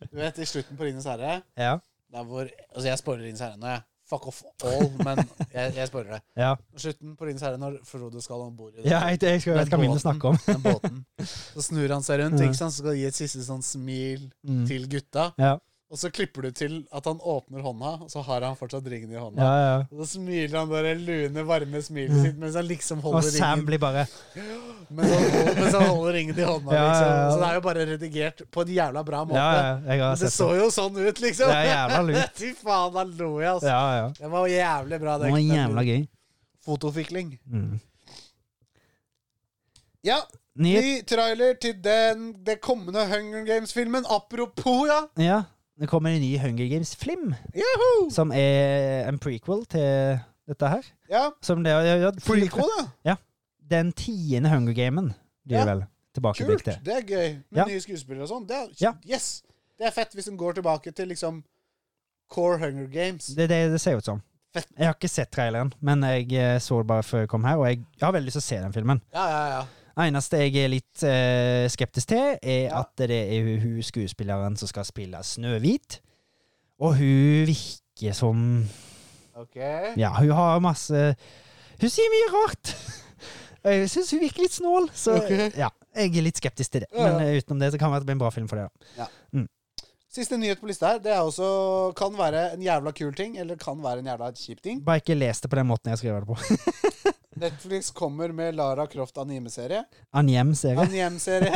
S2: Du vet, i slutten på Ringenes herre
S1: Ja.
S2: Der hvor Altså, jeg spoiler Ringenes herre nå, jeg. Fuck off all, men jeg, jeg spoiler det.
S1: ja.
S2: Slutten på Ringenes herre når Frodo skal om bord i den-
S1: ja jeg, jeg skal, jeg vet hva min snakker om.
S2: den båten. Så snur han seg rundt,
S1: Ja.
S2: ikke sant? så skal han gi et siste sånn smil
S1: Mm.
S2: til gutta.
S1: Ja.
S2: Og så klipper du til at han åpner hånda, og så har han fortsatt ringen i
S1: ja,
S2: hånda.
S1: ja.
S2: Og så smiler han bare lune, varme smilet sitt mens han liksom
S1: Mm. Og
S2: holder
S1: Sam
S2: ringen.
S1: blir bare
S2: Mens han holder, mens han holder ringen i hånda,
S1: [laughs] Ja, ja,
S2: liksom.
S1: ja.
S2: Så det er jo bare redigert på en jævla bra
S1: Ja,
S2: måte.
S1: ja, jeg har
S2: Men Det
S1: sett
S2: så
S1: det.
S2: jo sånn ut,
S1: Det
S2: liksom.
S1: er jævla
S2: [laughs]
S1: lurt.
S2: Fy faen, da lo jeg, altså.
S1: Ja, ja.
S2: Det var jævlig bra.
S1: Det var
S2: eksempelet.
S1: jævla gøy.
S2: Fotofikling.
S1: Mm.
S2: Ja,
S1: Ny
S2: ny trailer til den, det kommende Hunger Games-filmen. Apropos, ja.
S1: Ja, det kommer en ny Hunger Games Flim,
S2: Juhu!
S1: som er en prequel til dette her.
S2: Ja,
S1: Som det, ja, ja,
S2: prequel, ja.
S1: Den tiende Hunger Gamen blir
S2: Ja.
S1: det vel tilbakeblikk
S2: Kult.
S1: til.
S2: Det er gøy. Med
S1: Ja.
S2: nye skuespillere og sånn. Det, er-
S1: Ja.
S2: Yes! Det er fett hvis de går tilbake til liksom core Hunger Games.
S1: Det, det, det ser ut som.
S2: Fett.
S1: Jeg har ikke sett traileren, men jeg eh, så det bare før jeg kom her, og jeg, jeg har veldig lyst til å se den filmen.
S2: Ja, ja, ja.
S1: Det eneste jeg er litt eh, skeptisk til, er
S2: Ja.
S1: at det er hun- hun skuespilleren som skal spille Snøhvit, og hun virker som
S2: Ok.
S1: Ja, hun har masse Hun sier mye rart! [laughs] Og Jeg syns hun virker litt snål, så
S2: Ok.
S1: ja, jeg er litt skeptisk til det.
S2: Ja, ja.
S1: Men eh, utenom det så kan det bli en bra film for det. da.
S2: Siste nyhet på lista her, det er også kan være en jævla kul ting, eller kan være en jævla kjip ting.
S1: Bare ikke les det på den måten jeg skriver det på. [laughs]
S2: Netflix kommer med Lara Croft anime-serie. Ah.
S1: Anjem-serie.
S2: [laughs] Anime-serie.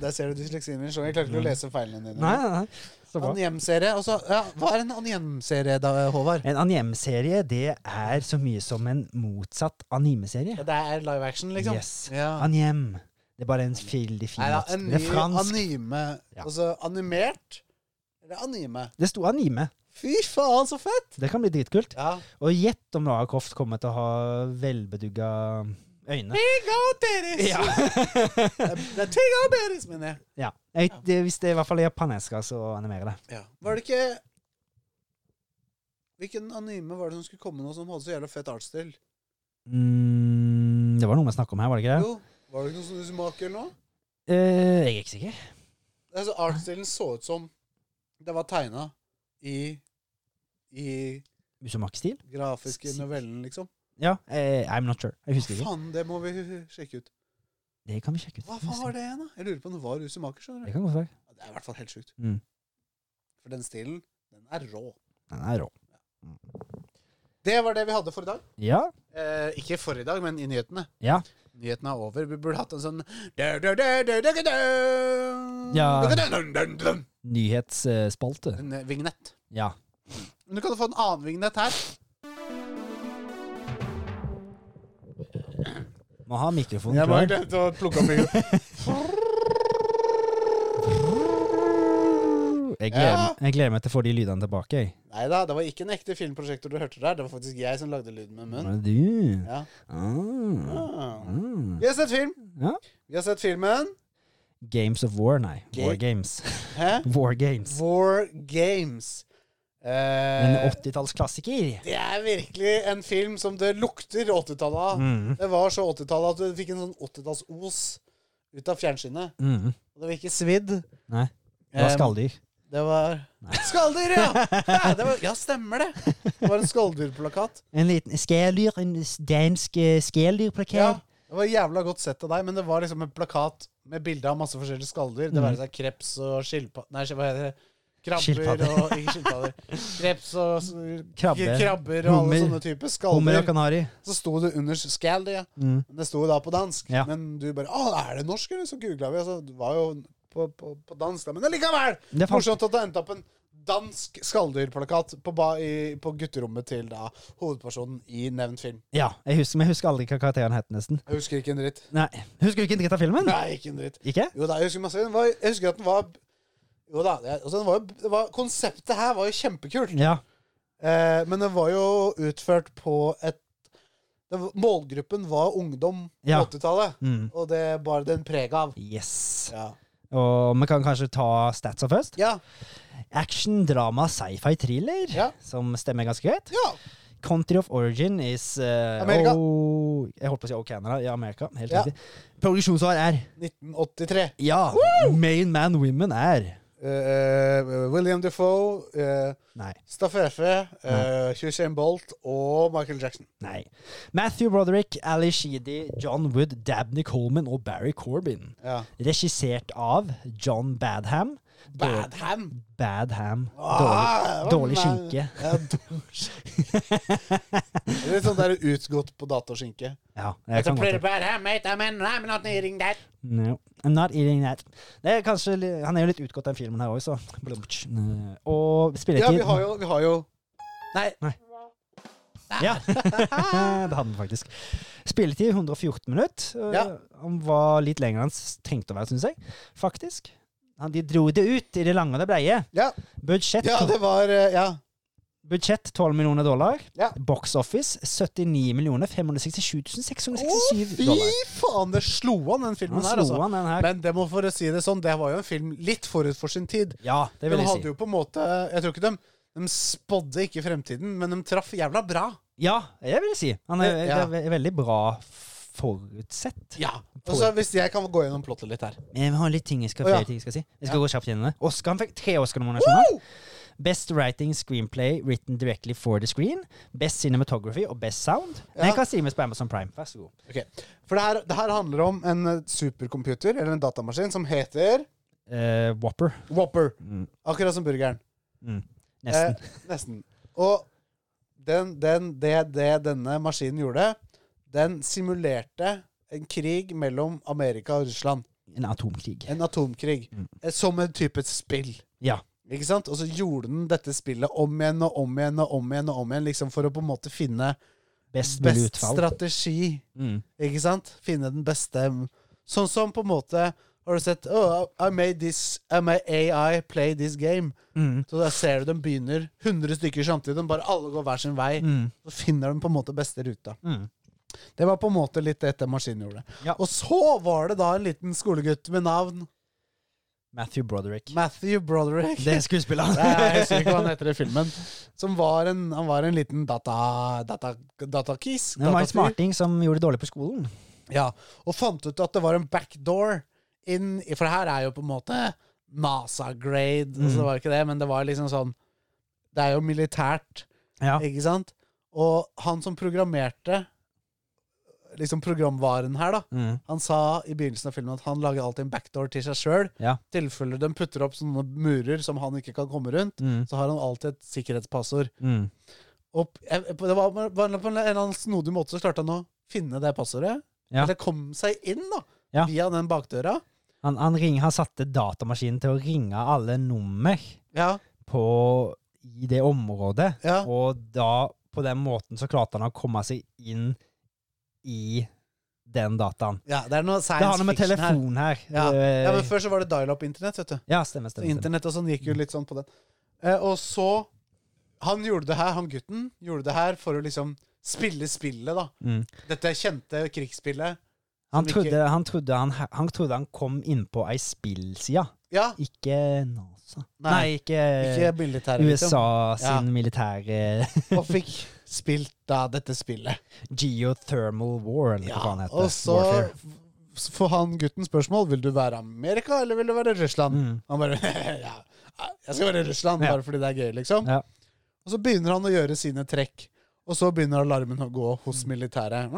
S2: Der ser du dysleksien min. Skjønner, jeg klarer ikke å lese feilene dine.
S1: Nei, nei, nei. Så bra.
S2: Anime-serie. og så- Ja, hva er en anime-serie, da, Håvard?
S1: En anjem-serie, det er så mye som en motsatt anime-serie.
S2: Ja, det er live action, liksom?
S1: Yes.
S2: Ja.
S1: Anjem. Det er bare en veldig fin
S2: Nei, da,
S1: måte.
S2: en
S1: Det er
S2: ny
S1: fransk.
S2: anime.
S1: Ja.
S2: Altså animert eller anime.
S1: Det sto anime.
S2: Fy faen, så fett!
S1: Det kan bli dritkult.
S2: Ja.
S1: Og gjett om Lara Croft kommer til å ha velbedugga
S2: [laughs]
S1: øyne. Ja.
S2: Det er ting av deres, mener jeg.
S1: Ja. Jeg, det, hvis det i hvert fall er japanesker, så animerer det.
S2: Var det ikke Hvilken anime var det som skulle komme nå som hadde så jævla fett artstill?
S1: Mm, det var noe vi snakket om her, var det ikke det?
S2: Jo, var det ikke noe sånn smak eller noe?
S1: Eh, jeg er ikke sikker.
S2: Altså, artstilen så ut som det var tegna i i
S1: Usomak-stil?
S2: grafiske novellen, liksom.
S1: Ja. eh, I'm not sure. Jeg husker ikke.
S2: Faen, det må vi [laughs] sjekke ut.
S1: Det kan vi sjekke ut.
S2: Hva faen var det igjen, da? Jeg lurer på om det var Rusimaker. skjønner du?
S1: Det kan godt være.
S2: Ja, Det er i hvert fall helt sjukt.
S1: Mm.
S2: For den stilen, den er rå.
S1: Den er rå.
S2: Det var det vi hadde for i dag.
S1: Ja.
S2: Eh, ikke for i dag, men i nyhetene.
S1: Ja.
S2: Nyhetene er over. Vi burde hatt en sånn da, da, da, da, da, da.
S1: Ja.
S2: Da, da, da, da, da.
S1: Nyhetsspalte.
S2: En eh, vignett.
S1: Ja.
S2: Men du kan få en annen vignett her.
S1: Må ha mikrofonen
S2: Jeg bare
S1: klar.
S2: glemte å plukke opp mikrofonen.
S1: Jeg gleder,
S2: Ja.
S1: jeg gleder meg til å få de lydene tilbake. Jeg.
S2: [laughs] Nei da, det var ikke en ekte filmprosjektor du hørte der. Det var faktisk jeg som lagde lyden med munnen.
S1: Men Du.
S2: Ja.
S1: Ah.
S2: Ah.
S1: Mm.
S2: Vi har sett film.
S1: Ja.
S2: Vi har sett filmen
S1: Games of War, nei.
S2: Ga-
S1: War Games. [laughs]
S2: Hæ?
S1: War Games.
S2: War Games.
S1: En
S2: Eh,
S1: 80-tallsklassiker.
S2: det er virkelig en film som det lukter 80-tallet av.
S1: Mm.
S2: Det var så 80-tallet at du fikk en sånn 80-tallsos ut av fjernsynet.
S1: Mm.
S2: Og det var ikke svidd.
S1: Nei. Det var
S2: Eh,
S1: skalldyr.
S2: Det var [laughs] Skalldyr,
S1: [laughs]
S2: ja! Ja, det var, ja, stemmer det. Det var en skalldyrplakat.
S1: En liten skalldyr. En s- dansk eh,
S2: Ja,
S1: skalldyr-plakat.
S2: det var jævla godt sett av deg, men det var liksom en plakat med bilde av masse forskjellige skalldyr.
S1: Mm.
S2: Det være seg kreps og skilpadder Nei, hva heter det? Krabber
S1: Skilpadder.
S2: og Ikke skilpadder. Kreps og s-
S1: Krabbe.
S2: krabber og alle
S1: Hummer.
S2: sånne typer
S1: Hummer
S2: skalldyr.
S1: og kanari.
S2: Så sto det under Scaldy, ja.
S1: Mm.
S2: Men Det sto jo da på dansk.
S1: Ja.
S2: Men du bare Å, er det norsk, eller? Så googla vi, og så var jo på, på, på dansk, da. Men allikevel!
S1: Det fant-
S2: Morsomt at det endte opp en dansk skalldyrplakat på, ba- i- på gutterommet til da hovedpersonen i nevnt film.
S1: Ja, jeg husker, men jeg husker aldri hva karakteren het, nesten.
S2: Jeg husker ikke en dritt. [laughs]
S1: Nei, Husker du ikke en dritt av filmen?
S2: Nei, ikke en dritt.
S1: Ikke?
S2: Jo da, jeg husker masse. Den var, jeg husker at den var Jo da, det, altså den var, jo- det var, konseptet her var jo kjempekult.
S1: Ja.
S2: Eh, men den var jo utført på et det, var- Målgruppen var ungdom på
S1: Ja.
S2: 80-tallet,
S1: Mm.
S2: og det bar den preg av.
S1: Yes.
S2: Ja.
S1: Og vi kan kanskje ta statsa først.
S2: ja.
S1: Action, drama, sci-fi, thriller,
S2: Ja.
S1: som stemmer ganske greit.
S2: ja.
S1: Country of origin is eh,
S2: Amerika.
S1: Oh, jeg holdt på å si Oh Canada. Ja, Amerika. Helt
S2: Ja.
S1: riktig. Produksjonsår er
S2: 1983.
S1: Ja. Main Man Women er
S2: Eh, eh, William Defoe, eh,
S1: Nei.
S2: Staffeffe, eh, Usain Bolt og Michael Jackson.
S1: nei. Matthew Broderick, Ali Sheedy, John Wood, Dabney Coleman og Barry Corbin.
S2: Ja.
S1: Regissert av John Badham. Dår-
S2: Bad Ham.
S1: Badham. Dårlig,
S2: Ah,
S1: dårlig
S2: det var-
S1: skinke.
S2: Ja, dårlig
S1: [laughs]
S2: skinke. Litt sånn der utgått på datoskinke.
S1: Ja, jeg kan godt det. No, I'm not eating that. Det er kanskje, li- han er jo litt utgått, den filmen her òg, så Blumtsch. Eh, Og
S2: Ja,
S1: spilletid
S2: vi har jo, vi har jo Nei.
S1: [laughs] Ja, [laughs] det hadde han faktisk. Spilletid 114 minutter.
S2: Ja.
S1: Han var litt lenger enn han s- trengte å være, syns jeg. Faktisk. Han, de dro det ut i det lange og det bleie.
S2: Ja,
S1: Budsjett,
S2: ja det var eh, Ja.
S1: budsjett 12 millioner dollar.
S2: Ja.
S1: Box office 79 millioner 567 667
S2: Fy
S1: dollar.
S2: faen, det slo an, den filmen
S1: Han
S2: her,
S1: slo
S2: altså.
S1: han den her.
S2: Men det må for å si det sånn, det var jo en film litt forut for sin tid.
S1: Ja, det
S2: De
S1: vil jeg
S2: hadde
S1: si.
S2: jo på en måte Jeg tror ikke de de spådde ikke fremtiden, men de traff jævla bra.
S1: Ja, det vil jeg si. Han er,
S2: Ja.
S1: det er ve- veldig bra forutsett.
S2: Ja. Og så Hvis jeg kan gå gjennom plottet litt her.
S1: Men Jeg Eh, har litt ting jeg skal,
S2: Å, ja.
S1: flere ting jeg skal si. Jeg skal gå kjapt gjennom det. Oscar han fikk tre Oscar-nominasjoner. Best writing screenplay written directly for the screen. Best cinematography og best sound.
S2: Ja.
S1: Den kan streames på Amazon Prime. Vær så god.
S2: Ok. For det her, det her handler om en eh, supercomputer, eller en datamaskin, som heter
S1: Eh, Whopper.
S2: Whopper.
S1: Mm.
S2: Akkurat som burgeren.
S1: Nesten.
S2: Eh, nesten. Og den, den, det, det denne maskinen gjorde, den simulerte en krig mellom Amerika og Russland.
S1: En atomkrig. Mm.
S2: En atomkrig. Eh, Som en type spill.
S1: Ja.
S2: Ikke sant? Og så gjorde den dette spillet om igjen og om igjen og om igjen, og om igjen liksom for å på en måte finne
S1: Best mulig
S2: best
S1: utfall.
S2: strategi.
S1: Mm.
S2: Ikke sant? Finne den beste Sånn som på en måte Har du sett oh, I made this I made AI play this game.
S1: Mm.
S2: Så da ser du dem begynner 100 stykker samtidig. De bare alle går hver sin vei.
S1: Mm.
S2: Så finner de på en måte beste ruta.
S1: Mm.
S2: Det var på en måte litt dette maskinen gjorde.
S1: Ja.
S2: Og så var det da en liten skolegutt med navn
S1: Matthew Broderick.
S2: Matthew Broderick.
S1: [laughs] Det er skuespilleren.
S2: Nei, jeg husker ikke hva han heter i filmen. Som var en, han var en liten data... data... datakis.
S1: Det var en
S2: datafyr.
S1: smarting som gjorde det dårlig på skolen.
S2: Ja, og fant ut at det var en backdoor inn i- For det her er jo på en måte NASA-grade, så det var ikke det, men det var liksom sånn Det er jo militært,
S1: Ja.
S2: ikke sant? Og han som programmerte liksom programvaren her, da.
S1: Mm.
S2: Han sa i begynnelsen av filmen at han lager alltid en backdoor til seg sjøl.
S1: Ja.
S2: tilfelle de putter opp sånne murer som han ikke kan komme rundt,
S1: Mm.
S2: så har han alltid et sikkerhetspassord.
S1: Mm.
S2: Og jeg- på- det var, var på en eller annen snodig måte så klarte han å finne det passordet.
S1: Ja.
S2: Eller kom seg inn, da.
S1: Ja.
S2: Via den bakdøra.
S1: Han, han, ring, han satte datamaskinen til å ringe alle nummer
S2: Ja,
S1: på, i det området.
S2: ja,
S1: Og da, på den måten, så klarte han å komme seg inn i den dataen.
S2: ja. Det er noe
S1: Det har
S2: science
S1: noe med
S2: fiction her.
S1: telefon her.
S2: Ja.
S1: Eh,
S2: Ja, men Før så var det dial-up-internett. vet du.
S1: ja, stemmer,
S2: Så
S1: stemmer. stemmer.
S2: Internett og sånn gikk jo
S1: Mm.
S2: litt sånn på den. Eh, og så Han gjorde det her, han gutten, gjorde det her for å liksom spille spillet, da.
S1: Mm.
S2: Dette kjente krigsspillet.
S1: Han,
S2: Som
S1: trodde, han, trodde han, han trodde han kom inn på ei spillside,
S2: Ja,
S1: ikke NASA. Nei,
S2: Nei,
S1: ikke,
S2: ikke militæret, liksom.
S1: USA sin
S2: Ja.
S1: militære [laughs]
S2: og fikk spilt da dette spillet.
S1: Geothermal War, eller
S2: Ja,
S1: hva faen det heter.
S2: og så
S1: Warfare.
S2: f- får han gutten spørsmål Vil du være Amerika eller vil du være Russland.
S1: Mm.
S2: Han bare [laughs] ja, Jeg skal være Russland,
S1: Ja.
S2: bare fordi det er gøy, liksom.
S1: Ja.
S2: Og så begynner han å gjøre sine trekk. Og så begynner alarmen å gå hos
S1: Mm.
S2: militæret.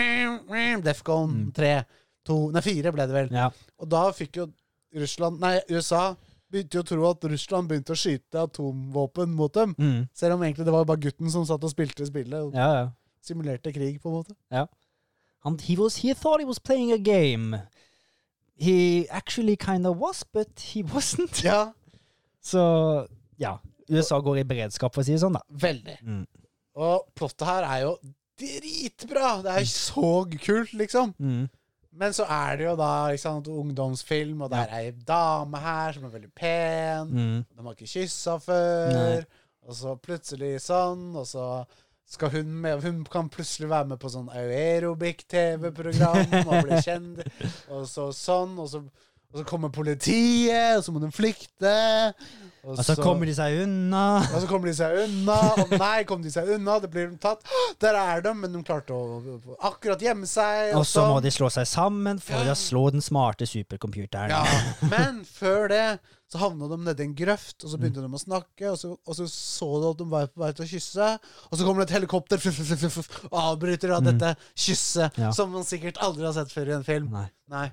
S2: Mm. Defcon 3. 2, nei, 4 ble det vel.
S1: Ja.
S2: Og da fikk jo Russland Nei, USA begynte jo å tro at Russland begynte å skyte atomvåpen mot dem.
S1: Mm.
S2: Selv om egentlig det var bare gutten som satt og spilte spillet. Og
S1: ja, ja.
S2: simulerte krig, på en måte.
S1: And he was he thought he was playing a game. He actually kind of was, but he [laughs] wasn't.
S2: Ja,
S1: Så ja. USA går i beredskap, for å si det sånn, da.
S2: veldig.
S1: Mm.
S2: Og plottet her er jo dritbra! Det er så kult, liksom.
S1: Mm.
S2: Men så er det jo da ikke sant, ungdomsfilm, og der er ei dame her som er veldig pen.
S1: Mm.
S2: De har ikke kyssa før.
S1: Nei.
S2: Og så plutselig sånn, og så skal hun med Hun kan plutselig være med på sånn aerobic-TV-program og
S1: [laughs]
S2: bli kjent. Og så sånn, og så, og så kommer politiet, og så må de flykte.
S1: Og så kommer de seg unna.
S2: Og så kommer de seg unna. Og nei, kom de seg unna, det blir de tatt. Der er de, men de klarte å å akkurat gjemme seg.
S1: Og så
S2: sånn.
S1: må de slå seg sammen for å slå den smarte supercomputeren.
S2: ja. Men før det så havna de nedi en grøft, og så begynte de å snakke, og så, og så så du at de var på vei til å kysse, og så kommer det et helikopter fluff, fluff, fluff, fluff, og avbryter da dette kysset,
S1: Mm. Ja.
S2: som man sikkert aldri har sett før i en film.
S1: Nei.
S2: Nei.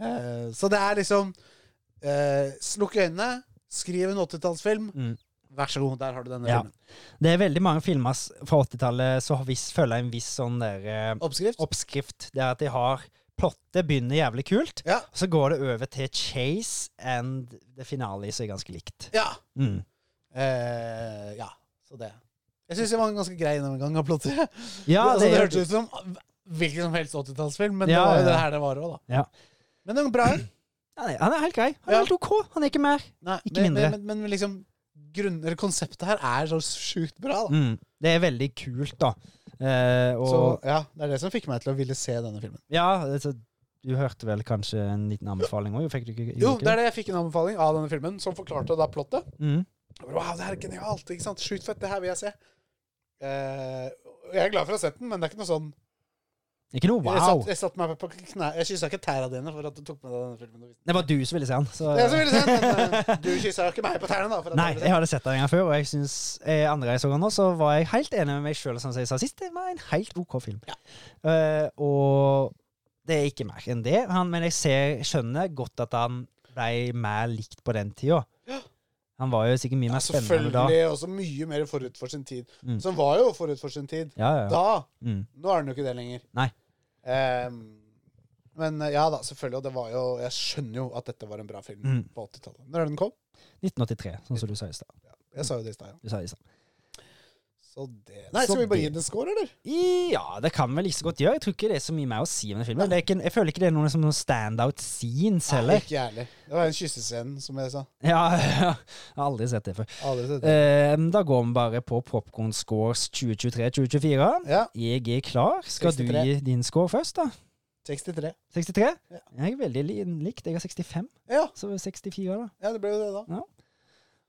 S2: Eh, så det er liksom eh, Slukk øynene, skriv en 80-tallsfilm,
S1: Mm.
S2: vær så god, der har du denne
S1: Ja.
S2: filmen.
S1: Det er veldig mange filmer s- fra 80-tallet som har viss- følger en viss sånn der eh,
S2: Oppskrift?
S1: oppskrift. Det er at de har Plottet begynner jævlig kult,
S2: Ja.
S1: og så går det over til chase and det finale som er ganske likt.
S2: Ja.
S1: Mm.
S2: Eh, ja. Så det. Jeg syns det var en ganske grei gjennomgang av plottet.
S1: [laughs]
S2: det,
S1: Ja,
S2: altså, det
S1: er-
S2: hørtes ut som hvilken som helst 80-tallsfilm, men
S1: Ja,
S2: det var jo
S1: ja, ja.
S2: det her det var òg, da.
S1: Ja.
S2: Men det var
S1: [clears throat]
S2: bra.
S1: Han er, han er helt grei. Han er
S2: Ja.
S1: helt OK. Han er ikke mer.
S2: Nei,
S1: Ikke
S2: men,
S1: mindre.
S2: Men, men, men liksom grunn, eller konseptet her er så sjukt bra, da.
S1: Mm. Det er veldig kult, da. Eh, og
S2: Så ja, det er det som fikk meg til å ville se denne filmen.
S1: ja, altså, du hørte vel kanskje en liten anbefaling òg? Fikk du ikke
S2: Jo, det er det jeg fikk en anbefaling av denne filmen, som forklarte da plottet.
S1: Mm.
S2: Jeg bare, Wow, det her er genialt! ikke sant? Sjukt fett, det her vil jeg se. Eh, jeg er glad for å ha sett den, men det er ikke noe sånn
S1: Ikke noe
S2: Jeg
S1: wow.
S2: satt, jeg satt meg på knæ Jeg kyssa ikke tæra dine for at du tok med deg denne filmen. og viste den.
S1: Det var du som ville se han. Så.
S2: Det er så veldig sant, men eh, du kyssa ikke meg på tærne, da. For at
S1: Nei,
S2: jeg ville se
S1: jeg hadde sett den en gang før, og jeg synes, eh, andre gang jeg så den nå, så var jeg helt enig med meg sjøl, som jeg sa sist. Det var en helt OK film. Eh, og det er ikke mer enn det. Han, men jeg ser, skjønner godt at han ble mer likt på den tida. Han var jo sikkert mye mer spennende da.
S2: liksom Selvfølgelig også mye mer forut for sin tid.
S1: Mm.
S2: Som var jo forut for sin tid.
S1: Ja, ja, ja.
S2: Da!
S1: Mm.
S2: Nå er den jo ikke det lenger.
S1: Nei.
S2: Ehm, men eh, ja da, selvfølgelig. Og det var jo Jeg skjønner jo at dette var en bra film
S1: Mm.
S2: på 80-tallet. Når er den kom?
S1: 1983, sånn som du sa i stad.
S2: Jeg sa jo det i stad, ja.
S1: Du sa i stad.
S2: Så det Nei,
S1: Så
S2: skal vi bare
S1: det-
S2: gi den en score, eller?
S1: Ja, det kan vi like så godt gjøre. Jeg tror ikke det er så mye mer å si om den filmen. Det er ikke, en- jeg føler ikke det er noen, som noen standout scenes
S2: Nei,
S1: heller.
S2: ikke jeg heller. Det var en kyssescene, som jeg sa.
S1: Ja, [laughs] jeg har aldri sett det før.
S2: Aldri sett det.
S1: Eh, da går vi bare på Popcorn Scores 2023-2024.
S2: Ja.
S1: Jeg er klar. Skal du
S2: 63.
S1: gi din score først, da?
S2: 63.
S1: 63?
S2: Ja.
S1: Jeg er veldig li- likt. Jeg har 65,
S2: Ja,
S1: så 64, da.
S2: ja det ble jo det, da.
S1: da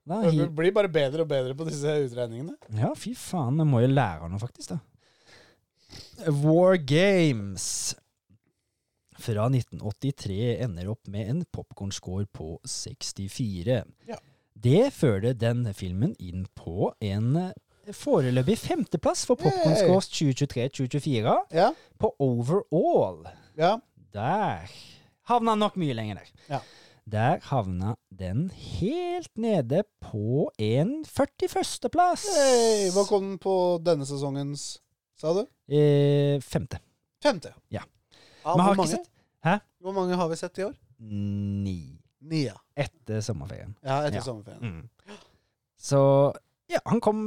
S2: Det
S1: hi-
S2: blir bare bedre og bedre på disse utregningene.
S1: ja, fy faen. Vi må jo lære av noe, faktisk, da. War Games fra 1983 ender opp med en popkornscore på 64.
S2: Ja.
S1: Det fører den filmen inn på en eh, foreløpig femteplass for Popcorn
S2: Yay!
S1: Scores 2023-2024
S2: Ja.
S1: på overall.
S2: ja.
S1: Der havna han nok mye lenger der.
S2: Ja.
S1: Der havna den helt nede på en 41. plass.
S2: Hey, hva kom den på denne sesongens, sa du?
S1: Eh, femte.
S2: Femte.
S1: Ja.
S2: hvor,
S1: Vi har ikke
S2: mange?
S1: sett- Hæ?
S2: hvor mange har vi sett i år?
S1: Ni.
S2: Ni, ja.
S1: Etter sommerferien.
S2: Ja, etter
S1: Ja.
S2: sommerferien.
S1: Mm. Så ja, han kom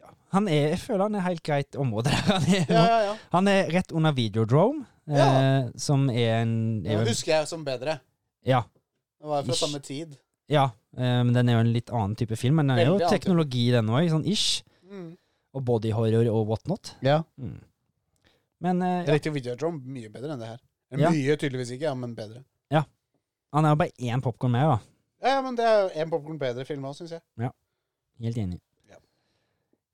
S1: ja, Han er, jeg føler han er helt greit område der [laughs] han er. nå.
S2: Ja, ja, ja.
S1: Han er rett under Videodrome, eh,
S2: Ja.
S1: som er en er
S2: Det
S1: jo en-
S2: husker jeg som bedre.
S1: Ja.
S2: Det var fra
S1: Ish.
S2: samme tid.
S1: ja eh, men den er jo en litt annen type film, men den er jo
S2: Veldig annen type.
S1: teknologi, den òg, sånn ish.
S2: Mm.
S1: Og bodyhorror og whatnot.
S2: Ja.
S1: Mm. Men eh, ja,
S2: Direkte Videodrome, mye bedre enn det her.
S1: Ja.
S2: Mye tydeligvis ikke, ja, men bedre.
S1: han er jo bare én popkorn mer, da.
S2: Ja, ja, men det er jo en popkorn bedre film òg, syns jeg.
S1: Helt enig.
S2: Ja.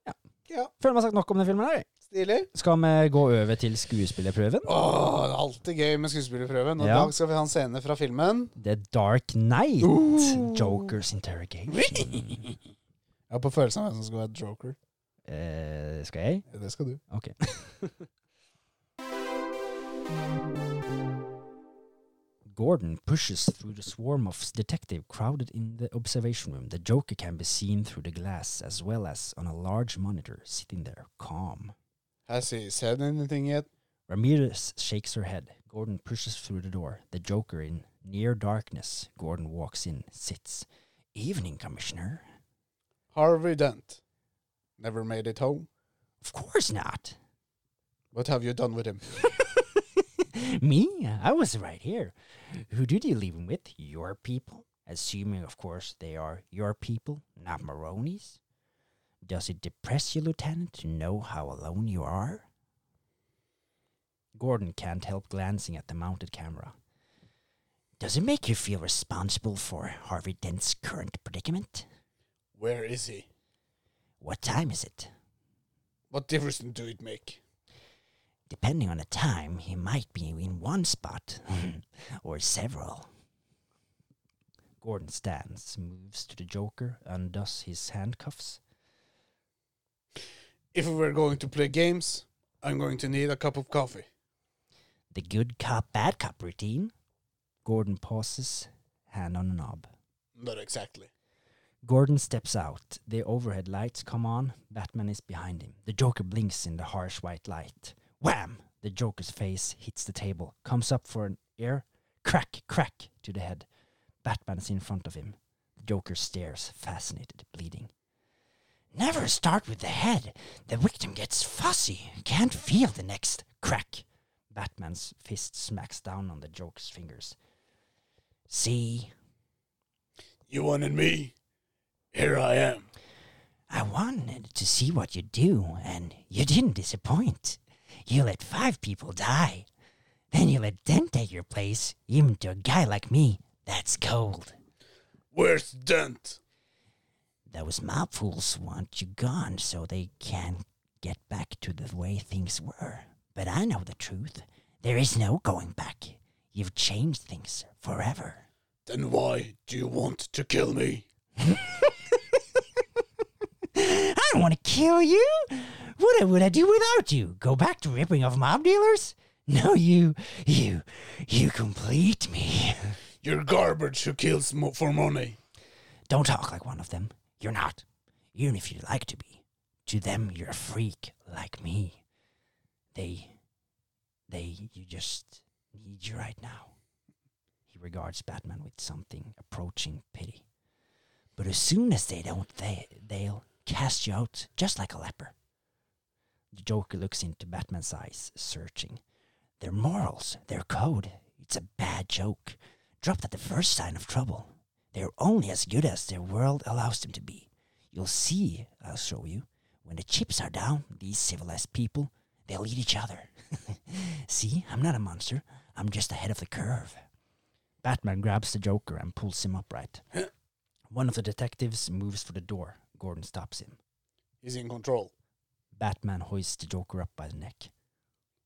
S1: Ja.
S2: Ja.
S1: Føler vi har sagt nok om den filmen her. jeg.
S2: Stilig.
S1: Skal vi gå over til skuespillerprøven?
S2: Åh, det er alltid gøy med skuespillerprøven. Og i
S1: Ja.
S2: dag skal vi ha en scene fra filmen. [laughs]
S1: The Dark Night.
S2: Uh.
S1: Jokers
S2: [laughs]
S1: Interrogation.
S2: Jeg har på følelsen av hvem som skal være joker.
S1: eh, skal jeg?
S2: Ja, Det skal du.
S1: Ok. Gordon pushes through the swarm of detective crowded in the observation room. The Joker can be seen through the glass as well as on a large monitor sitting there, calm.
S2: Has he said anything yet?
S1: Ramirez shakes her head. Gordon pushes through the door. The Joker in near darkness. Gordon walks in, sits. Evening, Commissioner.
S2: Harvey Dent. Never made it home.
S1: Of course not.
S2: What have you done with him?
S1: [laughs] Me? I was right here. Who did you leave him with? Your people? Assuming, of course, they are your people, not Maroney's. Does it depress you, Lieutenant, to know how alone you are? Gordon can't help glancing at the mounted camera. Does it make you feel responsible for Harvey Dent's current predicament?
S2: Where is he?
S1: What time is it?
S2: What difference do it make?
S1: Depending on the time, he might be in one spot [laughs] or several. Gordon stands, moves to the Joker, undoes his handcuffs.
S2: If we were going to play games, I'm going to need a cup of coffee.
S1: The good cop, bad cop routine. Gordon pauses, hand on a knob.
S2: Not exactly.
S1: Gordon steps out. The overhead lights come on. Batman is behind him. The Joker blinks in the harsh white light. Wham! The Joker's face hits the table, comes up for an ear. Crack, crack to the head. Batman is in front of him. The Joker stares, fascinated, bleeding. Never start with the head. The victim gets fussy, can't feel the next crack. Batman's fist smacks down on the Joker's fingers. See,
S2: You wanted me? Here I am.
S1: I wanted to see what you do, and you didn't disappoint. You let five people die. Then you let Dent take your place, even to a guy like me. That's cold.
S2: Where's Dent?
S1: Those mob fools want you gone so they can get back to the way things were. But I know the truth. There is no going back. You've changed things forever.
S2: Then why do you want to kill me?
S1: I don't want to kill you. What would I do without you? Go back to ripping off mob dealers? No, you, you, you complete me.
S2: You're garbage who kills mo- for money.
S1: Don't talk like one of them. You're not. Even if you'd like to be. To them, you're a freak like me. They, they, you just need you right now. He regards Batman with something approaching pity. But as soon as they don't, they, they'll cast you out just like a leper. The Joker looks into Batman's eyes, searching. Their morals, their code, it's a bad joke. Dropped at the first sign of trouble. They're only as good as their world allows them to be. You'll see, I'll show you. When the chips are down, these civilized people, they'll eat each other. [laughs] see, I'm not a monster. I'm just ahead of the curve. Batman grabs the Joker and pulls him upright. [clears throat] One of the detectives moves for the door. Gordon stops him.
S2: He's in control.
S1: Batman hoists the Joker up by the neck.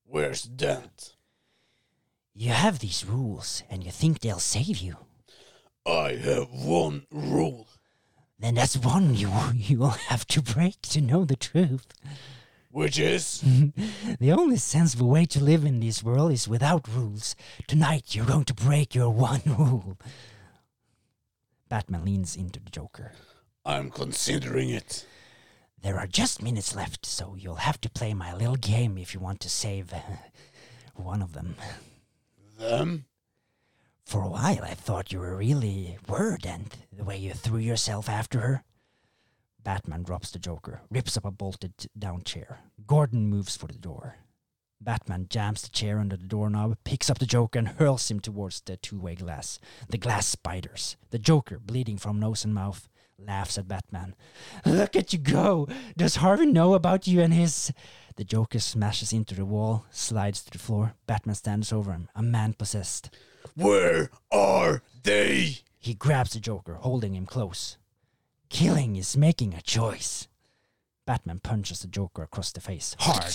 S2: Where's Dent?
S1: You have these rules, and you think they'll save you.
S2: I have one rule.
S1: Then that's one you [laughs] you will have to break to know the truth.
S2: Which is
S1: the only sensible way to live in this world is without rules. Tonight you're going to break your one [laughs] rule. Batman leans into the Joker.
S2: I'm considering it.
S1: There are just minutes left, so you'll have to play my little game if you want to save uh, one of them.
S2: Them?
S1: For a while, I thought you were really word and the way you threw yourself after her. Batman drops the Joker, rips up a bolted t- down chair. Gordon moves for the door. Batman jams the chair under the doorknob, picks up the Joker, and hurls him towards the two way glass. The glass spiders. The Joker, bleeding from nose and mouth, laughs at Batman. Look at you go! Does Harvey know about you and his. The Joker smashes into the wall, slides to the floor. Batman stands over him, a man possessed.
S2: Where are they?
S1: He grabs the Joker, holding him close. Killing is making a choice. Batman punches the Joker across the face, hard.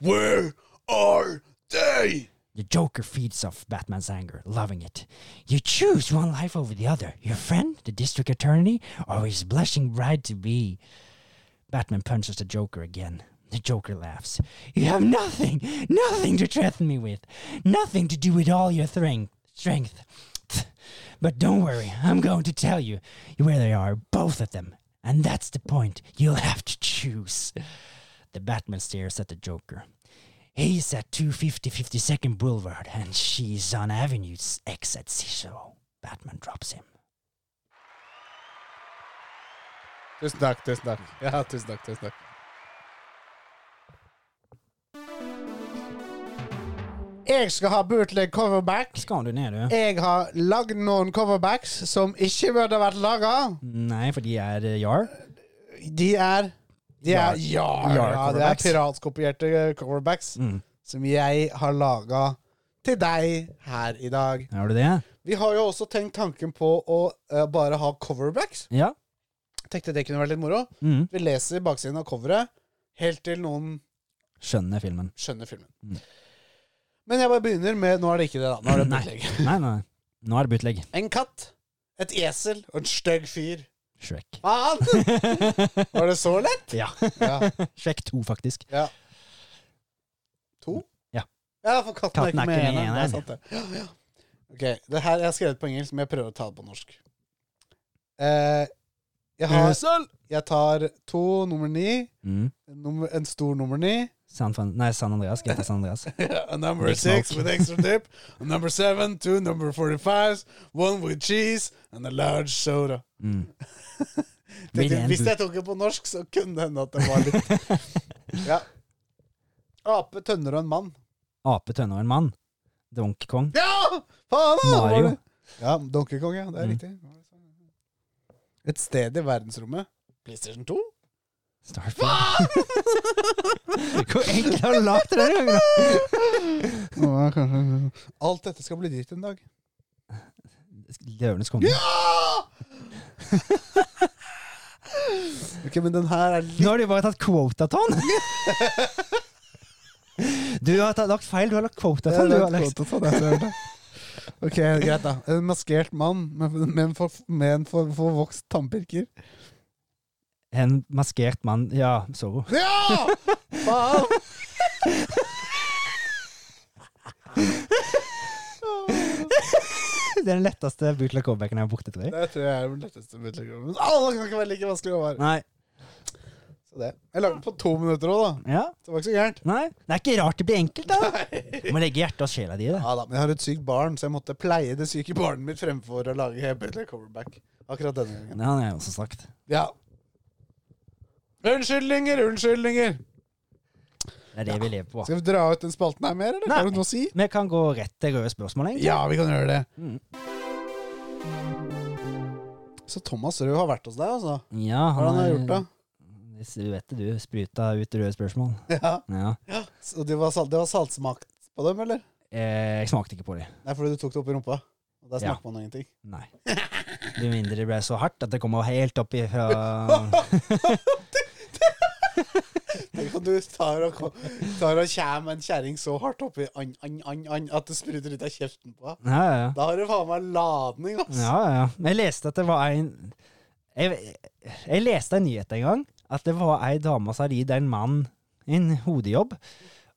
S2: Where are they?
S1: The Joker feeds off Batman's anger, loving it. You choose one life over the other your friend, the district attorney, or his blushing bride to be. Batman punches the Joker again. The Joker laughs. You have nothing, nothing to threaten me with, nothing to do with all your threng- strength. [sniffs] But don't worry, I'm going to tell you where they are, both of them. And that's the point. You'll have to choose. The Batman stares at the Joker. He's at 250 52nd Boulevard, and she's on Avenue X at Cicero. Batman drops him.
S2: Tusen takk, tusen takk. Ja, tusen takk, tusen takk. Jeg skal ha bootleg coverback.
S1: Skal du ned, du?
S2: Jeg har lagd noen coverbacks som ikke burde vært laga.
S1: Nei, for de er eh, Yar.
S2: De er De er
S1: Jar-
S2: ja, ja,
S1: Jar
S2: det er
S1: coverbacks.
S2: piratkopierte eh, coverbacks
S1: Mm.
S2: som jeg har laga til deg her i dag.
S1: Er du det?
S2: Vi har jo også tenkt tanken på å eh, bare ha coverbacks.
S1: Ja.
S2: Tenkte det kunne vært litt moro.
S1: Mm.
S2: Vi leser baksiden av coveret helt til noen
S1: Skjønner filmen.
S2: skjønner filmen.
S1: Mm.
S2: Men jeg bare begynner med Nå er det ikke det, da. Nå er det
S1: Nei.
S2: bootleg.
S1: [laughs] Nei, nei. Nå er det bootleg.
S2: En katt, et esel og en stygg fyr.
S1: [laughs] Shrek.
S2: Faen! Var det så lett?
S1: Ja.
S2: Ja.
S1: Shrek 2, faktisk.
S2: To?
S1: Ja.
S2: Ja, for katten,
S1: Katten
S2: er ikke med i eneren. Det
S1: eneren.
S2: er sant, det. Ja, ja. Ok, det her jeg har skrevet på engelsk, men jeg prøver å ta det på norsk. Eh, jeg, har, jeg tar to nummer ni,
S1: Mm.
S2: en nummer, en stor nummer ni,
S1: San, Fan- nei, San Andreas. Greta San Andreas.
S2: [laughs] a number
S1: Big [laughs]
S2: six
S1: smoke.
S2: with extra dip, a number seven, two number 45s, one with cheese, and a large soda.
S1: [laughs] Mm. Blir det
S2: Tenkte,
S1: en
S2: hvis
S1: boot-
S2: jeg tok det på norsk, så kunne det hende at det var litt
S1: [laughs]
S2: Ja. Ape, tønner og en mann.
S1: Ape, tønne og en mann. Donkey Kong.
S2: Ja! Faen, da!
S1: Mario.
S2: Var det- Ja, Donkey Kong, ja. Det er
S1: Mm.
S2: riktig. Et sted i verdensrommet. PlayStation 2? [laughs]
S1: Starfield. Hvor enkelt har du lagd det denne gangen? da?
S2: Alt dette skal bli dritt en dag.
S1: Løvenes konge.
S2: Ja! ok, men den her er litt
S1: Nå har de bare tatt quotaton! Du har tatt, lagt feil. Du har lagt quotaton,
S2: eh,
S1: du, Alex.
S2: Ok, greit, da. En maskert mann med, med en for- med en for- forvokst tannpirker.
S1: En maskert mann Ja, Zorro.
S2: Ja! Faen!
S1: Det er den letteste bootleg coverbacken jeg har borte, tror jeg.
S2: Det tror jeg er den letteste middelgraden. Men alle kan ikke være like vanskelig å være.
S1: Nei.
S2: Så det. Jeg lagde den på to minutter òg, da.
S1: Ja.
S2: Så det var ikke så gærent.
S1: Nei. Det er ikke rart det blir enkelt, da. Du må legge hjertet og sjela di i det.
S2: Ja da, men jeg har et sykt barn, så jeg måtte pleie det syke barnet mitt fremfor å lage bedre coverback. Akkurat denne gangen.
S1: Det har jeg også sagt.
S2: Ja. Unnskyldninger, unnskyldninger!
S1: Det er det vi lever på.
S2: Skal vi dra ut den spalten her mer, eller?
S1: Nei.
S2: Har du noe å si?
S1: Vi kan gå rett til røde spørsmål, egentlig.
S2: Ja, vi kan gjøre det.
S1: Mm.
S2: Så Thomas Rød har vært hos deg, altså?
S1: Ja,
S2: Hva har han har gjort, da?
S1: Hvis Du vet det, du. Spruta ut røde spørsmål.
S2: [laughs] Ja.
S1: Ja.
S2: Så det var, salt, det var saltsmak på dem, eller?
S1: Eh, jeg smakte ikke på dem.
S2: Nei, fordi du tok det opp i rumpa. Og der
S1: Ja.
S2: smaker man ingenting.
S1: Nei. Med mindre det ble så hardt at det kommer helt opp ifra
S2: Tenk om du tar og, tar og kjem en kjerring så hardt oppi an, an, an, an, at det spruter ut av kjeften på deg.
S1: Ja, ja, ja.
S2: Da har du faen meg ladning, ass.
S1: Ja, ja. Men Jeg leste at det var en Jeg, jeg leste en nyhet en gang, at det var ei dame som hadde gitt en mann en hodejobb,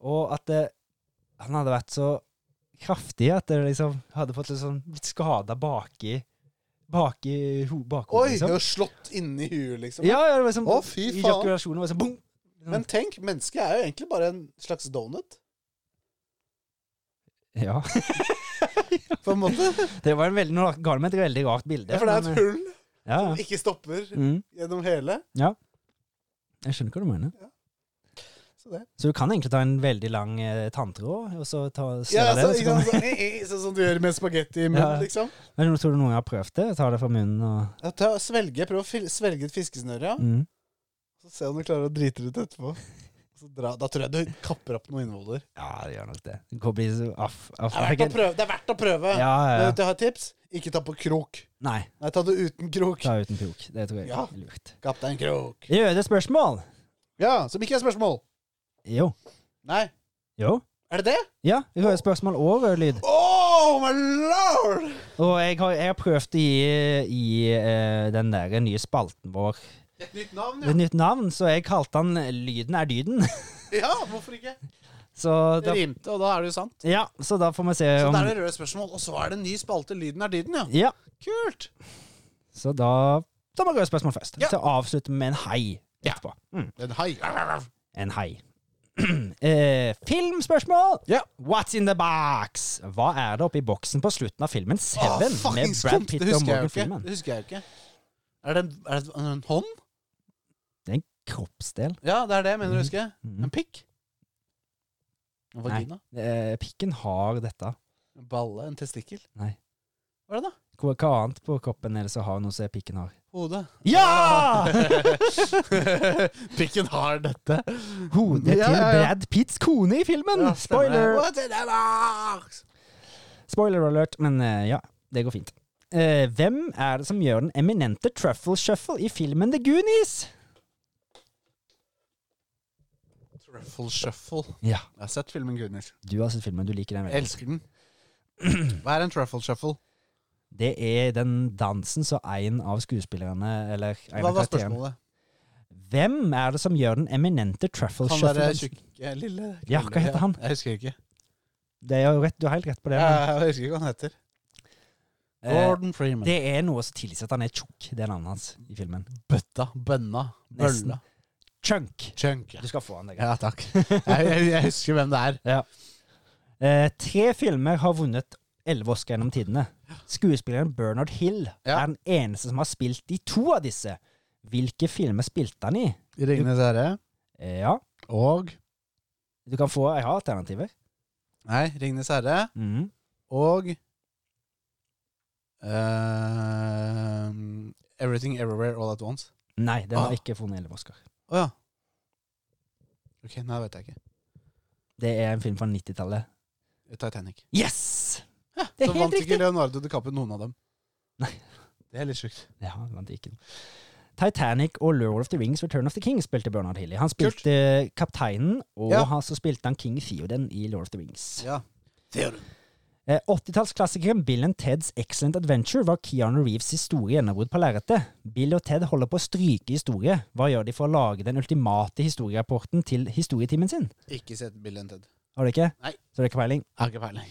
S1: og at eh, han hadde vært så kraftig at det liksom hadde fått litt, sånn, litt skada baki, baki ho,
S2: Oi!
S1: bakhodet.
S2: Jeg
S1: Liksom.
S2: har slått inni huet, liksom.
S1: Ja, ja, det var liksom,
S2: Å, fy
S1: I
S2: faen.
S1: jakulasjonen var det sånn boom!
S2: Men tenk, mennesket er jo egentlig bare en slags donut,
S1: Ja.
S2: på en måte.
S1: [laughs] Det var en veldig, nå ga du meg et veldig rart bilde.
S2: Ja, for det er
S1: men,
S2: et hull
S1: eh, ja,
S2: som
S1: ja.
S2: ikke stopper
S1: Mm,
S2: gjennom hele.
S1: jeg skjønner hva du mener.
S2: Så det.
S1: Så du kan egentlig ta en veldig lang eh, tanntråd, og så ta
S2: Ja,
S1: snurre
S2: altså,
S1: det, og så
S2: ikke
S1: kan
S2: sant, sånn, eh, eh, sånn som du gjør med spagetti i
S1: Ja.
S2: munnen, liksom.
S1: Men nå tror du noen har prøvd det? Ta det fra munnen og
S2: Ja, ta, svelge, Prøv å fil- svelge et fiskesnøre, ja.
S1: mm.
S2: Så se om du klarer å drite det ut etterpå. Så dra, da tror jeg du kapper opp noen innvoller.
S1: Ja, det gjør nok det. Det kan bli så aff. aff
S2: Det er verdt å prøve! Det er verdt å prøve.
S1: Ja, ja,
S2: Men
S1: ja.
S2: vet du, jeg har et tips. Ikke ta på krok.
S1: Nei,
S2: Nei, ta det uten krok.
S1: ta uten krok. Det tror jeg
S2: Ja.
S1: er lurt.
S2: Kapp deg en krok.
S1: Røde spørsmål?
S2: Ja, som ikke er spørsmål.
S1: Jo.
S2: Nei.
S1: Jo.
S2: Er det det?
S1: Ja, røde spørsmål og rød lyd.
S2: Oh my lord!
S1: Og jeg har, jeg har prøvd å gi, gi eh, den der nye spalten vår
S2: Et nytt navn,
S1: et nytt navn, så jeg kalte den Lyden er dyden. [laughs]
S2: Ja, hvorfor ikke?
S1: Så da,
S2: Det rimte, og da er det jo sant.
S1: ja, så da får vi se
S2: Så
S1: om
S2: da er det røde spørsmål, og så er det en ny spalte. Lyden er dyden, ja.
S1: Ja,
S2: Kult!
S1: så da tar vi røde spørsmål først.
S2: Ja.
S1: Så avslutter vi med en hei
S2: Ja.
S1: etterpå. Mm.
S2: En hai.
S1: en hei. [clears throat] Eh, filmspørsmål!
S2: Ja.
S1: What's in the box? Hva er det oppi boksen på slutten av filmen Seven med
S2: fuckings
S1: Brad
S2: kom,
S1: Pitt
S2: det
S1: og
S2: husker jeg jo
S1: Morgan
S2: ikke.
S1: Freeman?
S2: Det husker jeg jo ikke. Er det, en, er det en hånd?
S1: Det er en kroppsdel.
S2: Ja, det er det jeg mener å huske.
S1: Mhm.
S2: En pikk? En vagina?
S1: Eh, pikken har dette.
S2: En balle? En testikkel?
S1: Nei.
S2: Hva er det, da?
S1: Hva, hva annet på kroppen er det som har noe som pikken har?
S2: Hodet.
S1: Ja!
S2: [laughs] Pikken har dette.
S1: Hodet
S2: Mm. Ja,
S1: til
S2: ja, ja.
S1: Brad Pitts kone i filmen!
S2: Ja, stemmer.
S1: Spoiler!
S2: What's in the box?
S1: Spoiler alert, men eh, ja, det går fint. Eh, hvem er det som gjør den eminente truffle shuffle i filmen The Goonies?
S2: Truffle Shuffle.
S1: Ja,
S2: Jeg har sett filmen Goodness.
S1: du har sett filmen, du liker den veldig.
S2: Jeg elsker den. Hva er en truffle shuffle?
S1: Det er den dansen som en av skuespillerne eller
S2: Hva
S1: en av
S2: var
S1: karakterene
S2: spørsmålet?
S1: Hvem er det som gjør den eminente truffle
S2: Han eh, derre
S1: shuffle?
S2: tjukke lille
S1: Ja, hva heter han?
S2: Jeg husker ikke.
S1: Det er jo rett, du har helt rett på det. men,
S2: Jeg husker ikke hva han heter.
S1: eh,
S2: Gordon Freeman.
S1: det er noe som tilsier at han er tjukk. Det er navnet hans i filmen.
S2: Bøtta. Bønna.
S1: Nesten.
S2: Bølla.
S1: Chunk.
S2: Chunk.
S1: Du skal få han, deg.
S2: Ja, takk. Jeg, jeg, jeg husker hvem det er.
S1: [laughs] Eh, tre filmer har vunnet elleve Oscar gjennom tidene. Skuespilleren Bernard Hill
S2: Ja.
S1: er den eneste som har spilt i to av disse. Hvilke filmer spilte han i?
S2: Ringenes herre
S1: Eh, ja,
S2: og
S1: du kan få Jeg har alternativer.
S2: Nei, Ringenes herre
S1: Mhm.
S2: og ehm, Everything Everywhere All At Once.
S1: Nei, den
S2: Ah.
S1: har ikke funnet elleve Oscar.
S2: Å ja. Ok, nei, det vet jeg ikke.
S1: Det er en film fra 90-tallet.
S2: Titanic.
S1: Yes!
S2: Ja,
S1: Det er
S2: så
S1: helt
S2: vant ikke
S1: riktig.
S2: Leonardo DiCaprio noen av dem.
S1: Nei.
S2: [laughs] Det er litt sjukt.
S1: Ja, han vant ikke. Titanic og Lord of the Rings Return of the King spilte Bernard Hill i. Han
S2: Kult.
S1: spilte eh, kapteinen, og
S2: Ja.
S1: han, så spilte han King Theoden i Lord of the Rings.
S2: Ja.
S1: Eh, 80-tallsklassikeren Bill and Teds Excellent Adventure var Keanu Reeves' store gjennombrudd på lerretet. Bill og Ted holder på å stryke historie. Hva gjør de for å lage den ultimate historierapporten til historietimen sin?
S2: Ikke sett Bill and Ted.
S1: Har du ikke?
S2: Nei.
S1: Så det er ikke peiling?
S2: Jeg har ikke peiling.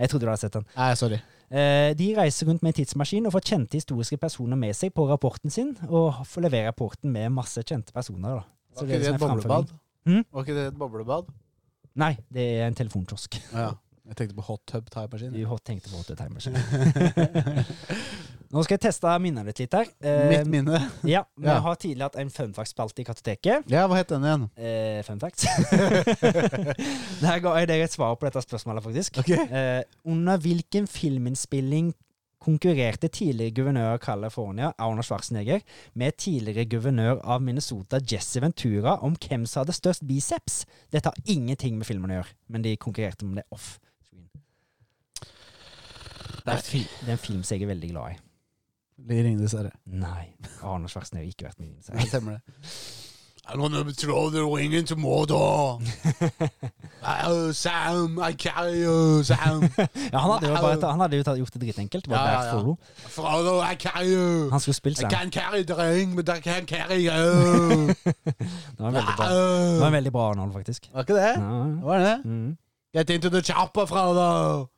S1: Jeg trodde du hadde sett den.
S2: Nei, sorry.
S1: Eh, De reiser rundt med en tidsmaskin og får kjente historiske personer med seg på rapporten sin, og får levere rapporten med masse kjente personer. Da. Så
S2: Var
S1: det er
S2: ikke det
S1: liksom
S2: et
S1: en
S2: boblebad?
S1: Hm?
S2: Var ikke det et boblebad?
S1: framføring. Nei, det er en telefonkiosk.
S2: Å ja. Jeg tenkte på hot tub
S1: Du
S2: tie-maskin.
S1: hot- tenkte på åtte timers.
S2: [laughs]
S1: Nå skal jeg teste minnet ditt litt her. Eh,
S2: Mitt minne.
S1: ja, vi
S2: Ja.
S1: har tidligere hatt en funfact-spalte i Kartoteket.
S2: Ja, hva het den igjen? [laughs]
S1: Eh, funfacts. Der ga jeg deg et svar på dette spørsmålet, faktisk.
S2: Ok.
S1: Eh, under hvilken filminnspilling konkurrerte tidligere guvernør av California, Arnold Schwarzenegger, med tidligere guvernør av Minnesota, Jesse Ventura, om hvem som hadde størst biceps? Dette har ingenting med filmen å gjøre, men de konkurrerte om det off. Det er, fi- det er en film som jeg er veldig glad i.
S2: Ringenes herre.
S1: Nei, Arnold Schwarzenegger har ikke vært med i
S2: Ja,
S1: den serien.
S2: stemmer det. I'm gonna throw the ring into Mordor. oh, Sam, I carry you, Sam.
S1: [laughs] Ja, han hadde jo bare han hadde jo tatt- gjort det dritenkelt. Bare
S2: Ja, ja,
S1: Darth
S2: ja.
S1: Solo.
S2: Frodo, I carry you.
S1: Han skulle spilt
S2: I
S1: Sam.
S2: can't carry the ring, but I can carry you.
S1: Det var veldig bra, det var en veldig bra anhold, faktisk.
S2: Var ikke det?
S1: Ja, ja.
S2: Var det?
S1: Mm.
S2: Get into the chopper, Frodo.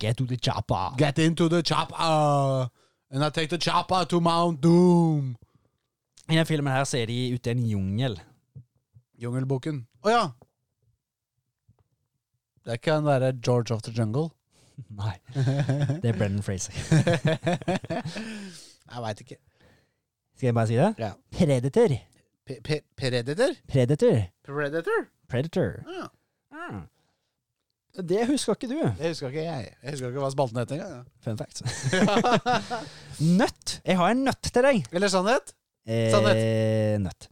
S1: Get to the chopper.
S2: Get into the chopper. And I take the chopper to Mount Doom.
S1: I den filmen her ser de ute i en jungel. [laughs]
S2: Jungelboken. Å ja. Det kan være George of the [laughs] Jungle.
S1: Nei, det er Brendan Fraser.
S2: Jeg veit ikke.
S1: Skal jeg bare si det?
S2: Ja.
S1: Predator.
S2: P- P- Predator?
S1: Predator.
S2: Predator?
S1: Predator.
S2: Ja.
S1: Mm. Det husker ikke du.
S2: Det husker ikke jeg. Jeg husker ikke hva spalten het engang.
S1: Fun fact. nøtt. Jeg har en nøtt til deg.
S2: [laughs] Eller sannhet?
S1: Eh, Nøtt.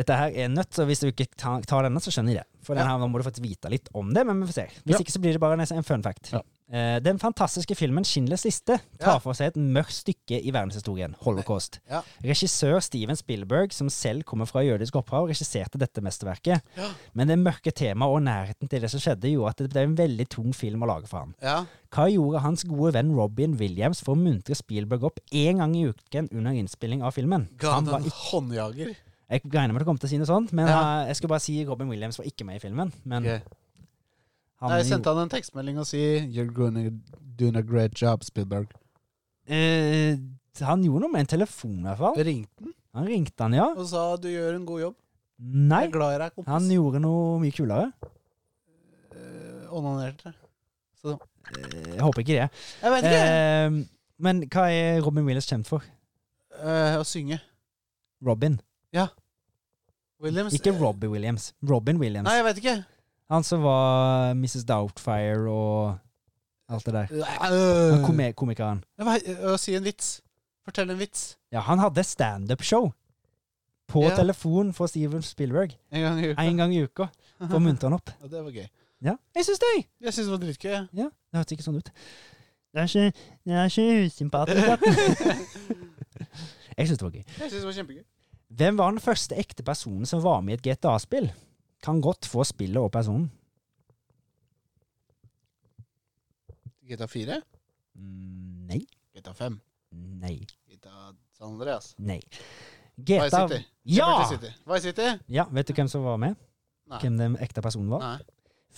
S1: Dette her er nøtt, så hvis du ikke ta- tar denne, så skjønner jeg det. For den
S2: Ja.
S1: her, nå må du faktisk vite litt om det, men vi får se. Hvis
S2: Ja.
S1: ikke så blir det bare nesten en fun fact.
S2: Ja.
S1: Eh, den fantastiske filmen 'Schindlers liste'
S2: Ja.
S1: tar for seg et mørkt stykke i verdenshistorien, holocaust.
S2: Ja.
S1: Regissør Steven Spielberg, som selv kommer fra jødisk opphav, regisserte dette mesterverket.
S2: Ja.
S1: Men det mørke temaet og nærheten til det som skjedde, gjorde at det ble en veldig tung film å lage for han.
S2: Ja.
S1: Hva gjorde hans gode venn Robin Williams for å muntre Spielberg opp én gang i uken under innspilling av filmen?
S2: Ga han
S1: var
S2: en håndjager?
S1: Jeg regner med at du kommer til å si noe sånt, men
S2: Ja.
S1: eh, jeg skulle bare si Robin Williams var ikke med i filmen. Men
S2: Ok.
S1: han,
S2: Nei, jeg sendte han en tekstmelding og si You're gonna doing a great job, Spielberg.
S1: Eh, han gjorde noe med en telefon, i hvert fall.
S2: Jeg ringte han
S1: Han ringte han, ja.
S2: og sa du gjør en god jobb.
S1: Nei,
S2: Jeg er glad i deg, kompis.
S1: han gjorde noe mye kulere.
S2: Eh, Onanerte. Så
S1: Eh, Jeg håper ikke det.
S2: Jeg vet ikke!
S1: Eh, men hva er Robin Williams kjent for?
S2: Eh, å synge.
S1: Robin.
S2: Williams eh,
S1: Ikke Robbie Williams. Robin Williams.
S2: Nei, jeg vet ikke.
S1: Han som var Mrs. Doubtfire og alt det der. Han
S2: Uh,
S1: komi- komikeren.
S2: eh, å si en vits. Fortell en vits.
S1: Ja, han hadde standup-show på
S2: Ja.
S1: telefon for Steven Spielberg
S2: En gang i uka.
S1: en gang i uka for å muntre han opp.
S2: Ja, det var gøy.
S1: Ja, jeg syns det!
S2: Jeg syns det var dritgøy. jeg.
S1: Ja, det hørtes ikke sånn ut. Det er ikke, det er ikke usympatisk. da. [laughs] jeg syns det var gøy.
S2: [laughs] Jeg syns det var kjempegøy.
S1: Hvem var den første ekte personen som var med i et GTA-spill? Kan godt få spillet og personen.
S2: GTA 4?
S1: Mm, Nei.
S2: GTA 5?
S1: Nei.
S2: GTA San Andreas?
S1: Nei.
S2: Vice
S1: GTA
S2: City?
S1: Ja!
S2: Liberty City. Vice City?
S1: ja! Vet du hvem som var med?
S2: Nei.
S1: Hvem den ekte personen var?
S2: Nei.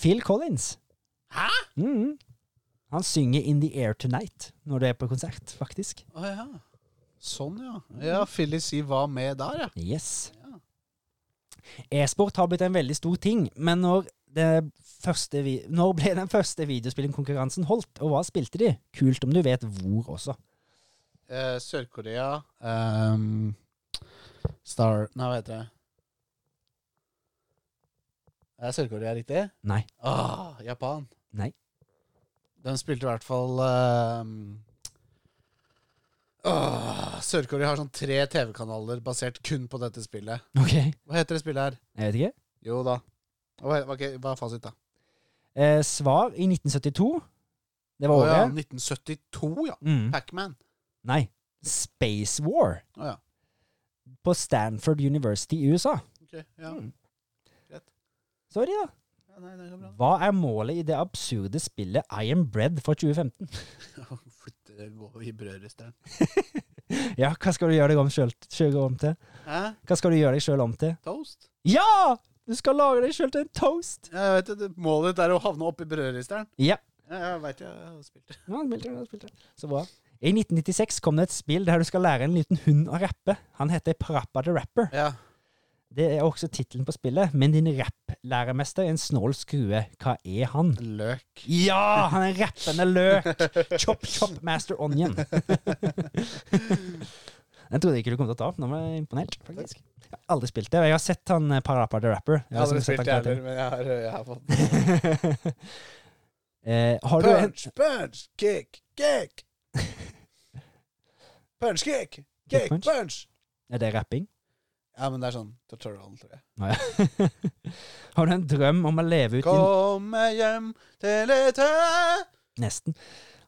S1: Phil Collins.
S2: Hæ?
S1: Mhm. Han synger In The Air Tonight når du er på konsert, faktisk.
S2: Å ja. Sånn, ja. Ja, Phyllis C var med der, ja.
S1: Yes.
S2: Ja.
S1: E-sport har blitt en veldig stor ting, men når, det første vi når ble den første videospillingkonkurransen holdt, og hva spilte de? Kult om du vet hvor også.
S2: Eh, Sør-Korea ehm, Star Nei, hva heter det? Er Sør-Korea riktig?
S1: Nei.
S2: Ah, Japan.
S1: Nei.
S2: Den spilte i hvert fall ehm, åh, Sør-Korea har sånn tre TV-kanaler basert kun på dette spillet.
S1: Ok. Jeg
S2: Hva heter det spillet her?
S1: vet ikke.
S2: Jo da. Hva, hva, hva er fasit, da?
S1: Eh, svar i 1972. Det var
S2: Å ja,
S1: året.
S2: 1972, ja.
S1: Mm.
S2: Pacman.
S1: Nei. Space War
S2: Å ja.
S1: på Stanford University i USA.
S2: Ok, ja.
S1: Mm.
S2: Greit.
S1: Så er de, da.
S2: ja. Nei, det går bra.
S1: Hva er målet i det absurde spillet I Am Bread for 2015?
S2: [laughs] Flytte det gå i brødristeren.
S1: Ja, hva skal du gjøre deg om, selv, selv om til?
S2: Hæ?
S1: Hva skal du gjøre deg sjøl om til?
S2: Toast?
S1: Ja! Du skal lage deg sjøl til en toast!
S2: Ja, Jeg vet det, det- Målet ditt er å havne oppi brødristeren.
S1: Ja.
S2: Ja, jeg veit jeg har spilt det.
S1: Ja, han spilte, han spilte. Så bra. I 1996 kom det et spill der du skal lære en liten hund å rappe. Han heter Parappa the Rapper.
S2: Ja.
S1: Det er også tittelen på spillet, men din rapplæremester er en snål skrue. Hva er han?
S2: Løk.
S1: Ja, han er en rappende løk! Chop, chop, master onion. Den trodde [laughs] jeg ikke du kom til å ta opp. Nå var jeg imponert, faktisk. Jeg har aldri spilt det. og Jeg har sett han eh, Parappa the Rapper.
S2: Jeg har aldri
S1: Som sett
S2: spilt
S1: han
S2: det heller,
S1: karakter.
S2: men jeg har, jeg har fått
S1: [laughs] Eh, har du en
S2: Punch, punch, kick,
S1: [laughs]
S2: kick. Punch, kick, kick,
S1: punch?
S2: punch.
S1: Er det rapping? [laughs]
S2: Ja, men det er sånn tutorial, tror jeg.
S1: Nei. har du en drøm om å leve ut din
S2: Komme hjem til et hø-
S1: Nesten.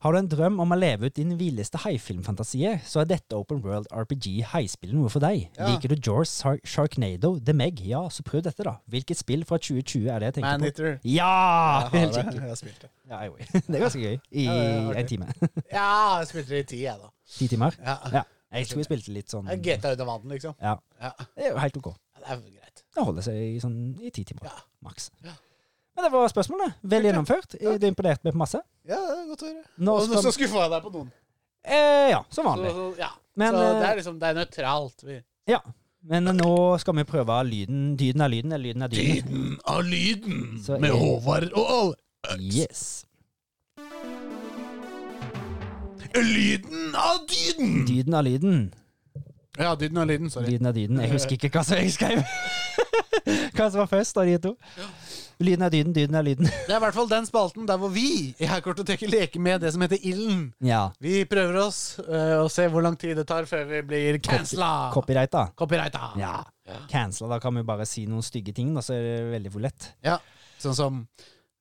S1: Har du en drøm om å leve ut din villeste haifilmfantasier, så er dette Open World RPG haispillet noe for deg.
S2: Ja.
S1: Liker du Jaws, Shark- Sharknado, The Meg? Ja, så prøv dette, da. Hvilket spill fra 2020 er det jeg tenker på?
S2: Manhitter.
S1: Ja!
S2: jeg,
S1: [laughs] Helt
S2: har det.
S1: skikkelig.
S2: jeg har spilt det.
S1: Ja, jo. [laughs] Det er ganske gøy. I
S2: Ja, det er artig.
S1: en time. [laughs]
S2: Ja, jeg spilte det i ti, jeg, da.
S1: Ti timer.
S2: Ja.
S1: Ja. Jeg tror jeg spilte litt sånn
S2: Jeg
S1: Det
S2: GTA ut av vannet, liksom.
S1: Ja.
S2: ja.
S1: er jo helt ok.
S2: Det er jo greit.
S1: Det holder seg i sånn i ti timer,
S2: Ja.
S1: maks.
S2: Ja.
S1: Men det var spørsmålet. Vel gjennomført.
S2: Ja.
S1: Du imponerte meg på masse.
S2: Ja, det er godt å høre.
S1: Nå
S2: Og
S1: skal,
S2: så skuffa jeg deg på noen.
S1: eh, ja, som
S2: Så,
S1: vanlig.
S2: så, ja.
S1: Men,
S2: så det
S1: eh,
S2: er liksom Det er nøytralt. Vi-
S1: Men nå skal vi prøve lyden. Dyden av lyden eller lyden av dyden.
S2: av lyden
S1: Så med er-
S2: Håvard og alle.
S1: Yes.
S2: Lyden av dyden!
S1: Dyden av lyden.
S2: Ja, dyden av lyden. Sorry.
S1: Lyden av dyden. Jeg husker ikke hva som jeg skrev. [laughs] Hva som var først av de to. Lyden av dyden, dyden av lyden. [laughs]
S2: Det er i hvert fall den spalten der hvor vi i Herkortoteket leker med det som heter ilden.
S1: Ja.
S2: Vi prøver oss øh, og ser hvor lang tid det tar før vi blir cancela.
S1: Copyright, da.
S2: Copyrighta.
S1: Ja. Cancela. Da kan vi bare si noen stygge ting, da, så er det veldig for lett.
S2: Ja. Sånn som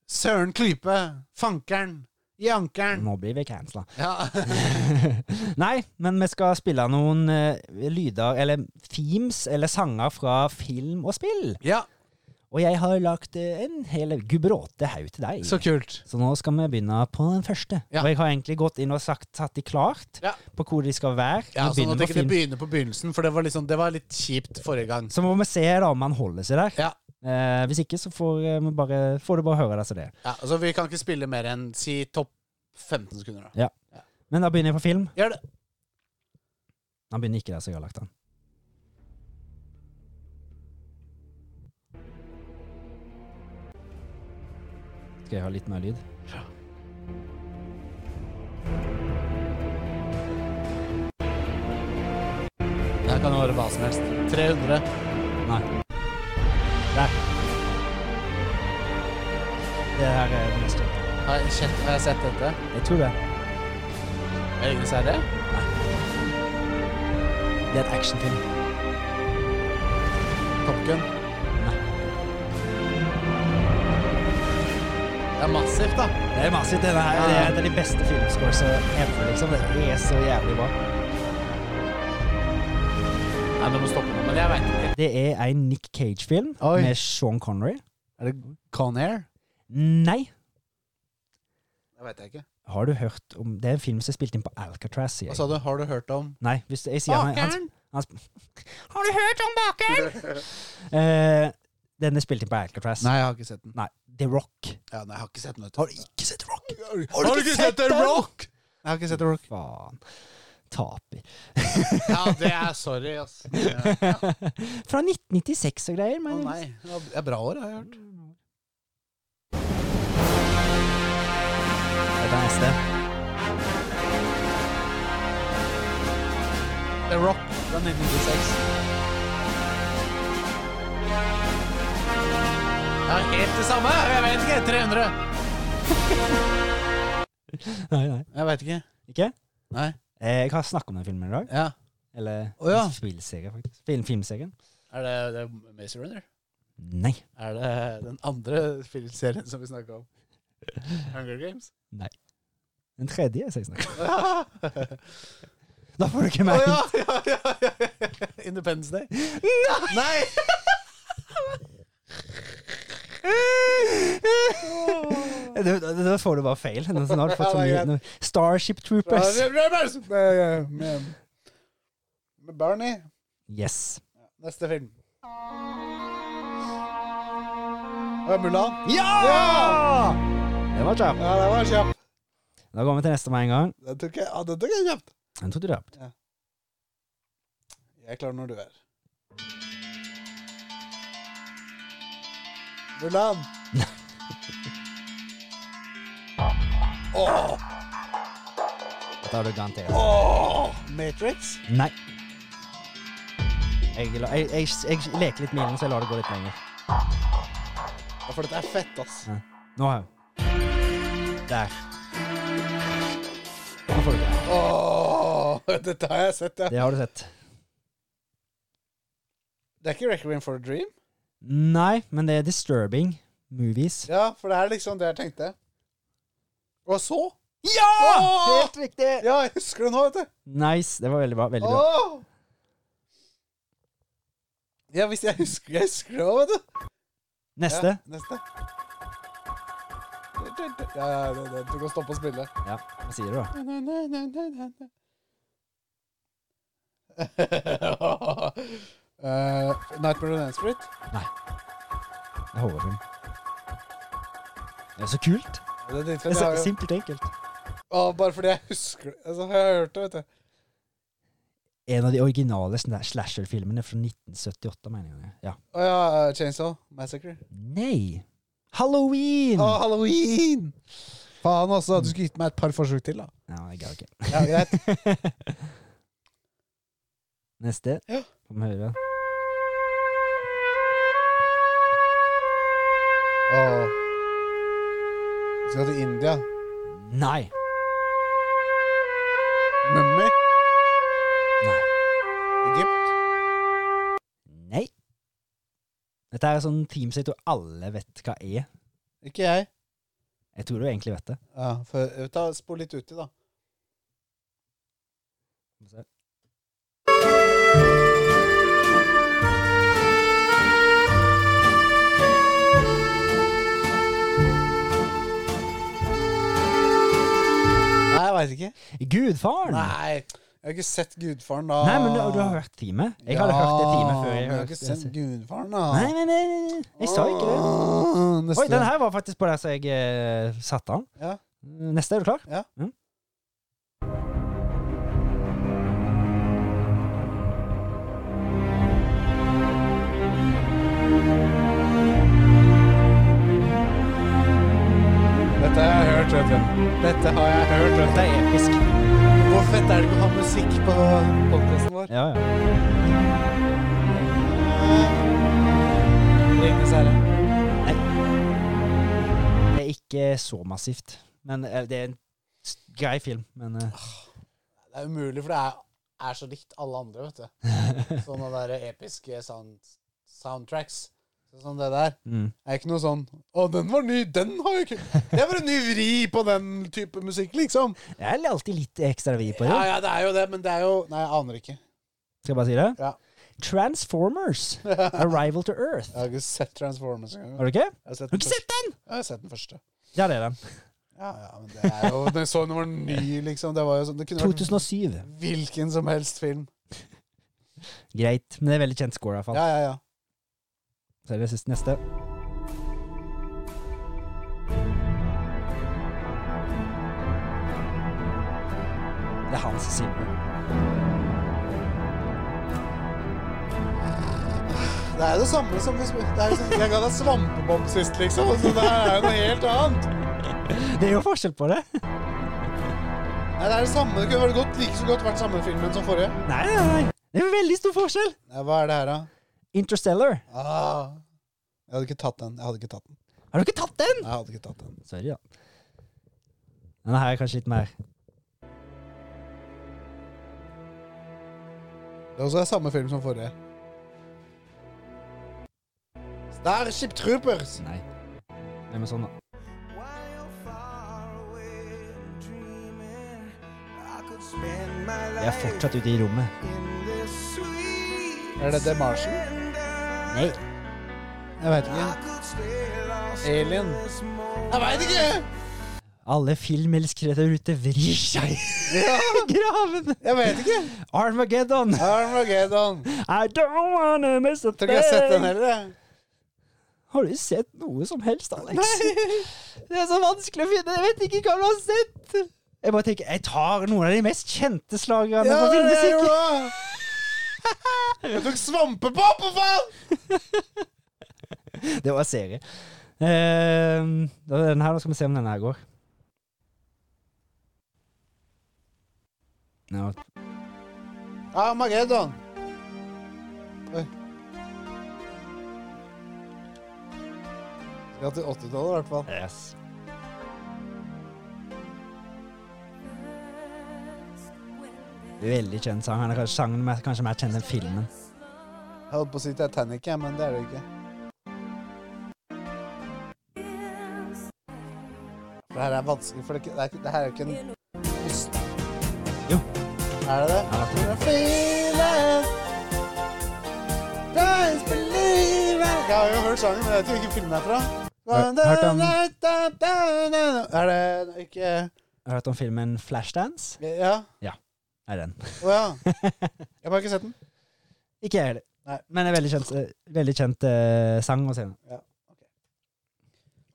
S2: Søren Klype, Fankeren, Jankeren.
S1: Nå blir vi cancela.
S2: Ja.
S1: [laughs] Nei, men vi skal spille noen eh, lyder, eller themes, eller sanger fra film og spill.
S2: ja,
S1: Og jeg har lagt eh, en hel gubberåte haug til deg.
S2: så kult.
S1: Så nå skal vi begynne på den første.
S2: Ja.
S1: Og jeg har egentlig gått inn og sagt, satt de klart
S2: Ja.
S1: på hvor de skal være.
S2: Ja,
S1: Vi
S2: sånn
S1: begynner
S2: at
S1: på
S2: ikke det
S1: film.
S2: begynner på begynnelsen, for det var, liksom, det var litt kjipt forrige gang.
S1: Så må vi se da om han holder seg der.
S2: Ja.
S1: Eh, hvis ikke, så får, eh, vi bare, får du bare høre det som det er.
S2: Ja, altså Vi kan ikke spille mer enn si topp 15 sekunder. da
S1: Men da begynner jeg på film.
S2: Gjør det.
S1: Han begynner ikke der som jeg har lagt den. Skal jeg ha litt mer lyd?
S2: Det kan være hva som helst. 300.
S1: Nei. Der. Det her er det neste.
S2: Har jeg, sett, har jeg sett dette?
S1: Jeg tror
S2: Er
S1: det.
S2: det ingen som er det?
S1: Det er et actionfilm.
S2: Top Gun?
S1: Nei.
S2: Det er massivt, da.
S1: Det er massivt. Det her det er et av de beste filmscoresa ever. Liksom. Det er så jævlig bra.
S2: Nei, men du må stoppe nå. Men jeg veit ikke.
S1: Det er en Nick Cage-film
S2: Oi.
S1: med Sean Connery.
S2: Er det Conair?
S1: Nei.
S2: Det veit jeg ikke.
S1: Har du hørt om Det er en film som er spilt inn på Alcatraz. sier
S2: Hva
S1: Jeg.
S2: sa du? Har du hørt om
S1: Nei, hvis jeg sier han, han,
S2: Bakeren?
S1: Har du hørt om bakeren? [laughs] Eh, den er spilt inn på Alcatraz.
S2: Nei, jeg har ikke sett den.
S1: Nei, The Rock.
S2: Ja, nei, jeg Har ikke sett den. vet du.
S1: Har du ikke sett Rock?
S2: Har du ikke sett The Rock? Jeg har ikke sett The [laughs] Rock.
S1: Faen. Taper.
S2: Ja, det er sorry, ass.
S1: Fra 1996 og
S2: Å
S1: greier.
S2: [laughs]
S1: Men
S2: nei. Det er bra år, har jeg hørt.
S1: Dette er neste.
S2: The Rock fra 1996. Ja, helt det samme! Jeg vet ikke. 300.
S1: Nei, nei.
S2: Jeg veit ikke.
S1: Ikke?
S2: Nei.
S1: Eh, jeg har snakket om den filmen i dag.
S2: Ja.
S1: Eller
S2: Å, ja.
S1: spillserie, faktisk. Film, filmserien.
S2: Er det, det er Maze Runner?
S1: Nei.
S2: Er det den andre filmserien som vi snakka om? Hunger [laughs] Games?
S1: Den tredje som jeg snakker om.
S2: Å ja.
S1: [laughs] Da får du
S2: Å
S1: ikke meg.
S2: [laughs] ja, ja, ja, ja, ja. Independence Day? [laughs] Nei!
S1: [laughs] Da, da- da får du bare feil. Nå nå har du fått så mye nå- Starship Troopers.
S2: Med, med, med Barney.
S1: Yes.
S2: Neste film. Det er Mulan.
S1: Ja! Det var kjapt.
S2: Ja, det var kjapt.
S1: Da går vi til neste med en gang.
S2: Den tok jeg, ja, den tok jeg kjapt.
S1: Den tok du kjapt.
S2: Jeg klarer når du er. Mulan. Åh,
S1: Dette har du garantert.
S2: åh. Matrix.
S1: Nei. Jeg, la- jeg, jeg, jeg leker litt med ilden, så jeg lar det gå litt lenger.
S2: Ja, for dette er fett, ass.
S1: Nå har jeg Der. Nå får du det.
S2: Åh, [laughs] dette har jeg sett, ja.
S1: Det har du sett.
S2: Det er ikke Requiem for a Dream?
S1: Nei, men det er disturbing movies.
S2: Ja, for det er liksom det jeg tenkte. Og så
S1: Ja!
S2: Åh!
S1: Helt riktig!
S2: Ja, jeg husker det nå, vet du.
S1: Nice. Det var veldig bra. veldig bra.
S2: Åh! Ja, hvis jeg husker Jeg husker det òg, vet du.
S1: Neste.
S2: Ja, neste. Ja, ja, det, det, du kan stoppe å spille.
S1: Ja, hva sier du, da?
S2: Eh, Nightmare on Elm Street.
S1: Det er horrorfilm. Det er så kult.
S2: Det er
S1: Det
S2: tilfellet,
S1: er
S2: jeg
S1: så
S2: har jo-
S1: Simpelt og enkelt.
S2: Å, bare fordi jeg husker det. Altså, har jeg hørt det, vet du.
S1: En av de originale sna- slasher-filmene fra 1978, mener jeg. Ja.
S2: Å ja, eh, Chainsaw Massacre.
S1: Nei! Halloween!
S2: Å, halloween! Faen også, du skulle gitt meg et par forsøk til, da.
S1: Ja, jeg gadd ikke.
S2: Ja, greit.
S1: Neste.
S2: Ja.
S1: Får vi høre.
S2: Å. Vi skal til India.
S1: Nei!
S2: Mummy.
S1: Nei.
S2: Egypt.
S1: Nei. Dette er sånn teams jeg tror alle vet hva er.
S2: Ikke jeg.
S1: Jeg tror du egentlig vet det.
S2: Ja, for, ta, spol litt uti, da. Nei, jeg veit ikke.
S1: Gudfaren! Nei,
S2: Nei, jeg har ikke sett Gudfaren da.
S1: men du, du har hørt teamet. Jeg hadde hørt det teamet før. Jeg
S2: men har
S1: hørte
S2: ikke sett
S1: det.
S2: Gudfaren, da.
S1: Nei, nei, nei, nei, nei. Jeg sa ikke det.
S2: Åh, Neste.
S1: Oi, den her var faktisk på der som jeg eh, satte den.
S2: Ja.
S1: Neste, er du klar?
S2: Ja.
S1: Mm.
S2: Dette har jeg hørt, vet du. Dette har jeg hørt, vet
S1: Dette er episk.
S2: du. Hvor fett er det ikke å ha musikk på podkasten vår?
S1: Ja, ja.
S2: Ringenes herre.
S1: Det er ikke så massivt. Men eh, det er en s- grei film. Men eh,
S2: Det er umulig, for det er, er så likt alle andre, vet du.
S1: [laughs]
S2: Sånne der episke sound, soundtracks. Sånn det der.
S1: mm.
S2: Det er ikke noe sånn 'Å, den var ny! Den har jeg ikke Det er bare en ny vri på den type musikk, liksom.
S1: Det er alltid litt ekstra vi på det.
S2: Ja, ja, det er jo det, men det er jo Nei, jeg aner ikke. [laughs]
S1: Skal jeg bare si det?
S2: Ja.
S1: Transformers. Arrival to Earth.
S2: Jeg har ikke sett Transformers engang.
S1: Har du ikke?
S2: Jeg har sett
S1: Har du
S2: den
S1: ikke
S2: første.
S1: sett den?
S2: Jeg har sett den første.
S1: Ja, det er den.
S2: Ja, ja, men det er jo Den så den var ny, liksom. Det var jo sånn Det kunne vært
S1: 2007.
S2: hvilken som helst film.
S1: Greit. Men det er veldig kjent score, i hvert fall.
S2: Ja, ja, ja.
S1: Så er det siste neste. Det er Hans Zimmer.
S2: Det er jo det samme som hvis det er liksom, Jeg ga deg svampebob sist, liksom. Så det her er jo noe helt annet.
S1: Det er jo forskjell på det.
S2: Nei, Det er det samme. Det kunne vært godt, like så godt vært samme filmen som forrige.
S1: Nei, nei, nei. Det er jo veldig stor forskjell.
S2: Nei, hva er det her, da?
S1: Interstellar.
S2: Ah. Jeg hadde ikke tatt den. Jeg hadde ikke tatt den.
S1: Har du ikke tatt den?
S2: Jeg hadde ikke tatt den.
S1: Sorry, da. Denne her er kanskje litt mer
S2: Det er også er samme film som forrige. Starship Troopers!
S1: Nei. Hvem er sånn, da?
S3: While you're far away and dreaming, I could spend my
S1: Jeg er
S3: life
S1: fortsatt ute i rommet.
S3: in this sweet
S2: Er det The Martian?
S3: surrender.
S1: Nei.
S2: Jeg veit
S3: I
S2: ikke.
S3: could stay lost
S2: Alien.
S3: in this moment.
S2: Jeg veit ikke!
S1: Alle filmelskere der ute vrir seg
S2: Ja,
S1: i [laughs] graven.
S2: jeg vet ikke.
S1: Armageddon.
S2: [laughs] Armageddon. Jeg
S1: I don't wanna miss a
S2: Tror ikke jeg har sett den
S1: thing.
S2: heller, jeg.
S1: Har du sett noe som helst, Alex? Det er så vanskelig å finne. Jeg vet ikke hva du har sett. Jeg bare tenker, jeg tar noen av de mest kjente slagerne
S2: Ja, det er
S1: på
S2: jo
S1: filmmusikk.
S2: bra. [laughs] Jeg tok svampepop, for faen!
S1: Det var serie. Uh, den her, nå skal vi se om denne her går. Ja,
S2: Armageddon. Oi. Skal til 80-tallet, i hvert fall.
S1: yes. Veldig kjent sang. Han er kanskje, sangen mer, kanskje mer kjent enn filmen.
S2: Jeg holdt på å si Titanic, jeg, men det er det ikke. For det her er vanskelig, for det, er ikke- det, er ikke- det her er jo ikke en ost.
S1: Jo.
S2: Er det det?
S1: Ja,
S2: You're feeling Dance believer Jeg har jo hørt sangen, men jeg vet jo hvilken film det er fra.
S1: Har- hørt om-
S2: Er det ikke
S1: Har du hørt om filmen Flashdance?
S2: Ja?
S1: Nei, den.
S2: Å ja.
S1: [laughs]
S2: Jeg har bare ikke sett den.
S1: Ikke jeg
S2: Nei.
S1: heller. Men en veldig kjent, eh, veldig kjent eh, sang og scene.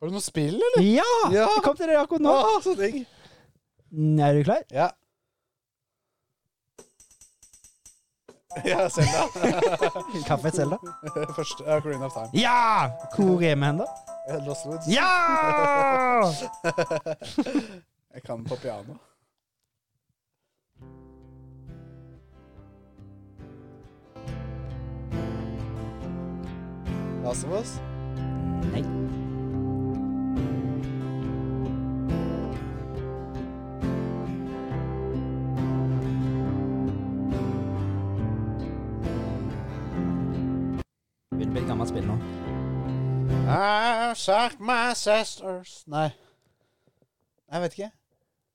S2: Har du noe spill, eller?
S1: Ja!
S2: Ja.
S1: Jeg kom til det akkurat nå.
S2: Å, så digg.
S1: Mm, Er du klar?
S2: Ja. [laughs] Ja, Selda.
S1: Kaffe Selda?
S2: [laughs] Første uh, Green of Time.
S1: Ja! Hvor er vi hen, da?
S2: Eh, Lost Woods.
S1: Ja!
S2: Jeg kan på piano. Last of Us?
S1: Nei. Begynner å bli et gammelt spill nå.
S2: I suck Ah, my sisters Nei. Jeg vet ikke.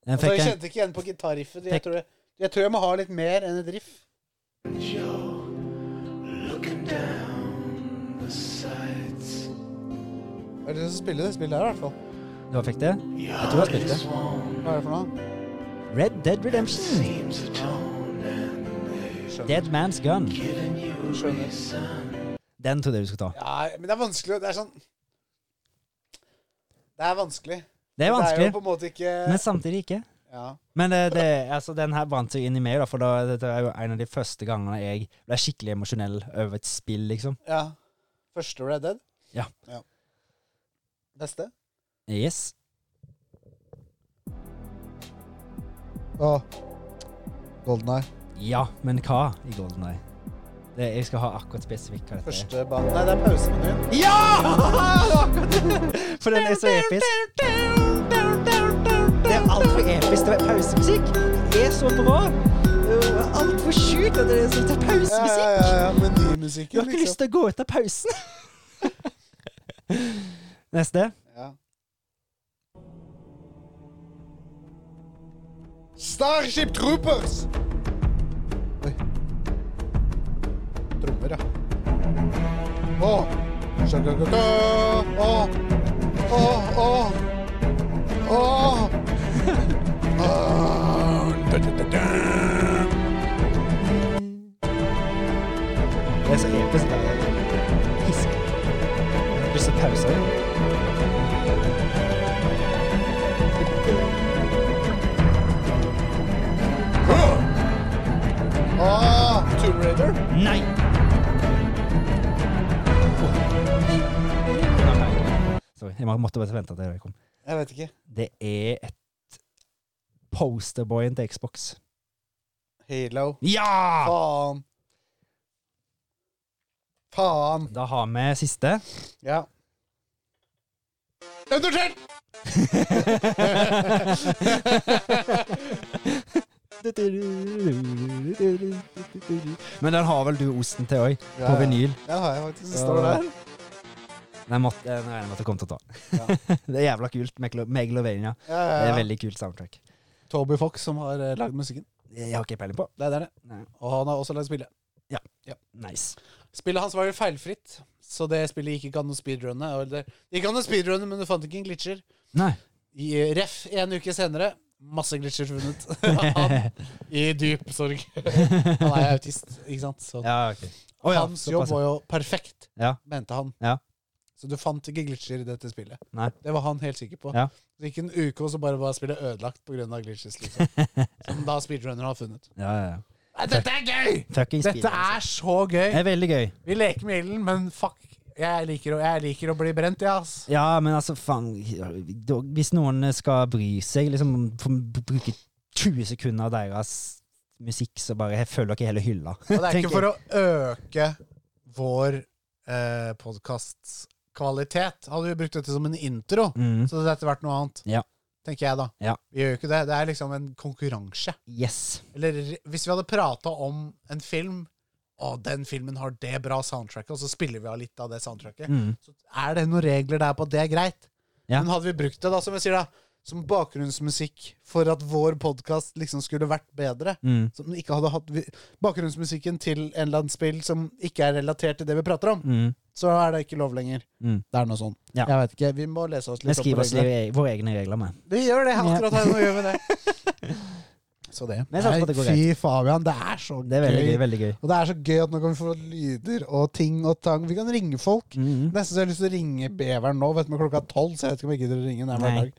S1: Den
S2: Altså,
S1: fikk
S2: jeg
S1: en
S2: kjente ikke igjen på gitarriffet. Jeg,
S1: Fikk-
S2: tror jeg, jeg tror jeg må ha litt mer enn et riff. Jeg har lyst til å spille det spillet her, i hvert fall.
S1: Du fikk det? Jeg tror jeg spilte.
S2: Hva er det for noe?
S1: Red Dead Redemption. Dead Man's Gun.
S2: Skjønner.
S1: Den trodde jeg du skulle ta.
S2: Ja, men det er vanskelig. Det er sånn Det er vanskelig.
S1: Det er
S2: Det er jo
S1: vanskelig,
S2: på en måte ikke
S1: men samtidig ikke.
S2: ja.
S1: Men det, det, altså, den her brant seg inn i meg, da, for da, dette er jo en av de første gangene jeg ble skikkelig emosjonell over et spill, liksom.
S2: ja. Første Red Dead?
S1: Ja.
S2: Neste?
S1: Yes.
S2: Å. Golden Eye.
S1: Ja, men hva i Golden Eye? Det, jeg skal ha akkurat spesifikt hva dette er.
S2: Første bane Nei, det er pausemenyen.
S1: Ja! For den er så episk. Det er altfor episk. Det er pausemusikk. Det er så bra. Altfor sjukt at det er sånn
S2: Ja, ja, ja, liksom. ja.
S1: pausemusikk. Du har
S2: Menymusikken,
S1: ikke lyst til å gå ut av pausen. [laughs] Neste.
S2: Ja. Starship Troopers! Oi. Trommer, ja. Å! Sjakakaka. Å! Å! Å! Å! [laughs] Å! Da, da, da, da.
S1: Det er så episk. det er Pisk. Jeg har lyst til å pause.
S2: Å! Tomb Raider?
S1: Nei! Sorry, jeg må- måtte bare vente til jeg kom.
S2: Jeg vet ikke.
S1: Det er et posterboyen til Xbox.
S2: Halo.
S1: Ja!
S2: Faen. Faen.
S1: Da har vi
S2: [laughs]
S1: siste.
S2: Ja. Undertale!
S1: Men den har vel du osten til òg,
S2: Ja,
S1: på
S2: ja.
S1: vinyl.
S2: Den har jeg faktisk. Den
S1: Ja.
S2: står der.
S1: Den måtte, den regner jeg med at du kommer til å ta. [laughs] det er jævla kult. Megalo- Megalovania.
S2: Ja,
S1: Det
S2: ja,
S1: er
S2: ja.
S1: veldig kult soundtrack.
S2: Toby Fox som har eh, lagd musikken.
S1: Jeg har ikke peiling på.
S2: Det er der, det.
S1: Nei.
S2: Og han har også lagd spillet.
S1: Nice.
S2: Spillet hans var jo feilfritt, så det spillet gikk ikke an å speedrunne. og Det det gikk an å speedrunne, men du fant ikke en glitcher.
S1: Nei.
S2: I eh, ref en uke senere masse glitcher funnet. [laughs] han, I dyp sorg. [laughs] han er autist, ikke sant? Så
S1: Ja, ok. Å ja,
S2: Hans jobb
S1: såpass.
S2: var jo perfekt,
S1: Ja.
S2: mente han.
S1: Ja.
S2: Så du fant ikke glitcher i dette spillet.
S1: Nei.
S2: Det var han helt sikker på.
S1: Ja.
S2: Det gikk en uke, og så bare var spillet ødelagt pga. glitches. Liksom.
S1: [laughs]
S2: Som da speedrunneren har funnet.
S1: Ja, ja, ja.
S2: Nei, dette er gøy!
S1: Fucking
S2: Dette
S1: speedrun, altså.
S2: er så gøy!
S1: Det er veldig gøy.
S2: Vi leker med ilden, men fuck. Jeg liker, å- jeg liker å bli brent, jeg, ass.
S1: Ja, men altså, faen da- Hvis noen skal bry seg, liksom få bruke 20 sekunder av deres musikk, så bare jeg føler dere hele hylla.
S2: Og
S1: [laughs]
S2: det er
S1: Tenker
S2: ikke for å øke vår eh, podkastkvalitet. Hadde vi brukt dette som en intro,
S1: Mm.
S2: så hadde dette vært noe annet.
S1: Ja.
S2: Tenker jeg, da.
S1: Ja.
S2: Vi gjør jo ikke det. Det er liksom en konkurranse.
S1: Yes.
S2: Eller hvis vi hadde prata om en film Å, den filmen har det bra soundtracket, og så spiller vi av litt av det soundtracket.
S1: Mm.
S2: Er det noen regler der på at det er greit?
S1: Ja.
S2: Men hadde vi brukt det, da, som jeg sier, da som bakgrunnsmusikk for at vår podkast liksom skulle vært bedre.
S1: Mm.
S2: Som den ikke hadde hatt vi- bakgrunnsmusikken til en eller annen spill som ikke er relatert til det vi prater om,
S1: Mm.
S2: så er det ikke lov lenger.
S1: Mm.
S2: Det er noe sånn.
S1: Ja.
S2: Jeg vet ikke. Vi må lese oss
S1: Vi
S2: litt opp
S1: skriver oss
S2: på reglene.
S1: i våre egne regler med.
S2: Vi gjør det.
S1: Ja.
S2: Akkurat her nå gjør vi det. [laughs] Så det.
S1: Men jeg satser på at det går
S2: fy Fabian, det er så
S1: Det er veldig gøy. veldig gøy.
S2: Og det er så gøy at nå kan vi få lyder og ting og tang. Vi kan ringe folk.
S1: Mm.
S2: Nesten så jeg har lyst til å ringe beveren nå, vet du, men klokka er tolv, så jeg vet ikke om jeg gidder å ringe nær hver
S1: Nei.
S2: dag.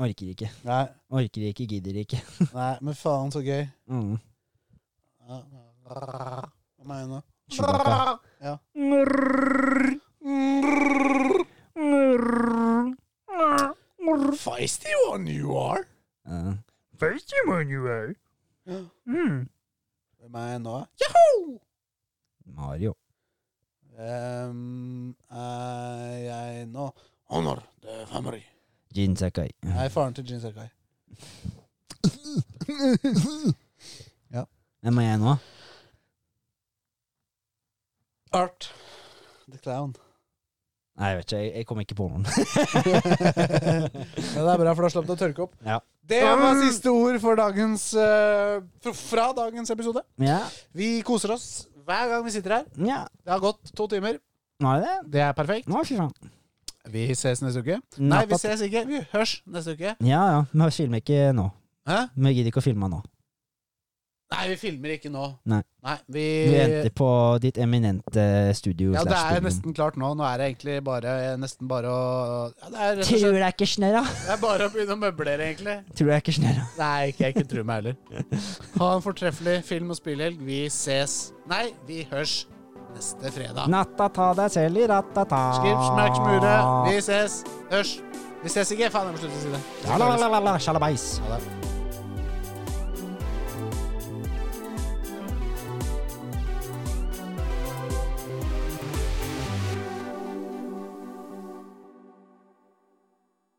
S1: Orker ikke.
S2: Nei,
S1: Orker ikke, gidder ikke.
S2: nei, men faen, så gøy.
S1: Mm.
S2: Ja. Hva mener du?
S1: Chewbacca.
S2: Ja. Feisty one you are.
S1: Ja. Mm.
S2: Hvem er jeg nå?
S1: Mario.
S2: Ehm, er jeg nå? Honor the family.
S1: Jin Sakai.
S2: Jeg er faren til Jin Sakai.
S1: Hvem er jeg nå?
S2: Art the clown.
S1: Nei, jeg vet ikke. Jeg, jeg kom ikke på
S2: [laughs]
S1: noen.
S2: Men det er bra, for da slapp du å tørke opp.
S1: Ja.
S2: Det var siste ord for dagens, eh, fra- fra dagens episode.
S1: Ja.
S2: Vi koser oss hver gang vi sitter her.
S1: ja.
S2: Det har gått to timer.
S1: Nå er det
S2: Det er perfekt.
S1: Nå, fy faen.
S2: Vi ses neste uke. Nei,
S1: Natt
S2: vi
S1: opp.
S2: ses ikke. Vi hørs neste uke.
S1: Ja, ja. Vi filmer ikke nå.
S2: Hæ?
S1: Vi gidder ikke å filme nå.
S2: Nei, vi filmer ikke nå.
S1: Nei.
S2: vi,
S1: Vi venter på ditt eminente studio.
S2: Eh, Ja, det er
S1: slash studio.
S2: nesten klart nå. Nå er det egentlig bare, nesten bare å ja, det, er rett og
S1: Tror
S2: slett,
S1: jeg ikke snørra?
S2: det er bare å begynne å møblere, egentlig.
S1: [laughs] Tror jeg ikke snørra?
S2: Nei, ikke, jeg ikke tror meg heller. [laughs] Ha en fortreffelig film- og spillhelg. Vi ses Nei, vi hørs neste fredag.
S1: Natta ta deg selv i rattata.
S2: Skriv, smakk, smure. Vi ses. Hørs. Vi ses ikke. Faen, jeg må slutte å si det.
S1: Ja, la, la, la, la, sjalabais.
S2: Ha det.